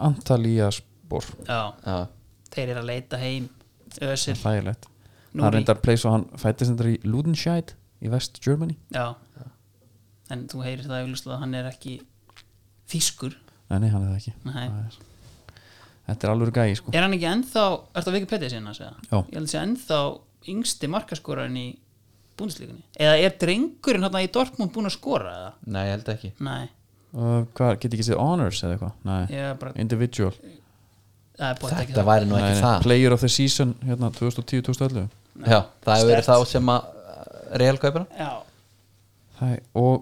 S1: Antalíaspor
S3: Já,
S2: Já.
S3: þeir eru að leita heim Ösil,
S1: Hlægilegt
S3: Nú
S1: Hann
S3: ný.
S1: reyndar place og hann fættist hendur í Ludenscheid í West Germany
S3: já En þú heyrir það eflust að hann er ekki þýskur
S1: Nei, nei, hann er það ekki
S3: Nei.
S1: Það er- Þetta er alveg gæi sko
S3: Er hann ekki ennþá, ertu á Wikipedia síðan að segja?
S1: Já.
S3: Ég held að sé ennþá yngsti markaskorarinn í búndislíkunni Eða er drengurinn hann í Dortmund búin að skora eða?
S2: Nei, ég held ekki
S3: Nei,
S1: uh, Hvað, get ekki séð honors eða eitthvað? Nei,
S3: ég er bara
S1: individual
S3: Það er bótt ekki
S2: Þetta væri nú ekki
S1: nei,
S2: það
S1: Player of the season hérna 2010-2011
S2: Já, Það hefur verið
S3: Sterkt.
S2: þá sem að uh, Real kaupir hann
S3: Já,
S1: Það er, og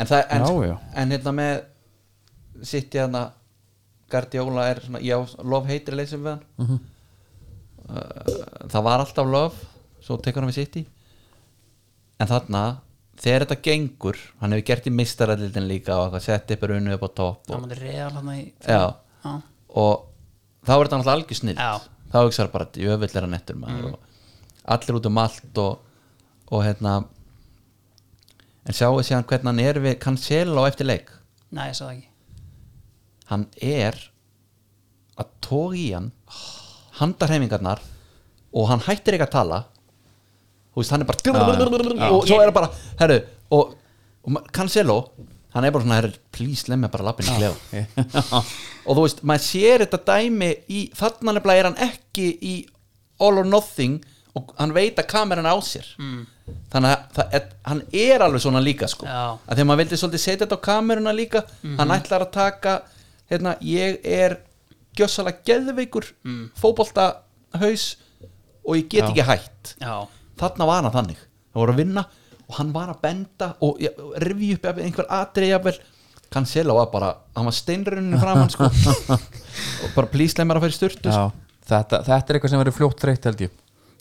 S2: En, það, en,
S1: Já, já.
S2: en hérna með sitt ég hérna Guardiola er svona, já, love heitir leysum við hann
S1: Mhm.
S2: uh, Það var alltaf love svo tekur hann við sitt í en þarna, þegar þetta gengur hann hefur gert í mistarallildin líka og eitthvað, sett upp er unnu upp á topp
S3: það
S2: og,
S3: mátti real hann í
S2: Já.
S3: Já.
S2: og þá er þetta náttúrulega algjör snill
S3: Já.
S2: þá hugsaður bara, jöfull er hann ettur maður og allir út um allt og, og hérna en sjáu síðan hvernig hann er við Cancelo eftir leik
S3: Nei, ég sagði það ekki
S2: hann er að tók í hann handarhefingarnar og hann hættir ekki að tala þú veist, hann er bara og svo er hann bara, herru og, og ma- Cancelo, hann er bara svona herru, please, leið mér bara lappin í klef og þú veist, maður sér þetta dæmi í, þarna nefnilega er hann ekki í all or nothing og hann veit að kameran á sér mm. þannig að það, er- hann er alveg svona líka sko,
S3: Já.
S2: að þegar maður vildi svolítið setja þetta á kameruna líka, hann ætlar að taka hérna, ég er gjössalega geðveikur mm. fótboltahaus og ég get ekki hætt
S3: Já,
S2: þarna var hann þannig það voru að vinna og hann var að benda og ja, rivi upp jafnvel, einhver atrið jafnvel Cancelo var bara, hann var steinrunni fram hann sko og bara plísleimar að færi styrtu
S1: já, þetta, þetta er eitthvað sem verður fljótt þreytt held ég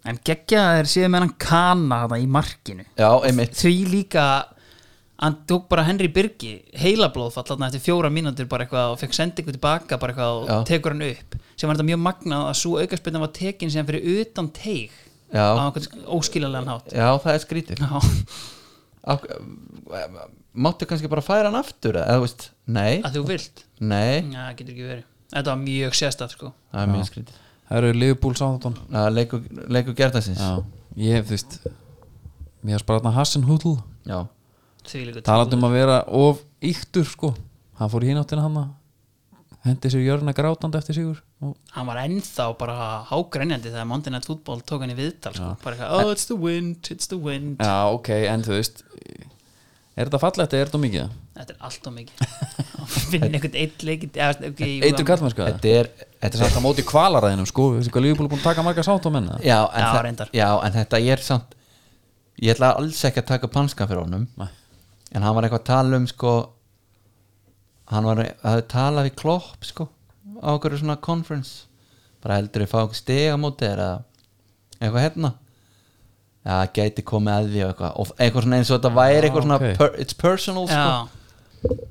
S3: En geggja er síðan með hann kana hana í markinu
S2: já, einmitt
S3: Því líka hann tók bara Henry Birgi heilablóðfall þarna eftir fjóra mínútur bara eitthvað og fekk sendingu tilbaka bara eitthvað og
S2: Já.
S3: tekur hann upp sem var þetta mjög magnað að svo aukarspennan var tekin sem fyrir utan teig
S2: Já.
S3: á einhvern óskiljanlegan hátt
S2: já, það er skrítið [laughs]
S3: Já,
S2: Af- eh, máttu kannski bara færa hann aftur eða þú veist, nei,
S3: að þú vilt
S2: nei
S3: Já, getur ekki verið Þetta var mjög sérstætt sko
S2: það er mjög skrítið
S1: Það eru Liverpool Southampton
S2: Að leikur, leikur gerðansins já.
S1: Já, ég þú veist Mér er bara þarna Hassan Hudl
S2: já,
S3: Því líka
S1: Talandi um að vera of yktur sko Hann fór í hináttina hann Hendi sér jörna grátandi eftir sigur og,
S3: Hann var ennþá bara hágrænjandi þegar Monday Night Football tók hann í viðtal sko. bara eitthvað, oh it's the wind, it's the wind
S1: Já, ok, en þú veist Er þetta fallegt eða er þetta of mikið?
S3: Þetta er allt og mikið [laughs] Að finna einhvern eitt leikit okay, jú,
S1: Eitur kallmenn sko
S2: þetta er
S1: Þetta er samt að móti kvalaraðinum sko Við veist hvað Liverpool er búin að taka marga Southampton eða?
S2: já, en,
S3: Já,
S2: þa-
S3: reyndar.
S2: já, en þetta er samt ég ætla alls ekki að taka panskan fyrir honum
S1: Nei.
S2: en hann var eitthvað að tala um sko hann var að tala við klopp sko á okkur svona conference bara heldur við fá okkur stiga móti þér eða eitthvað hérna já, gæti komið að því og eitthvað og eitthvað svona eins og þetta væri eitthvað svona
S1: ok.
S2: per, it's personal sko
S3: Já,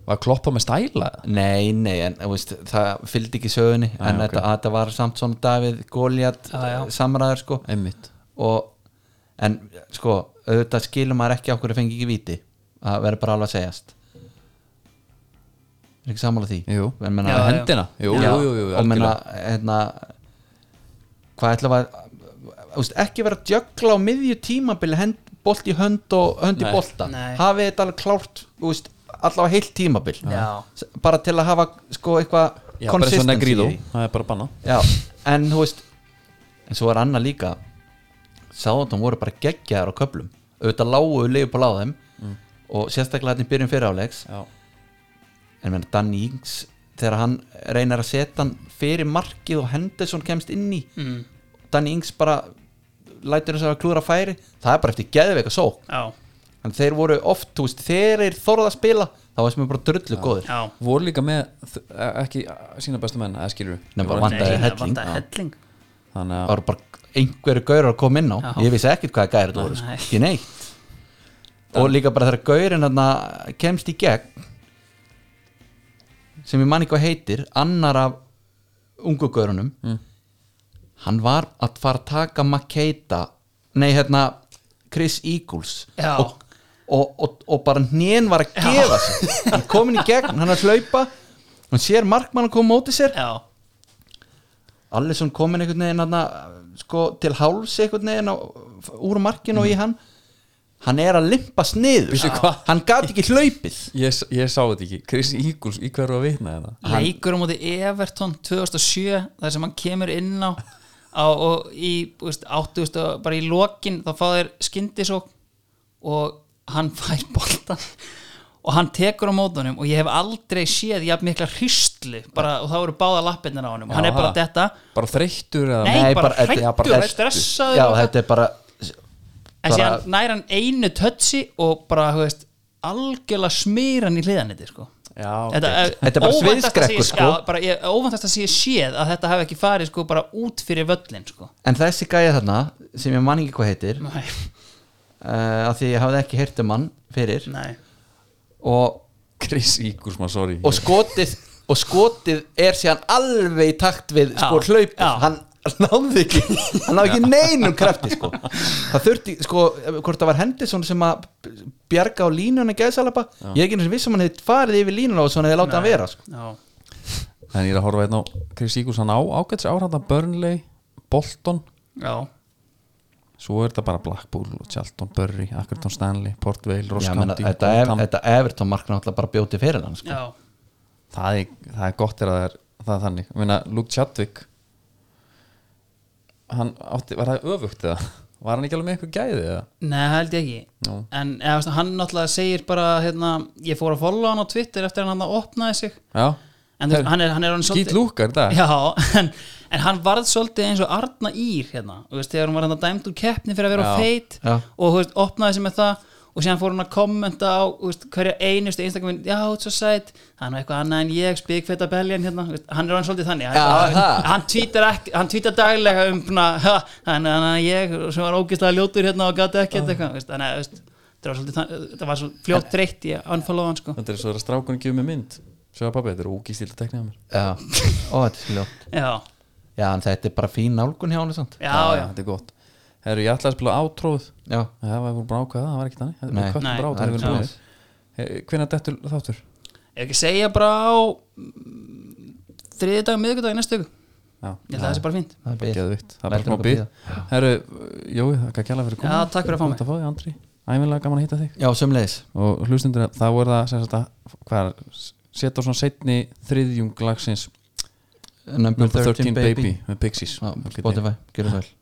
S1: Var kloppa með stæla eða?
S2: Nei, nei, en þú veist, það fylgdi ekki sögunni en
S1: ok.
S2: þetta, þetta var samt svona Davíð Góliat
S3: Já, já.
S2: samræður sko
S1: Einmitt
S2: og en sko, auðvitað skilur maður ekki okkur að fengi ekki viti það verður bara alveg að segjast er ekki sammála því
S1: Jú.
S2: En meina,
S3: Já, já.
S1: Hendina, jú,
S2: Já,
S1: jú, jú, jú
S2: og menna,
S1: algjörlega.
S2: hérna hvað ætla að úst, ekki vera að jökla á miðju tímabili hend, bolt í hönd og hönd
S1: Nei.
S2: í bolta
S3: Nei.
S2: hafið þetta alveg klárt úst, allavega heilt tímabil
S3: Já.
S2: S- bara til að hafa sko eitthvað
S1: Já, bara eins og
S2: consistency í
S1: Negrido
S2: því.
S1: Það er bara að banna
S2: Já, en þú veist en svo er annað líka sáðan voru bara geggjaðar á köflum auðvitað lágu leifupól á þeim
S1: Mm.
S2: og sérstaklega hérna í byrjun fyrir áleiks
S1: Já,
S2: en menn Danny Ings þegar hann reynar að setja hann fyrir markið og Henderson kemst inn í mm. Danny Ings bara lætur þess að klúra færi það er bara eftir geðveika sók
S3: já,
S2: en þeir voru oft, þú veist, þegar þeir þorða að spila þá var sem er bara drullu góðir
S3: já
S1: voru líka með þ- e- ekki sína bestu menn, eða skilur
S2: Nei, bara
S3: Nei,
S2: vantaði
S3: það
S2: helling.
S3: vantaði helling
S1: Þannig
S2: það
S1: að
S2: voru bara einhverju gaurar að koma inn á
S3: Já.
S2: ég vissi ekkert hvaða gæri þetta voru, sko.
S3: Nei.
S2: ekki neitt og líka bara þegar gaurin þarna kemst í gegn sem ég man ekki hvað heitir annar af ungu gaurunum
S3: Mm.
S2: hann var að fara að taka Makeda nei hérna Chris Eagles
S3: Já.
S2: og, og, og, og bara hnén var að gefa sig hann komin í gegn, hann er að hlaupa hann sér markmann að koma móti sér
S3: já,
S2: Allison komin einhvern veginn hana, sko, til háls einhvern veginn á, úr markinu
S3: Mm.
S2: og í hann hann er að limpast niður
S1: Vissu hvað?
S2: hann gat ekki hlaupið
S1: Ég, s- ég sá þetta ekki, Chris Eagles, í hverju að vitna þetta
S3: leikur á móti Everton 2007 þar sem hann kemur inn á, á og í þú veist, 80 og bara í lokin þá fá þeir skyndisók og hann [laughs] fær boltan og hann tekur á mótunum og ég hef aldrei séð jafn mikla hristlu bara, og þá eru báða lappirnir á honum og hann er bara þetta
S1: Bara þreyttur eða
S3: Nei, bara
S2: þetta-
S3: hræddur,
S2: já,
S3: bara
S2: hræddur.
S3: stressaður
S2: já,
S3: og eitthvað.
S2: þetta er bara
S3: en
S2: Bara-
S3: síðan nær hann einu tötsi og bara, þú veist, algjörlega smýr hann í hliðaniti, sko
S1: Já,
S3: Þetta
S1: ok.
S3: er,
S2: Þetta er bara
S3: óvæntasta
S2: sviðskrekkur,
S3: sem ég-
S2: sko.
S3: já, bara, ég, óvæntast að sé séð að þetta hafi ekki farið sko bara út fyrir völlin sko
S2: en þessi gæja þarna sem ég man ekki hvað heitir uh,
S3: Nei,
S2: af því ég hafði ekki heyrt um hann fyrir
S3: nei.
S2: og,
S1: Chris Eagles, maður, sorry
S2: og skotið og skotið er síðan alveg í takt við
S3: Já,
S2: sko hlaupið
S3: já.
S2: hann náði ekki hann náði ekki neinum krafti sko það þurfti sko hvort það var Henderson sem að bjarga á línuna gæðsalapa ég er ekki eins og vissum um hann hefði farið yfir línuna og svona hefði látið hann vera sko.
S3: Já.
S1: En ég er að horfa hérna á Chris Eagles, hann á ágæts áhrata Burnley, Bolton
S3: Já.
S1: Svo er þetta bara Blackpool, og Charlton, Burry, Ackerton, Stanley, Port Vale, Ross
S2: Já, menna,
S1: County
S2: þetta, ef,
S1: Gotham.
S2: þetta Everton mark náttúrulega bara bjóti fyrir hann sko.
S3: Já.
S1: það, er, það er gott er að það er, það er þannig Ég meina, Luke Chadwick Hann átti, var það öfugt eða? Var hann ekki alveg með eitthvað gæði eða?
S3: Nei, held ég ekki
S1: Nú.
S3: En eða, veist, hann náttúrulega segir bara hérna, ég fór að followa hann á Twitter eftir að hann að opnaði sig
S1: Já,
S3: en þú veist, hann er, hann er hann
S1: skýt lúkar þetta
S3: Já, en, en hann varð svolítið eins og Arna Ír hérna, þú veist, þegar hann var hérna dæmd úr keppni fyrir að vera
S1: Já,
S3: feit
S2: já.
S3: og þú veist, opnaði sig með það og síðan fór hann að kommenta á þú veist, hverja einustu einstaklega já, þú ert svo sætt, hann er eitthvað annað en ég spikfeta beljan hérna, þú veist, hann er hann svolítið þannig
S2: Já,
S3: hann,
S2: það.
S3: hann, tvítar ekki, hann tvítar daglega um svona, "Ha, hann er hann að ég sem var ógislega ljótur hérna og gæti ekki eitthvað, þú veist, þannig að þú veist, þetta var svolítið þann- þetta var svo fljótt dreitt í unfollowan sko.
S1: Þetta er svo að strákunni gefur mér mynd Sjá pabbi, þetta er ógístil að tekna mér
S2: Já. Ó, þetta er svo ljótt
S3: já,
S2: Já, en þetta er bara fín nálgun hjá hann og svona.
S3: já, já,
S1: Þetta er gott Herru, ég ætlaði að spila átróð
S2: Já,
S1: Það var bara ákveða, það var ekki þannig
S2: Nei.
S1: Þetta
S3: Nei,
S1: er bara átróð,
S2: það er ekki
S1: það er búin Hvenær dettur þáttur?
S3: Ef ekki segja bara á þriði dag, miðvikudag í næstu viku
S1: Já,
S3: Ég held að það sé bara fínt
S2: það er byggt
S1: geðvikt Það er bara
S2: Lætur
S1: smá
S2: okkur
S1: býð
S2: bíða.
S1: Herru, Jói, það er ekki alveg fyrir
S3: Já, takk fyrir að fá
S1: Gott
S3: mig.
S1: að fá þig, Andri Ævinlega gaman að hitta þig
S2: Já, sömulegis
S1: og hlustundur þá er það sem sagt að hvað, er, setja á svona setni þriðjung lagsins
S2: Number
S1: Number
S2: 13 Baby
S1: með Pixies
S2: Já,
S1: Þá getið-
S2: Spotify, gerðu það vel